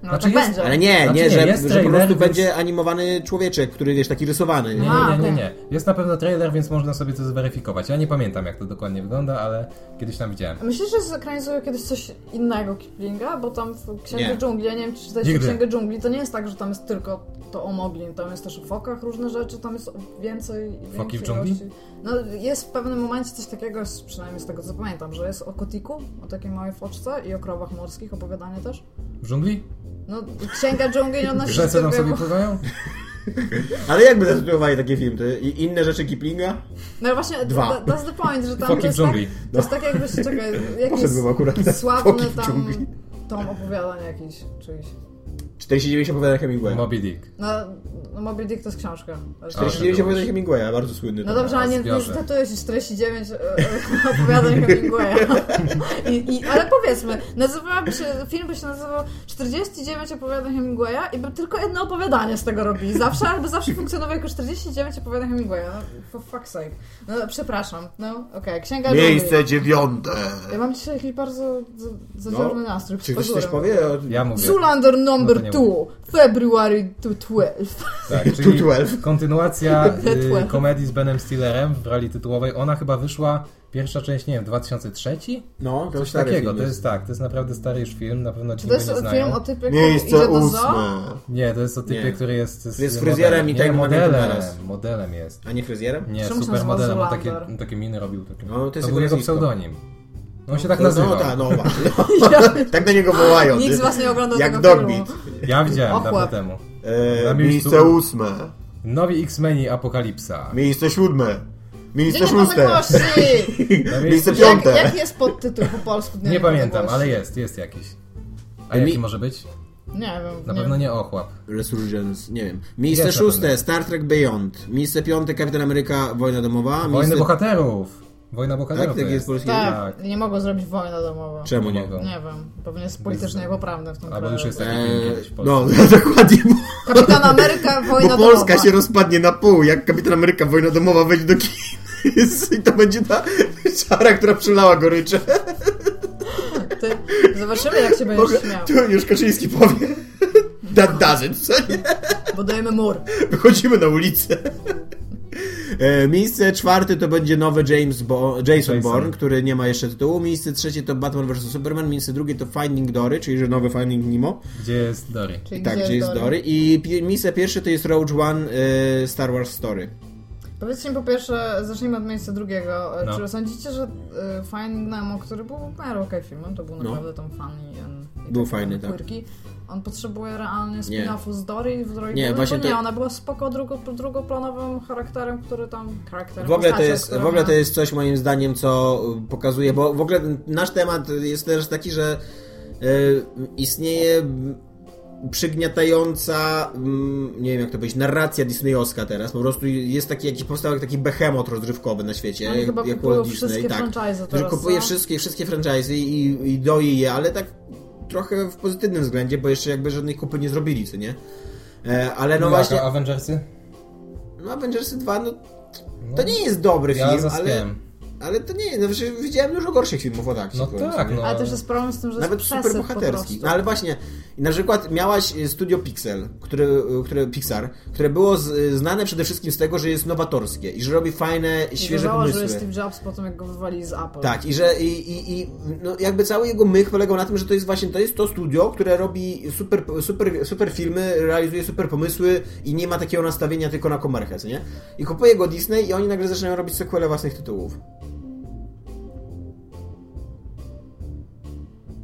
Speaker 2: no
Speaker 4: Znaczy
Speaker 2: tak
Speaker 4: jest-
Speaker 2: będzie.
Speaker 3: Ale nie,
Speaker 4: Znaczy
Speaker 3: nie,
Speaker 4: nie,
Speaker 3: że,
Speaker 4: jest
Speaker 3: że po
Speaker 4: trailer,
Speaker 3: prostu
Speaker 4: więc-
Speaker 3: będzie animowany człowieczek, który jest taki rysowany.
Speaker 4: Nie,
Speaker 3: Nie?
Speaker 2: A,
Speaker 4: nie, nie,
Speaker 2: tak.
Speaker 4: nie, nie. Jest na pewno trailer, więc można sobie to zweryfikować. Ja nie pamiętam, jak to dokładnie wygląda, ale kiedyś tam widziałem.
Speaker 2: Myślisz, że zekranizują kiedyś coś innego Kiplinga? Bo tam w Księgę
Speaker 3: Nie.
Speaker 2: Dżungli, ja nie wiem, czy czytaliście
Speaker 4: Nigdy.
Speaker 2: Księgę Dżungli, to nie jest tak, że tam jest tylko to o Moglin, tam jest też o fokach różne rzeczy, tam jest więcej...
Speaker 4: Foki w
Speaker 2: więcej
Speaker 4: dżungli?
Speaker 2: ilości. No jest w pewnym momencie coś takiego, jest, przynajmniej z tego co pamiętam, że jest o kotiku, o takiej małej foczce i o krowach morskich, opowiadanie też.
Speaker 4: W dżungli?
Speaker 2: No Księga Dżungli, ona
Speaker 4: W
Speaker 2: się
Speaker 4: rzece tam
Speaker 2: skupiła-
Speaker 4: sobie pływają?
Speaker 3: Ale jakby zatytułowali takie film? To i inne rzeczy Kiplinga?
Speaker 2: No właśnie,
Speaker 3: Dwa.
Speaker 2: Dwa. that's the point, że tam to
Speaker 4: Foki w
Speaker 2: jest tak,
Speaker 4: dżungli.
Speaker 2: to jest tak jakbyś,
Speaker 3: [laughs]
Speaker 2: czekaj, jakiś
Speaker 3: Poszedłbym akurat. Foki
Speaker 2: sławny
Speaker 3: w
Speaker 2: tam
Speaker 3: dżungli.
Speaker 2: tom opowiadania jakiś, czyjś.
Speaker 3: 49 opowiadań Hemingwaya.
Speaker 4: Moby Dick.
Speaker 2: No, no Moby Dick to jest książka.
Speaker 4: Ale-
Speaker 3: 49
Speaker 4: to
Speaker 3: opowiadań
Speaker 4: już.
Speaker 3: Hemingwaya, bardzo słynny.
Speaker 2: No
Speaker 3: tom.
Speaker 2: dobrze, ale nie, nie
Speaker 4: Zbiorze.
Speaker 2: cytatuję się 49 e, [laughs] e, opowiadań Hemingwaya.
Speaker 3: [laughs]
Speaker 2: I, i, ale powiedzmy, nazywałaby się, film by się nazywał 49 opowiadań Hemingwaya i by tylko jedno opowiadanie z tego robili. Zawsze, albo zawsze funkcjonował jako 49 opowiadań Hemingwaya. No, for fuck's sake. No, przepraszam. No, okej, księga dżungli.
Speaker 3: Miejsce dziewiąte.
Speaker 2: Ja mam dzisiaj jakiś bardzo z- zawiorny nastrój.
Speaker 3: No, Czy ktoś
Speaker 2: pozorem.
Speaker 3: coś powie? O...
Speaker 4: Ja mówię.
Speaker 2: Zulander
Speaker 4: No to
Speaker 2: number
Speaker 4: nie
Speaker 2: 2, February to 12.
Speaker 4: Tak, czyli
Speaker 2: [laughs]
Speaker 3: 212.
Speaker 4: kontynuacja
Speaker 2: The
Speaker 4: y,
Speaker 2: 12.
Speaker 4: komedii z Benem Stillerem w roli tytułowej. Ona chyba wyszła, pierwsza część, nie wiem, 2003?
Speaker 3: No, to
Speaker 4: Coś
Speaker 3: stary
Speaker 4: takiego,
Speaker 3: film
Speaker 4: to
Speaker 3: jest.
Speaker 4: jest tak, to jest naprawdę stary już film, na pewno ci
Speaker 2: Czy to jest
Speaker 4: nie znają.
Speaker 2: film o typie, który idzie
Speaker 3: Miejsce
Speaker 2: do zoo?
Speaker 3: ósme.
Speaker 4: Nie, to jest o typie,
Speaker 3: Nie.
Speaker 4: który jest... z-
Speaker 3: To jest
Speaker 4: z
Speaker 3: fryzjerem
Speaker 4: modelem.
Speaker 3: i tak
Speaker 4: Nie,
Speaker 3: ma
Speaker 4: modelem,
Speaker 3: teraz.
Speaker 4: modelem jest.
Speaker 3: A nie fryzjerem?
Speaker 4: Nie,
Speaker 2: Czemu się
Speaker 4: super modelem, on
Speaker 2: nazywał
Speaker 4: takie,
Speaker 2: Zulander?
Speaker 4: takie miny robił. Takie.
Speaker 3: No, to jest jego
Speaker 4: był jego
Speaker 3: nazwisko.
Speaker 4: pseudonim. No on się tak
Speaker 3: No,
Speaker 4: nazywał.
Speaker 3: No, ta,
Speaker 4: [laughs]
Speaker 3: no, właśnie. tak na niego wołają.
Speaker 2: Nikt
Speaker 3: ty.
Speaker 2: z was nie oglądał
Speaker 3: Jak
Speaker 2: tego
Speaker 3: Dogbeat.
Speaker 2: filmu.
Speaker 4: Ja widziałem
Speaker 2: Ochłap.
Speaker 4: dawno temu. Na
Speaker 3: E,
Speaker 4: miejscu-
Speaker 3: miejsce ósme.
Speaker 4: Nowi X-Meni Apokalipsa.
Speaker 3: Miejsce siódme.
Speaker 2: Dzień
Speaker 3: Miejsce
Speaker 2: Dobry
Speaker 3: szóste.
Speaker 2: Gości!
Speaker 3: Miejsce
Speaker 2: Jak,
Speaker 3: piąte.
Speaker 2: jaki jest podtytuł po polsku? Dnia
Speaker 4: Nie pamiętam,
Speaker 2: Niepodległości?
Speaker 4: ale jest, jest jakiś. A
Speaker 3: Mi-
Speaker 4: jaki może być?
Speaker 2: Nie wiem.
Speaker 4: Na
Speaker 2: nie
Speaker 4: pewno
Speaker 2: wiem.
Speaker 4: nie ochłap.
Speaker 3: Resurgence, nie wiem. Miejsce
Speaker 4: Jest na
Speaker 3: szóste,
Speaker 4: pewno.
Speaker 3: Star Trek Beyond. Miejsce piąte, Kapitan Ameryka, Wojna Domowa.
Speaker 4: Wojny
Speaker 3: miejsce...
Speaker 4: bohaterów! Wojna bohaterów.
Speaker 3: Tak,
Speaker 4: to
Speaker 3: tak jest polski.
Speaker 2: Tak, nie mogą zrobić wojny domowej.
Speaker 3: Czemu nie?
Speaker 4: Mogą.
Speaker 2: Nie wiem, pewnie jest politycznie poprawne w tym
Speaker 4: Albo
Speaker 2: kraju.
Speaker 4: już jest tak. taki
Speaker 3: Eee,
Speaker 4: film kiedyś w Polsce.
Speaker 3: no, [laughs] dokładnie, bo,
Speaker 2: Kapitan Ameryka, wojna
Speaker 3: bo Polska
Speaker 2: domowa.
Speaker 3: się rozpadnie na pół, jak Kapitan Ameryka, Wojna Domowa wejdzie do kin. [laughs] I to będzie ta czara, która przelała gorycze.
Speaker 2: Ty, zobaczymy jak się będziesz śmiał.
Speaker 3: Tu już Kaczyński powie. [laughs] That doesn't, co nie?
Speaker 2: Budujemy mur.
Speaker 3: Wychodzimy na ulicę. E, Miejsce czwarte to będzie nowy James Bo- Jason,
Speaker 4: Jason.
Speaker 3: Bourne, który nie ma jeszcze tytułu. Miejsce trzecie to Batman vs. Superman. Miejsce drugie to Finding Dory, czyli że nowy Finding Nemo.
Speaker 4: Gdzie jest Dory?
Speaker 2: Czyli
Speaker 3: tak,
Speaker 2: gdzie
Speaker 3: gdzie jest Dory. I pi- miejsce pierwsze to jest Rogue One e, Star Wars Story.
Speaker 2: Powiedzcie mi po pierwsze, zacznijmy od miejsca drugiego. E,
Speaker 4: No.
Speaker 2: Czy sądzicie, że y, Finding Nemo, który był w miarę okej filmem, to był
Speaker 3: No.
Speaker 2: naprawdę tam funny and, i
Speaker 3: Był
Speaker 2: takie
Speaker 3: fajny, tak.
Speaker 2: quirky, On potrzebuje realnie
Speaker 3: Nie.
Speaker 2: spin-offu z Dory w Droidzie.
Speaker 3: Nie,
Speaker 2: Nie,
Speaker 3: właśnie
Speaker 2: właśnie to nie,
Speaker 3: to-
Speaker 2: ona była spoko drugo, drugoplanowym charakterem, który tam... Charakterem,
Speaker 3: W ogóle, to
Speaker 2: postacią,
Speaker 3: jest,
Speaker 2: która
Speaker 3: w ogóle
Speaker 2: ma-
Speaker 3: to jest coś moim zdaniem, co y, pokazuje, bo w ogóle nasz temat jest też taki, że y, istnieje mm, przygniatająca, mm, nie wiem jak to powiedzieć, narracja disneyowska teraz. Po prostu jest taki jakiś powstał jak taki behemot rozrywkowy na świecie.
Speaker 2: Oni
Speaker 3: jak,
Speaker 2: chyba
Speaker 3: jak
Speaker 2: kupują
Speaker 3: Walt Disney,
Speaker 2: wszystkie
Speaker 3: tak.
Speaker 2: franchise'y
Speaker 3: Że
Speaker 2: teraz,
Speaker 3: kupuje
Speaker 2: no.
Speaker 3: wszystkie, wszystkie franchise'y i, i doi je, ale tak trochę w pozytywnym względzie, bo jeszcze jakby żadnej kupy nie zrobili, co nie? E, Ale no
Speaker 4: No
Speaker 3: właśnie,
Speaker 4: A Avengersy?
Speaker 3: no Avengersy 2, no
Speaker 4: No,
Speaker 3: to nie jest dobry
Speaker 4: ja
Speaker 3: film, ale...
Speaker 4: zaspiałem.
Speaker 3: Ale to nie, no przecież widziałem dużo gorszych filmów o tak.
Speaker 4: No tak, no.
Speaker 2: Ale też jest problem z tym, że
Speaker 3: Nawet
Speaker 2: jest przesyt
Speaker 3: superbohaterskich.
Speaker 2: po
Speaker 3: No
Speaker 2: prostu.
Speaker 3: ale właśnie, i na przykład miałaś y, studio Pixel, które, y, które Pixar, które było z, y, znane przede wszystkim z tego, że jest nowatorskie i że robi fajne, świeże
Speaker 2: Uważała, że
Speaker 3: pomysły.
Speaker 2: jest Steve Jobs po tym, jak go wywali z Apple.
Speaker 3: Tak, i że i, i, i, no jakby cały jego mych polegał na tym, że to jest właśnie to jest to studio, które robi super, super, super filmy, realizuje super pomysły i nie ma takiego nastawienia tylko na komerchę, co nie? I kupuje go Disney i oni nagle zaczynają robić sequele własnych tytułów.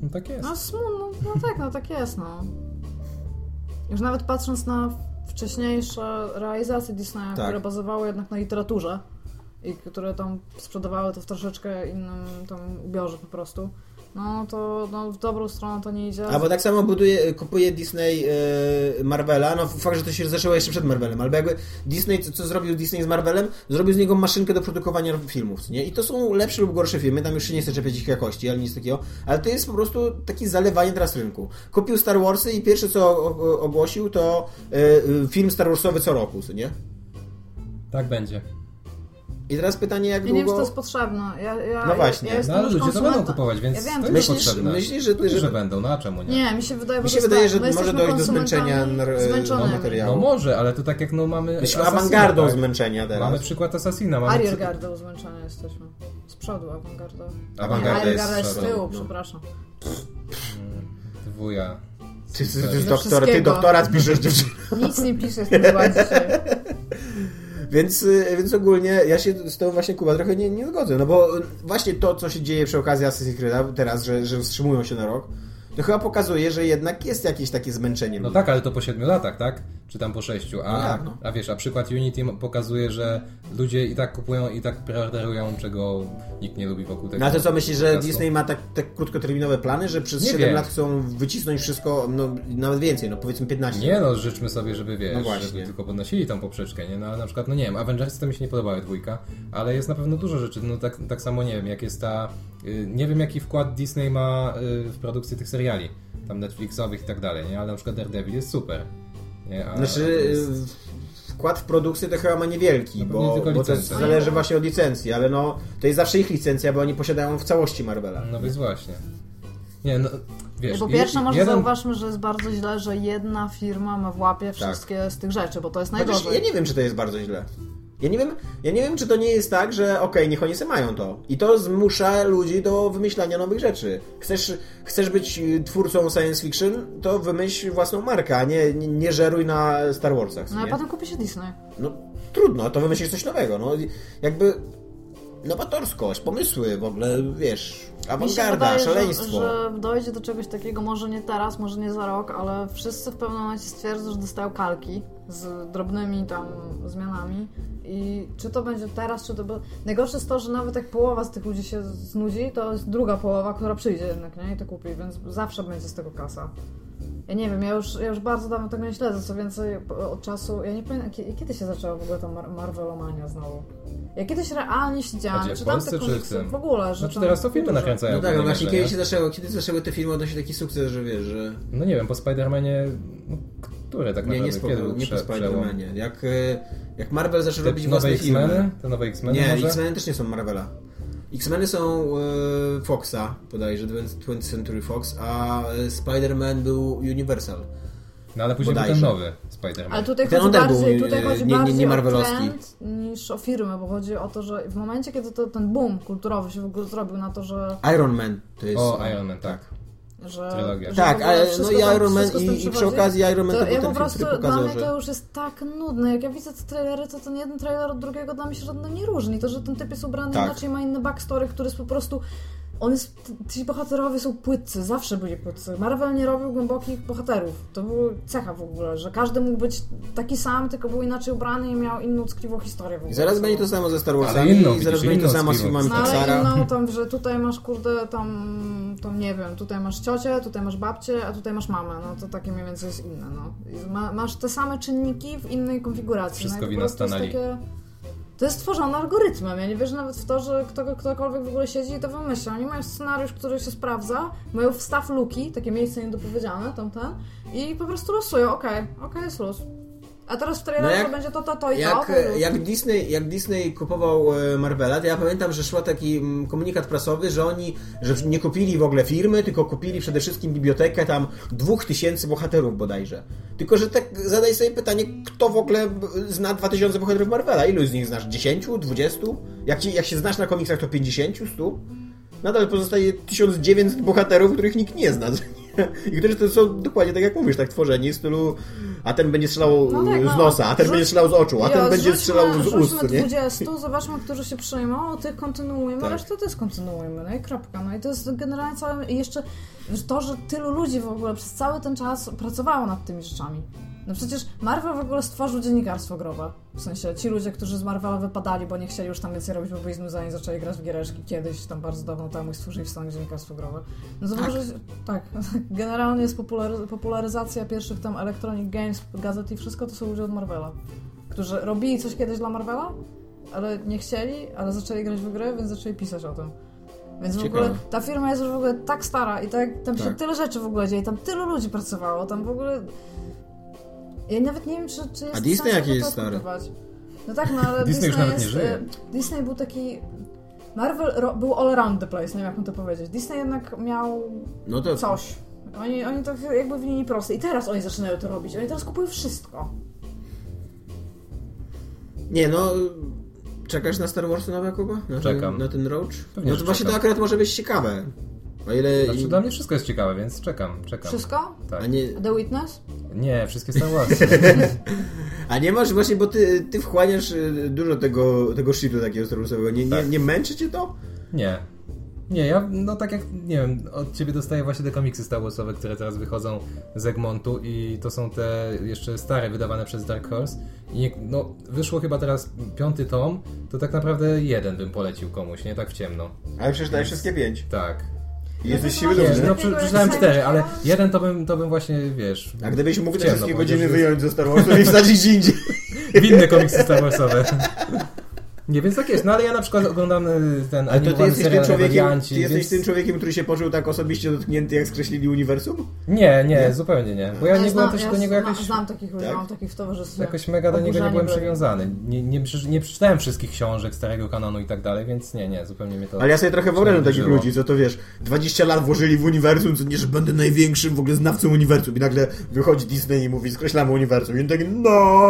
Speaker 4: No tak jest.
Speaker 2: No smutno, no tak, no tak jest, no. Już nawet patrząc na wcześniejsze realizacje Disneya,
Speaker 3: Tak.
Speaker 2: które bazowały jednak na literaturze i które tam sprzedawały to w troszeczkę innym tam ubiorze po prostu, no to no, w dobrą stronę to nie idzie.
Speaker 3: Albo tak samo buduje, kupuje Disney e, Marvela, no fakt, że to się zaczęło jeszcze przed Marvelem, albo jakby Disney, co, co zrobił Disney z Marvelem, zrobił z niego maszynkę do produkowania filmów, co nie? I to są lepsze lub gorsze filmy, tam już się nie chce czepiać ich jakości, ale nic takiego, ale to jest po prostu takie zalewanie teraz rynku. Kupił Star Warsy i pierwsze co o- o- ogłosił to e, e, film Star Warsowy co roku, co nie?
Speaker 4: Tak będzie.
Speaker 3: I teraz pytanie, jak
Speaker 2: Ja nie wiem, czy to
Speaker 3: długo...
Speaker 2: jest potrzebne. Ja, ja,
Speaker 3: No właśnie.
Speaker 2: Ja jestem
Speaker 4: No ale
Speaker 2: już
Speaker 4: ludzie to
Speaker 2: konsumentem.
Speaker 4: będą kupować, więc
Speaker 2: Ja wiem,
Speaker 4: to
Speaker 2: czy
Speaker 4: jest
Speaker 3: myślisz-
Speaker 4: potrzebne.
Speaker 3: myślisz, że-
Speaker 4: Pewnie,
Speaker 3: że-
Speaker 4: będą, no a czemu nie?
Speaker 2: Nie, mi się wydaje, bo
Speaker 3: Mi się
Speaker 2: to jest
Speaker 3: wydaje,
Speaker 2: tak.
Speaker 3: że
Speaker 2: My
Speaker 3: może
Speaker 2: jesteśmy
Speaker 3: dojść do
Speaker 2: konsumentami
Speaker 3: zmęczenia nar-
Speaker 2: zmęczonymi.
Speaker 3: materiału.
Speaker 4: No może, ale to tak jak no mamy
Speaker 3: Myślę
Speaker 4: Assassina,
Speaker 3: awangardą
Speaker 4: tak?
Speaker 3: zmęczenia teraz.
Speaker 4: Mamy przykład Assassina. Mamy przy-
Speaker 2: Ariergardą zmęczeni jesteśmy. Z przodu awangarda.
Speaker 4: Awangarda
Speaker 2: Nie,
Speaker 3: jest
Speaker 2: Ariergarda jest z
Speaker 3: z przodu,
Speaker 2: tyłu,
Speaker 3: no.
Speaker 2: przepraszam.
Speaker 4: Wuja.
Speaker 3: Ty, ty,
Speaker 4: Tak.
Speaker 3: ty,
Speaker 2: Do
Speaker 3: doktor, ty
Speaker 2: wszystkiego.
Speaker 3: doktorat piszesz dziewczyny.
Speaker 2: Nic nie piszę z tym dzisiaj.
Speaker 3: Więc, y, więc ogólnie ja się z tą właśnie Kuba trochę nie, nie zgodzę, no bo y, właśnie to, co się dzieje przy okazji Assassin's Creed'a teraz, że, że wstrzymują się na rok, to chyba pokazuje, że jednak jest jakieś takie zmęczenie.
Speaker 4: No
Speaker 3: ludzi.
Speaker 4: tak, ale to po 7 latach, tak? Czy tam po 6. A,
Speaker 3: No tak, no.
Speaker 4: a wiesz, a przykład Unity m- pokazuje, że ludzie i tak kupują, i tak preorderują, czego nikt nie lubi wokół tego.
Speaker 3: No a to co myślisz, że
Speaker 4: tak. Jasno.
Speaker 3: Disney ma tak, tak krótkoterminowe plany, że przez
Speaker 4: Nie
Speaker 3: 7
Speaker 4: wiem.
Speaker 3: lat chcą wycisnąć wszystko, no nawet więcej, no powiedzmy 15.
Speaker 4: Nie no, życzmy sobie, żeby
Speaker 3: No
Speaker 4: wiesz,
Speaker 3: właśnie.
Speaker 4: żeby tylko podnosili tą poprzeczkę, nie? No ale na przykład, no nie wiem, Avengers to mi się nie podobały dwójka, ale jest na pewno dużo rzeczy, no tak, tak samo nie wiem, jak jest ta, y, nie wiem jaki wkład Disney ma y, w produkcję tych seriali, tam Netflixowych i tak dalej, nie? Ale na przykład Daredevil jest super. Nie? A,
Speaker 3: Znaczy
Speaker 4: a to
Speaker 3: y,
Speaker 4: jest-
Speaker 3: wkład w produkcję to chyba ma niewielki,
Speaker 4: No pewnie
Speaker 3: bo,
Speaker 4: tylko
Speaker 3: bo to
Speaker 4: licencja.
Speaker 3: zależy właśnie od licencji, ale no to jest zawsze ich licencja, bo oni posiadają w całości Marvela.
Speaker 4: No więc właśnie. Nie, no wiesz...
Speaker 2: Po
Speaker 4: i-
Speaker 2: pierwsze, może
Speaker 4: jeden- Tak.
Speaker 2: zauważmy, że jest bardzo źle, że jedna firma ma w łapie wszystkie z tych rzeczy, bo to
Speaker 4: Znaczy,
Speaker 2: jest
Speaker 3: Chociaż
Speaker 2: najgorzej.
Speaker 3: Znaczy, ja nie wiem, czy to jest bardzo źle. Ja nie wiem, ja nie wiem czy to nie jest tak, że okej, niech oni se mają to. I to zmusza ludzi do wymyślania nowych rzeczy. Chcesz, chcesz być y, twórcą science fiction, to wymyśl własną markę, a nie, nie, nie żeruj na Star Warsach.
Speaker 2: No a
Speaker 3: nie?
Speaker 2: potem kupi się Disney.
Speaker 3: no trudno, to wymyślisz coś nowego. No, i jakby nowatorskość, pomysły w ogóle, wiesz,
Speaker 2: Mi się
Speaker 3: awangarda,
Speaker 2: wydaje,
Speaker 3: szaleństwo.
Speaker 2: Że, że dojdzie do czegoś takiego, może nie teraz, może nie za rok, ale wszyscy w pewnym momencie stwierdzą, że dostają kalki z drobnymi tam zmianami. I czy to będzie teraz, czy to będzie. Najgorsze jest to, że nawet jak połowa z tych ludzi się znudzi, to jest druga połowa, która przyjdzie jednak, nie? I to kupi, więc zawsze będzie z tego kasa. Ja nie wiem, ja już, ja już bardzo dawno tego nie śledzę, co więcej po- od czasu... Ja nie pamiętam, kie- kiedy się zaczęła w ogóle ta Mar- Marvelomania znowu? Ja kiedyś realnie
Speaker 4: A
Speaker 2: siedziałam,
Speaker 4: gdzie, w
Speaker 2: czytam
Speaker 4: Polsce
Speaker 2: te
Speaker 4: czy w
Speaker 2: komiksy
Speaker 4: tym?
Speaker 2: w ogóle, że
Speaker 4: Znaczy
Speaker 2: tam
Speaker 4: teraz to filmy
Speaker 2: dużo.
Speaker 4: nakręcają.
Speaker 3: No tak, no
Speaker 4: powiem
Speaker 3: właśnie
Speaker 4: szczerze.
Speaker 3: kiedy się zaczęło, kiedy zaczęły te filmy odnosić taki sukces, że wiesz, że
Speaker 4: No nie wiem, po Spidermanie... No, które tak
Speaker 3: Nie,
Speaker 4: naprawdę?
Speaker 3: nie,
Speaker 4: Kiedy
Speaker 3: spoko,
Speaker 4: był
Speaker 3: nie po
Speaker 4: prze- przełom?
Speaker 3: Spider-Manie. Jak, e, jak Marvel zaczął robić
Speaker 4: Te nowe
Speaker 3: własne filmy.
Speaker 4: X-Meny? Te nowe X-Meny
Speaker 3: Nie,
Speaker 4: może?
Speaker 3: X-Meny też nie są Marvela. X-Meny są e, Foxa, bodajże 20th Century Fox, a e, Spider-Man był Universal.
Speaker 4: No ale później
Speaker 3: Bodajże.
Speaker 4: był ten nowy Spider-Man.
Speaker 2: Ale tutaj
Speaker 3: Tak. Ten
Speaker 2: chodzi,
Speaker 3: Odell był,
Speaker 2: bardziej,
Speaker 3: nie-
Speaker 2: tutaj chodzi
Speaker 3: nie- nie
Speaker 2: bardziej o
Speaker 3: Marvelowski.
Speaker 2: trend niż o firmę, bo chodzi o to, że w momencie, kiedy to, ten boom kulturowy się w ogóle zrobił na to, że...
Speaker 3: Iron Man to jest.
Speaker 4: O, Iron Man, tak.
Speaker 2: że,
Speaker 4: Trylogia.
Speaker 2: że
Speaker 3: Tak,
Speaker 2: w ogóle
Speaker 3: ale
Speaker 2: wszystko
Speaker 3: no i
Speaker 2: tam-
Speaker 3: Iron Man
Speaker 2: wszystko z tym
Speaker 3: i- i przy
Speaker 2: przychodzi.
Speaker 3: okazji Iron Man to był
Speaker 2: ja po
Speaker 3: ten film,
Speaker 2: prostu,
Speaker 3: który
Speaker 2: dla
Speaker 3: pokazał,
Speaker 2: mnie
Speaker 3: że-
Speaker 2: to już jest tak nudne. Jak ja widzę te trailery, to ten jeden trailer od drugiego dla mnie się żadnym nie różni. To, że ten typ jest ubrany
Speaker 3: Tak.
Speaker 2: inaczej, ma inny backstory, który jest po prostu on jest, t- ci bohaterowie są płytcy, zawsze byli płytcy. Marvel nie robił głębokich bohaterów. To była cecha w ogóle, że każdy mógł być taki sam, tylko był inaczej ubrany i miał inną tkliwą historię w ogóle.
Speaker 3: I zaraz będzie to samo ze Star Warsami,
Speaker 4: Ale inną,
Speaker 3: i
Speaker 4: widzisz,
Speaker 3: zaraz będzie to
Speaker 4: inną
Speaker 3: samo z
Speaker 4: z piwem.
Speaker 3: filmami
Speaker 2: No ale
Speaker 3: Pixara.
Speaker 2: inną tam, że tutaj masz kurde, tam, tam nie wiem, tutaj masz ciocię, tutaj masz babcię, a tutaj masz mamę, no to takie mniej więcej jest inne, no. I Ma, masz te same czynniki w innej konfiguracji.
Speaker 4: Wszystko
Speaker 2: no, i po
Speaker 4: wina
Speaker 2: prostu jest
Speaker 4: Stanali.
Speaker 2: takie- To jest tworzone algorytmem, ja nie wierzę nawet w to, że kto, ktokolwiek w ogóle siedzi i to wymyśla. Oni mają scenariusz, który się sprawdza, mają wstaw luki, takie miejsce niedopowiedziane, tamten, i po prostu losują, okej, okej, jest luz. A teraz w trailerze
Speaker 3: No jak-
Speaker 2: będzie to, to, to i to.
Speaker 3: Jak,
Speaker 2: to luz.
Speaker 3: jak, Disney, jak Disney kupował e, Marvela, to ja pamiętam, że szła taki mm, komunikat prasowy, że oni że nie kupili w ogóle firmy, tylko kupili przede wszystkim bibliotekę tam dwóch tysięcy bohaterów bodajże. Tylko, że tak zadaj sobie pytanie, kto w ogóle b- zna 2000 bohaterów Marvela? Ilu z nich znasz? 10? 20? Jak, ci, jak się znasz na komiksach, to 50? 100? Nadal pozostaje 1900 bohaterów, których nikt nie zna. [laughs] I którzy to są dokładnie tak jak mówisz, tak tworzeni w stylu a ten będzie strzelał
Speaker 2: No tak,
Speaker 3: e,
Speaker 2: no.
Speaker 3: z nosa, a ten
Speaker 2: Rzuć-
Speaker 3: będzie strzelał z oczu,
Speaker 2: Ja,
Speaker 3: a ten będzie
Speaker 2: zrzućmy-
Speaker 3: strzelał z ust,
Speaker 2: Rzućmy
Speaker 3: nie?
Speaker 2: 20, zobaczmy, którzy się przejmą, tych kontynuujemy,
Speaker 3: Tak.
Speaker 2: No resztę też kontynuujemy, no i kropka. No i to jest generalnie całe... I jeszcze to, że tylu ludzi w ogóle przez cały ten czas pracowało nad tymi rzeczami. No przecież Marvel w ogóle stworzył dziennikarstwo growe. W sensie ci ludzie, którzy z Marvela wypadali, bo nie chcieli już tam więcej robić, bo byli znudzeni, zaczęli grać w giereczki kiedyś, tam bardzo dawno temu i stworzyli w Stanach dziennikarstwo growe. No to może... Tak. [laughs] Generalnie jest populary, popularyzacja pierwszych tam Electronic Games, gazet i wszystko to są ludzie od Marvela którzy robili coś kiedyś dla Marvela, ale nie chcieli, ale zaczęli grać w grę, więc zaczęli pisać o tym. Więc w
Speaker 4: Ciekawe.
Speaker 2: ogóle ta firma jest już w ogóle tak stara i tak, tam się
Speaker 3: Tak.
Speaker 2: tyle rzeczy w ogóle dzieje, tam tylu ludzi pracowało, tam w ogóle... Ja nawet nie wiem, czy, czy jest
Speaker 3: A Disney
Speaker 2: sens tak w ogóle
Speaker 3: jaki jest
Speaker 2: to
Speaker 3: stary?
Speaker 2: odkupywać. No tak, no ale
Speaker 4: Disney
Speaker 2: Disney,
Speaker 4: już nawet nie
Speaker 2: jest,
Speaker 4: żyje.
Speaker 2: e, Disney był taki... Marvel ro- był all around the place, nie wiem jak mam to powiedzieć. Disney jednak miał
Speaker 3: No
Speaker 4: tak.
Speaker 3: to
Speaker 2: coś. Oni, oni to jakby w linii prostej. I teraz oni zaczynają to robić. Oni teraz kupują wszystko.
Speaker 3: Nie no... Czekasz na Star Warsy nowe, Kuba? Na Ten,
Speaker 4: Czekam.
Speaker 3: na ten Roach?
Speaker 4: Pewnie,
Speaker 3: no to
Speaker 4: że
Speaker 3: właśnie to
Speaker 4: czekam.
Speaker 3: akurat może być ciekawe. O ile...
Speaker 4: Znaczy,
Speaker 3: i-
Speaker 4: dla mnie wszystko jest ciekawe, więc czekam, czekam.
Speaker 2: Wszystko?
Speaker 4: Tak.
Speaker 3: A nie,
Speaker 2: A The Witness?
Speaker 4: Nie, wszystkie Star
Speaker 3: [laughs]
Speaker 4: Wars.
Speaker 3: a nie masz właśnie, bo ty, ty wchłaniasz y, dużo tego, tego shitu takiego Star Warsowego. Nie, nie,
Speaker 4: Tak.
Speaker 3: nie męczy cię to?
Speaker 4: Nie. Nie, ja, no tak jak, nie wiem, od ciebie dostaję właśnie te komiksy Star Warsowe, które teraz wychodzą z Egmontu i to są te jeszcze stare, wydawane przez Dark Horse. I nie, no, wyszło chyba teraz piąty tom, to tak naprawdę jeden bym polecił komuś, nie tak w ciemno.
Speaker 3: Ale przeczytałeś wszystkie pięć.
Speaker 4: Tak.
Speaker 3: I jesteś
Speaker 2: to
Speaker 3: siły
Speaker 2: masz-
Speaker 4: Nie,
Speaker 3: dobrze.
Speaker 4: no
Speaker 2: Takiego
Speaker 4: przy-
Speaker 2: jak
Speaker 4: przeczytałem
Speaker 2: Silent
Speaker 4: cztery, ale
Speaker 2: Hill.
Speaker 4: jeden to bym, to bym właśnie, wiesz...
Speaker 3: A gdybyś mógł te
Speaker 4: no- ciemno
Speaker 3: wszystkie
Speaker 4: powiedział,
Speaker 3: godziny
Speaker 4: że-
Speaker 3: wyjąć ze Star Warsu i wsadzić gdzie indziej.
Speaker 4: W inne komiksy Star Warsowe. Nie, więc tak jest, no ale ja na przykład oglądam y, ten
Speaker 3: Ale to ty
Speaker 4: animowany
Speaker 3: jesteś tym
Speaker 4: serial
Speaker 3: człowiekiem,
Speaker 4: Rebelianci,
Speaker 3: ty jesteś
Speaker 4: więc-
Speaker 3: tym człowiekiem, który się poczuł tak osobiście dotknięty, jak skreślili uniwersum?
Speaker 4: Nie, nie, zupełnie nie, bo ja nie byłem też do niego
Speaker 2: zna-
Speaker 4: jakoś...
Speaker 2: znam takich ludzi,
Speaker 3: Tak?
Speaker 2: mam takich w towarzystwie.
Speaker 4: Jakoś mega do niego nie
Speaker 2: Oburzani
Speaker 4: byłem
Speaker 2: byli.
Speaker 4: przywiązany. Nie, nie, przeczy- nie przeczytałem wszystkich książek starego kanonu i tak dalej, więc nie, nie, zupełnie mnie to...
Speaker 3: Ale ja sobie trochę wyobrażam takich
Speaker 4: Żyło.
Speaker 3: ludzi, co to wiesz, 20 lat włożyli w uniwersum, co nie, że będę największym w ogóle znawcą uniwersum i nagle wychodzi Disney i mówi, skreślamy uniwersum i on tak,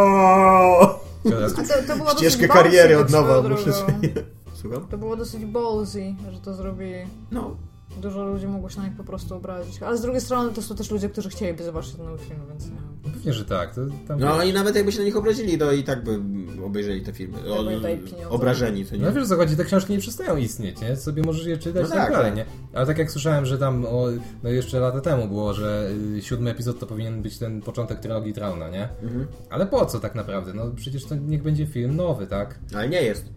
Speaker 3: no
Speaker 4: Teraz-
Speaker 2: A to, to było
Speaker 3: Ścieżkę
Speaker 2: dosyć
Speaker 3: kariery
Speaker 2: ballsy,
Speaker 3: od nowa,
Speaker 2: swoją
Speaker 3: muszę
Speaker 2: drogą.
Speaker 3: sobie... [laughs] Słucham?
Speaker 2: To było dosyć ballsy, że to zrobili.
Speaker 3: No.
Speaker 2: Dużo ludzi mogło się na nich po prostu obrazić. Ale z drugiej strony to są też ludzie, którzy chcieliby zobaczyć ten nowy film, więc nie wiem.
Speaker 4: Pewnie, że tak. To, tam...
Speaker 3: No i nawet jakby się na nich obrazili, to i tak by mm, obejrzeli te filmy. O,
Speaker 2: Jakby dali pieniądze.
Speaker 3: obrażeni, co
Speaker 4: No
Speaker 3: nie?
Speaker 4: wiesz o co chodzi, te książki nie przestają istnieć, nie? Sobie możesz je czytać
Speaker 3: No
Speaker 4: i tak,
Speaker 3: tak,
Speaker 4: dalej,
Speaker 3: tak.
Speaker 4: nie? Ale tak jak słyszałem, że tam, o, no jeszcze lata temu było, że y, siódmy epizod to powinien być ten początek trylogii Trauna, nie?
Speaker 3: Mhm.
Speaker 4: Ale po co tak naprawdę? No przecież to niech będzie film nowy, tak?
Speaker 3: Ale nie jest. [laughs]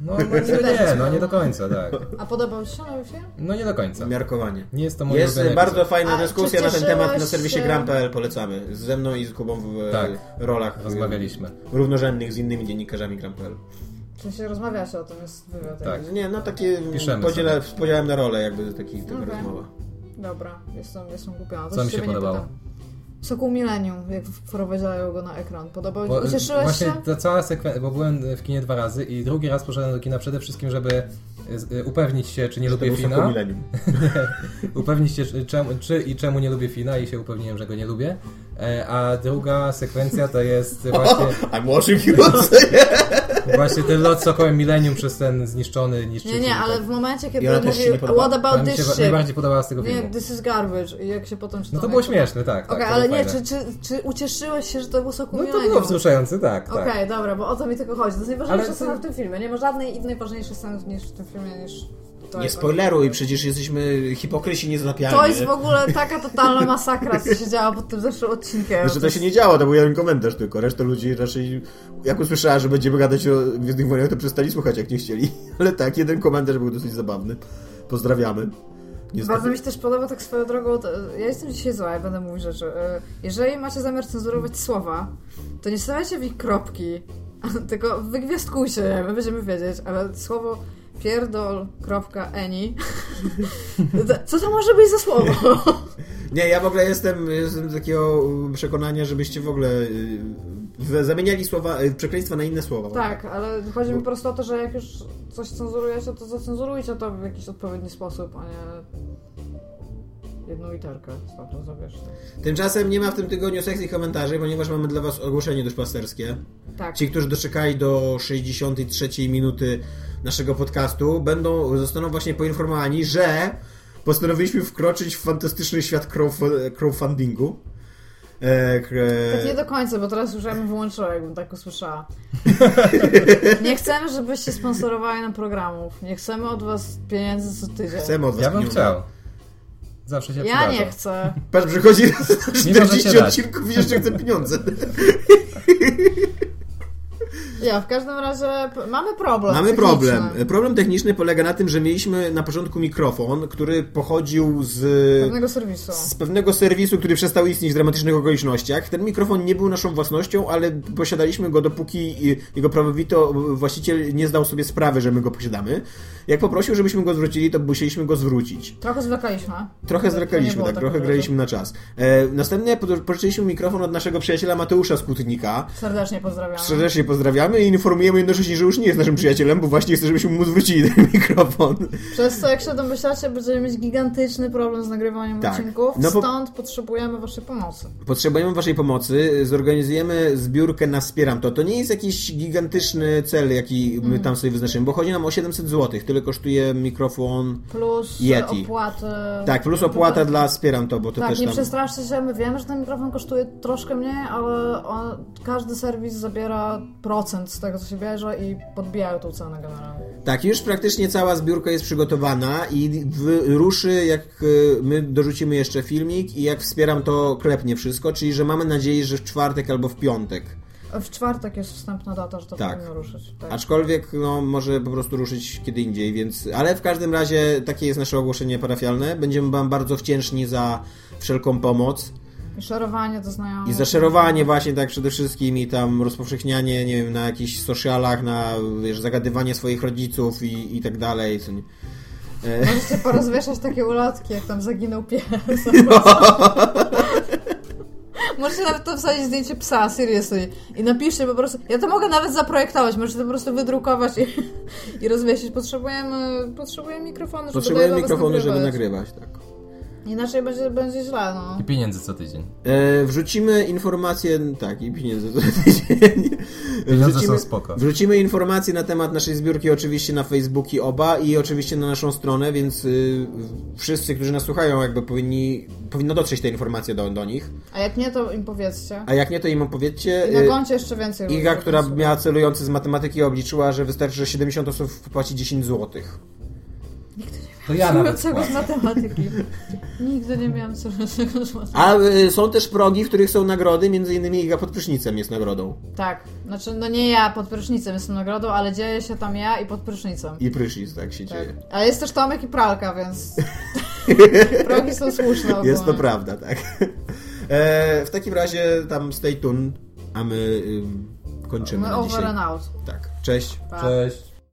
Speaker 4: No, no nie, nie, no nie do końca, tak.
Speaker 2: A podobał Ci się nowy film?
Speaker 4: No nie do końca.
Speaker 3: Miarkowanie.
Speaker 4: Nie jest to mój
Speaker 3: Jest
Speaker 4: ulubiony
Speaker 3: bardzo
Speaker 4: epizod.
Speaker 3: fajna
Speaker 2: A,
Speaker 3: dyskusja
Speaker 2: czy
Speaker 3: na ten temat na
Speaker 2: cieszyłaś
Speaker 3: serwisie
Speaker 2: się-
Speaker 3: gram.pl polecamy. Ze mną i z Kubą w e,
Speaker 4: Tak.
Speaker 3: rolach e,
Speaker 4: Rozmawialiśmy.
Speaker 3: równorzędnych z innymi dziennikarzami gram.pl.
Speaker 2: W sensie rozmawia się o tym, jest wywiad.
Speaker 4: Tak.
Speaker 3: Nie, no takie
Speaker 4: Piszemy
Speaker 3: podzielę, z podziałem na rolę jakby taki taka
Speaker 2: Okej.
Speaker 3: rozmowa.
Speaker 2: Dobra, jestem, jestem głupiona. To
Speaker 4: Co mi się
Speaker 2: ciebie nie
Speaker 4: podobało?
Speaker 2: pytam. Sokół Millennium, jak wprowadzają go na ekran. Podobał
Speaker 4: Bo,
Speaker 2: Ci Ucieszyłeś
Speaker 4: właśnie
Speaker 2: się?
Speaker 4: ta cała sekwencja, bo byłem w kinie dwa razy i drugi raz poszedłem do kina przede wszystkim, żeby z- y, upewnić się, czy nie
Speaker 3: To
Speaker 4: lubię
Speaker 3: był
Speaker 4: Fina.
Speaker 3: [laughs] milenium.
Speaker 4: upewnić się, czy, czemu- czy i czemu nie lubię Fina i się upewniłem, że go nie lubię. E, A druga sekwencja to
Speaker 3: [laughs]
Speaker 4: jest właśnie,
Speaker 3: I'm watching you
Speaker 4: [laughs] właśnie ten lot sokołem milenium przez ten zniszczony niszczyciel.
Speaker 2: Nie, nie, ale w momencie, kiedy
Speaker 3: Ja też się nie
Speaker 2: mówił
Speaker 3: podoba.
Speaker 2: What
Speaker 4: To
Speaker 2: about
Speaker 4: mi się
Speaker 2: this shit?
Speaker 4: najbardziej podobała z tego
Speaker 2: Nie,
Speaker 4: filmu.
Speaker 2: this is garbage. I jak się potem czyta.
Speaker 4: No to było śmieszne, tak. tak
Speaker 2: Okej,
Speaker 4: to
Speaker 2: ale
Speaker 4: było
Speaker 2: nie, czy,
Speaker 4: fajne.
Speaker 2: czy, czy ucieszyłeś się, że to był Sokół
Speaker 4: No to
Speaker 2: Millennium?
Speaker 4: było wzruszające, tak,
Speaker 2: Okej,
Speaker 4: tak.
Speaker 2: dobra, bo o to mi tylko chodzi. To jest najważniejsza
Speaker 4: Ale to-
Speaker 2: scena w tym filmie. Nie ma żadnej innej ważniejszej sceny niż w tym filmie niż
Speaker 4: Tak.
Speaker 2: to
Speaker 3: Nie
Speaker 2: jest-
Speaker 3: spoileruj, przecież jesteśmy hipokrysi niezatapialni.
Speaker 2: To jest w ogóle taka totalna masakra, co się działo pod tym zeszłym odcinkiem.
Speaker 3: Znaczy to się nie działo, to był jeden komentarz tylko. Reszta ludzi raczej, jak usłyszała, że będziemy gadać o Gwiezdnych Wojnach, to przestali słuchać, jak nie chcieli. [laughs] Ale tak, jeden komentarz był dosyć zabawny. Pozdrawiamy. Nie
Speaker 2: Bardzo mi się też podoba tak swoją drogą. To, ja jestem dzisiaj zła, ja będę mówić rzeczy. E, Jeżeli macie zamiar cenzurować słowa, to nie stawiajcie w nich kropki, [laughs] tylko wygwiazdkujcie je, my będziemy wiedzieć, ale słowo pierdol, kropka, eni. [laughs] to- Co to może być za słowo?
Speaker 3: [laughs] Nie, ja w ogóle jestem, jestem takiego y, przekonania, żebyście w ogóle y, we- zamieniali słowa, y, przekleństwa na inne słowa.
Speaker 2: tak, ale chodzi mi po prostu o to, że jak już coś cenzurujecie, to zacenzurujcie to w jakiś odpowiedni sposób, a nie jedną literkę stamtąd zabierzcie.
Speaker 3: Tymczasem nie ma w tym tygodniu sekcji komentarzy, ponieważ mamy dla was ogłoszenie duszpasterskie.
Speaker 2: Tak.
Speaker 3: Ci, którzy doczekali do 63 minuty naszego podcastu, będą zostaną właśnie poinformowani, że postanowiliśmy wkroczyć w fantastyczny świat crowdf- crowdfundingu. E, k-
Speaker 2: Tak nie
Speaker 3: e,
Speaker 2: do końca, bo teraz już ja bym wyłączyła, jakbym tak
Speaker 3: [laughs]
Speaker 2: usłyszała. nie chcemy, żebyście sponsorowali nam programów. Nie chcemy od was pieniędzy co tydzień.
Speaker 3: chcemy od was
Speaker 4: Ja bym
Speaker 3: pieniądze.
Speaker 4: chciał. Zawsze się
Speaker 2: Ja
Speaker 4: przydarza.
Speaker 2: nie chcę.
Speaker 3: Patrz, przychodzi
Speaker 4: Mimo, że
Speaker 3: 40
Speaker 4: się da.
Speaker 3: odcinków i jeszcze chce
Speaker 2: [laughs]
Speaker 3: pieniądze.
Speaker 2: Ja, w każdym razie p- mamy problem.
Speaker 3: Mamy
Speaker 2: techniczny.
Speaker 3: problem. Problem techniczny polega na tym, że mieliśmy na początku mikrofon, który pochodził z
Speaker 2: Pewnego serwisu.
Speaker 3: z pewnego serwisu, który przestał istnieć w dramatycznych okolicznościach. Ten mikrofon nie był naszą własnością, ale posiadaliśmy go dopóki y, jego prawowito właściciel nie zdał sobie sprawy, że my go posiadamy. Jak poprosił, żebyśmy go zwrócili, to musieliśmy go zwrócić.
Speaker 2: Trochę zwlekaliśmy.
Speaker 3: Trochę
Speaker 2: To nie
Speaker 3: zwlekaliśmy,
Speaker 2: było
Speaker 3: tak, trochę
Speaker 2: takiego
Speaker 3: graliśmy na czas. E, następnie pod- pożyczyliśmy mikrofon od naszego przyjaciela Mateusza Skutnika.
Speaker 2: razu. Serdecznie pozdrawiam.
Speaker 3: Serdecznie pozdrawiamy i informujemy jednocześnie, że już nie jest naszym przyjacielem, bo właśnie chce, żebyśmy mu zwrócili ten [laughs] mikrofon.
Speaker 2: Przez co, jak się domyślacie, będziemy mieć gigantyczny problem z nagrywaniem
Speaker 3: Tak.
Speaker 2: odcinków.
Speaker 3: No bo-
Speaker 2: Stąd potrzebujemy waszej pomocy.
Speaker 3: Potrzebujemy Waszej pomocy, zorganizujemy zbiórkę na Wspieram To. To nie jest jakiś gigantyczny cel, jaki
Speaker 2: Mhm.
Speaker 3: my tam sobie wyznaczymy, bo chodzi nam o 700 zł, tyle kosztuje mikrofon.
Speaker 2: Plus
Speaker 3: Yeti.
Speaker 2: opłaty.
Speaker 3: Tak, plus opłata dla Wspieram To, bo to
Speaker 2: tak,
Speaker 3: też
Speaker 2: nie
Speaker 3: tam...
Speaker 2: przestraszcie się, my wiemy, że ten mikrofon kosztuje troszkę mniej, ale on, każdy serwis zabiera procent z tego, co się bierze i podbijają tą cenę generalnie.
Speaker 3: Tak, już praktycznie cała zbiórka jest przygotowana i w, ruszy, jak y, my dorzucimy jeszcze filmik i jak Wspieram To klepnie wszystko, czyli że mamy nadzieję, że w czwartek albo w piątek.
Speaker 2: W czwartek jest wstępna data, że to
Speaker 3: Tak.
Speaker 2: powinno ruszyć. Tak.
Speaker 3: Aczkolwiek no, może po prostu ruszyć kiedy indziej, więc. Ale w każdym razie takie jest nasze ogłoszenie parafialne. Będziemy Wam bardzo wdzięczni za wszelką pomoc
Speaker 2: I szerowanie to znają.
Speaker 3: i za szerowanie, właśnie tak przede wszystkim, i tam rozpowszechnianie, nie wiem, na jakichś socialach, na wiesz, zagadywanie swoich rodziców i, i tak dalej. co nie-
Speaker 2: Możecie porozwieszać takie ulotki, jak tam zaginął pies.
Speaker 3: No.
Speaker 2: [laughs] Możecie nawet tam wsadzić zdjęcie psa, seriously. I napiszcie po prostu. Ja to mogę nawet zaprojektować, możecie to po prostu wydrukować i, i rozwiesić. Potrzebujemy, potrzebujemy mikrofonu, żeby
Speaker 3: Potrzebujemy
Speaker 2: dalej do was
Speaker 3: mikrofonu, żeby
Speaker 2: nagrywać.
Speaker 3: nagrywać, tak.
Speaker 2: Inaczej będzie, będzie źle, no.
Speaker 4: I pieniędzy co tydzień.
Speaker 3: E, wrzucimy informacje, tak, i pieniędzy. [laughs]
Speaker 4: Pieniądze są spoko.
Speaker 3: Wrzucimy informacje na temat naszej zbiórki oczywiście na Facebooki oba i oczywiście na naszą stronę, więc y, wszyscy, którzy nas słuchają, jakby powinni, powinno dotrzeć te informacje do, do nich.
Speaker 2: A jak nie, to im powiedzcie.
Speaker 3: A jak nie, to im opowiedzcie.
Speaker 2: I na
Speaker 3: Y,
Speaker 2: koncie jeszcze więcej. ludzi
Speaker 3: Iga, która
Speaker 2: zapisuje.
Speaker 3: miała celujący z matematyki, obliczyła, że wystarczy, że 70 osób płaci 10 złotych.
Speaker 2: [laughs]
Speaker 4: To ja nawet
Speaker 2: Czegoś z
Speaker 4: płacę.
Speaker 2: matematyki. Nigdy nie miałam co z matematyki.
Speaker 3: A y, są też progi, w których są nagrody, między innymi Iga pod prysznicem jest nagrodą.
Speaker 2: Tak, znaczy, no nie ja pod prysznicem jestem nagrodą, ale dzieje się tam ja i pod prysznicem.
Speaker 3: I prysznic, tak się
Speaker 2: Tak.
Speaker 3: dzieje.
Speaker 2: Ale jest też Tomek i pralka,
Speaker 3: [laughs]
Speaker 2: więc. Progi są słuszne. Ogólnie.
Speaker 3: Jest to prawda, tak. [laughs] E, w takim razie tam stay tuned, a my ym, kończymy
Speaker 2: My
Speaker 3: na
Speaker 2: over
Speaker 3: dzisiaj.
Speaker 2: and out.
Speaker 3: Tak, cześć.
Speaker 2: Pa.
Speaker 4: Cześć.